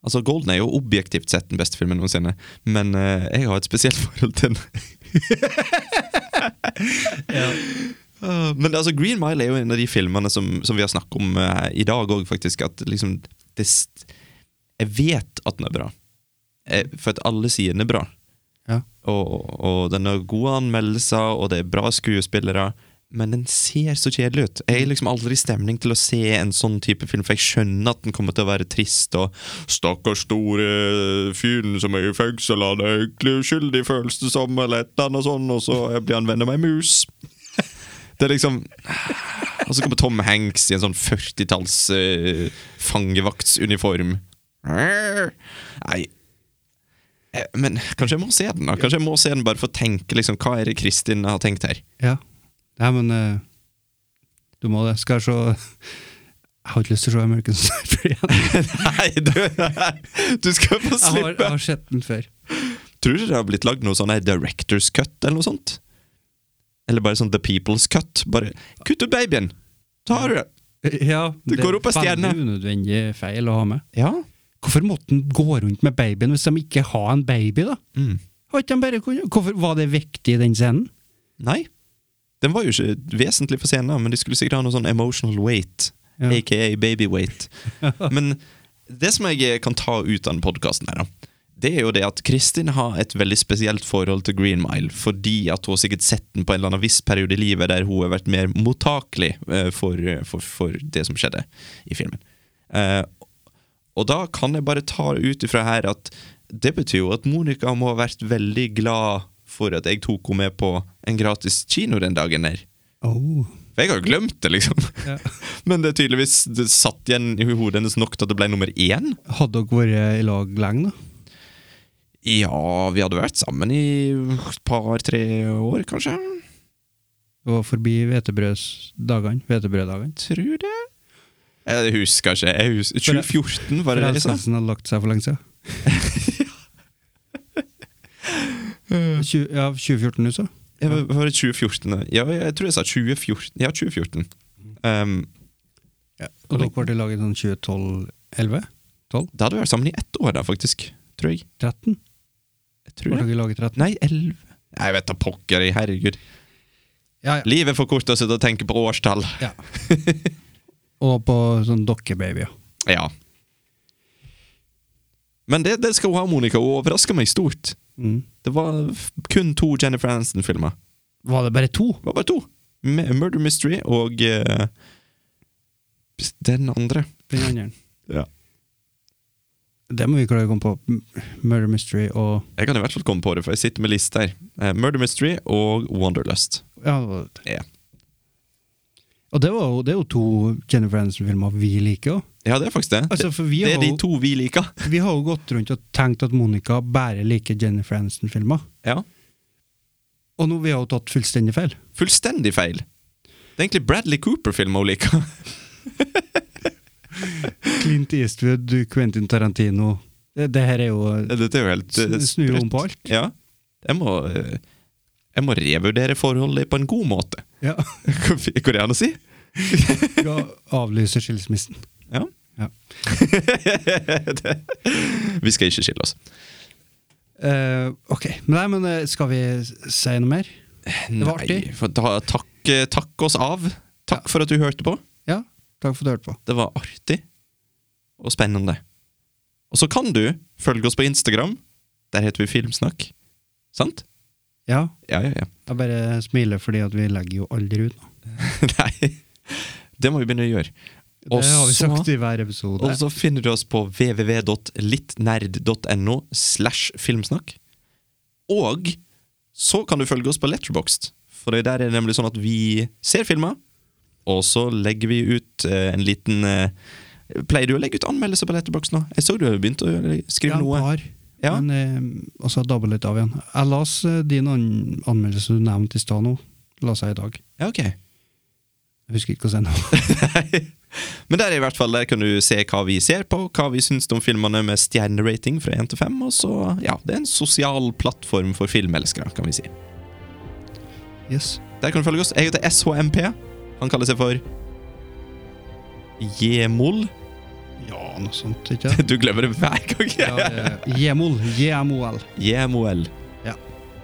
S11: Altså, Golden er jo objektivt sett den beste filmen noensinne, men eh, jeg har et spesielt forhold til den. Ah, Men altså, Green Mile er jo en av de filmene som, som vi har snakket om eh, i dag òg, faktisk. At liksom det, st- Jeg vet at den er bra, Eh, for at alle sier den er bra.
S10: Ja.
S11: Og, og den har gode anmeldelser, og det er bra skuespillere. Men den ser så kjedelig ut. Jeg er liksom aldri i stemning til å se en sånn type film, for jeg skjønner at den kommer til å være trist og 'Stakkars store fyren som er i fengsel, han er egentlig uskyldig, føles det som', eller et eller annet sånn, og så blir han venn med ei mus. Det er liksom Og så kommer Tom Hanks i en sånn 40-talls eh, fangevaktsuniform. Nei, Eh, Men kanskje jeg må se den, da. Kanskje jeg må se den bare for å tenke liksom, hva er det Kristin har tenkt her.
S10: Ja. Nei, men eh, du må det. Skal jeg se Jeg har ikke lyst til å se American Sniper igjen.
S11: Nei, du, du skal få
S10: Jeg har,
S11: slippe!
S10: jeg har sett den før.
S11: Tror du det har blitt lagd noe sånn her Directors Cut, eller noe sånt? Eller bare sånn The People's Cut? Bare kutt ut babyen! Så har du det!
S10: Ja,
S11: Det går opp en stjerne.
S10: Veldig unødvendig feil å ha med.
S11: Ja.
S10: Hvorfor måtte han gå rundt med babyen hvis de ikke har en baby, da?
S11: Mm.
S10: Har ikke de bare kunnet- Hvorfor Var det viktig i den scenen?
S11: Nei. Den var jo ikke vesentlig for scenen, men de skulle sikkert ha noe sånn emotional weight.
S10: Ja.
S11: Aka baby weight. men det som jeg kan ta ut av den podkasten her, da, det er jo det at Kristin har et veldig spesielt forhold til Green Mile, fordi at hun har sikkert sett den på en eller annen viss periode i livet der hun har vært mer mottakelig eh, for, for, for det som skjedde i filmen. Eh, og da kan jeg bare ta ut ifra her at det betyr jo at Monica må ha vært veldig glad for at jeg tok henne med på en gratis kino den dagen der.
S10: Oh.
S11: For jeg har jo glemt det, liksom.
S10: Ja.
S11: Men det er tydeligvis det satt igjen i hodet hennes nok til at det ble nummer én.
S10: Hadde dere vært i lag lenge, da?
S11: Ja, vi hadde vært sammen i et par-tre år, kanskje.
S10: Det var forbi hvetebrødsdagene. Hvetebrøddagene.
S11: Tror det. Jeg husker ikke. Jeg husker. 2014, var det det? liksom?
S10: Forelskelsen hadde lagt seg for lenge siden. Tju- ja, 2014 du sa?
S11: Jeg var, var det 2014? da? Ja, jeg tror jeg sa 2014. Ja, 2014. Um,
S10: Og dere ble i lag i sånn 2012-11?
S11: da hadde vi vært sammen i ett år, da, faktisk. Tror jeg.
S10: 13?
S11: jeg
S10: Ble
S11: tror det.
S10: dere i lag i 13?
S11: Nei, elleve. Nei, Jeg vet da pokker, jeg, herregud.
S10: Ja, ja.
S11: Livet er for kort til å sitte og tenke på årstall.
S10: ja. Og på sånn dokkebabyer.
S11: Ja. Men det, det skal hun ha, Monica. Hun overraska meg stort.
S10: Mm.
S11: Det var f- kun to Jennifer Aniston-filmer.
S10: Var det bare to?
S11: Det var bare to. Me- Murder Mystery og eh, den andre.
S10: Den andre.
S11: Ja.
S10: Det må vi klare å komme på. M- Murder Mystery og
S11: Jeg kan i hvert fall komme på det, for jeg sitter med liste her. Eh, Murder Mystery og Wanderlust.
S10: Ja, det var det.
S11: Ja.
S10: Og det, var jo, det er jo to Jennifer Aniston-filmer vi liker. også.
S11: ja, det er faktisk det.
S10: Altså, for vi
S11: det, det er
S10: har
S11: de
S10: jo-
S11: to vi liker.
S10: Vi har jo gått rundt og tenkt at Monica bare liker Jennifer Aniston-filmer.
S11: Ja.
S10: Og nå vi har jo tatt fullstendig feil.
S11: Fullstendig feil. Det er egentlig Bradley Cooper-filmer hun liker.
S10: Clint Eastwood, Quentin Tarantino Det, det her er jo
S11: Dette er jo helt eh,
S10: Sn- snur om
S11: sprøtt.
S10: på alt.
S11: Ja. Jeg må, eh, jeg må revurdere forholdet på en god måte.
S10: Ja.
S11: Går går det an å si?
S10: Skal avlyse skilsmissen.
S11: Ja.
S10: Ja.
S11: det. Vi skal ikke skille oss.
S10: Eh, ok, men, nei, men eh, skal vi si noe mer? Det var artig.
S11: Nei, for da, takk, eh, takk oss av. Takk for at du hørte på.
S10: Ja, takk for at du hørte på.
S11: Det var artig og spennende. Og så kan du følge oss på Instagram. Der heter vi Filmsnakk. Sant?
S10: Ja,
S11: Ja, ja, ja.
S10: jeg bare smiler fordi at vi legger jo aldri ut nå.
S11: Nei, det må vi begynne å gjøre. Og
S10: det har vi
S11: så-
S10: sagt i hver episode.
S11: Og så finner du oss på www.littnerd.no slash filmsnakk. Og så kan du følge oss på Letterboxd, for det der er det nemlig sånn at vi ser filmer, og så legger vi ut eh, en liten eh, Pleier du å legge ut anmeldelser på Letterboxd nå? Jeg så du har begynt å skrive
S10: ja,
S11: noe.
S10: Par,
S11: Ja.
S10: Men, eh, og så dabba litt av igjen. Jeg las eh, din an anmeldelse du nevnte i stad nå, las jeg i dag.
S11: Ja, ok.
S10: Jeg husker ikke hva jeg sa nå.
S11: Men der er i hvert fall, der kan du se hva vi ser på, hva vi syns om filmene med stjernerating fra 1 til 5, og så Ja, det er en sosial plattform for filmelskere, kan vi si.
S10: Yes.
S11: Der kan du følge oss. Jeg heter SHMP. Han kaller seg for Jemol.
S10: Ja, noe sånt, ikke Eh, sant?
S11: Du glemmer det hver gang.
S10: Jemol. Jemol.
S11: Jemoel.
S10: Ja.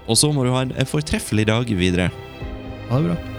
S11: Og så må du ha en fortreffelig dag videre.
S10: Ha det bra.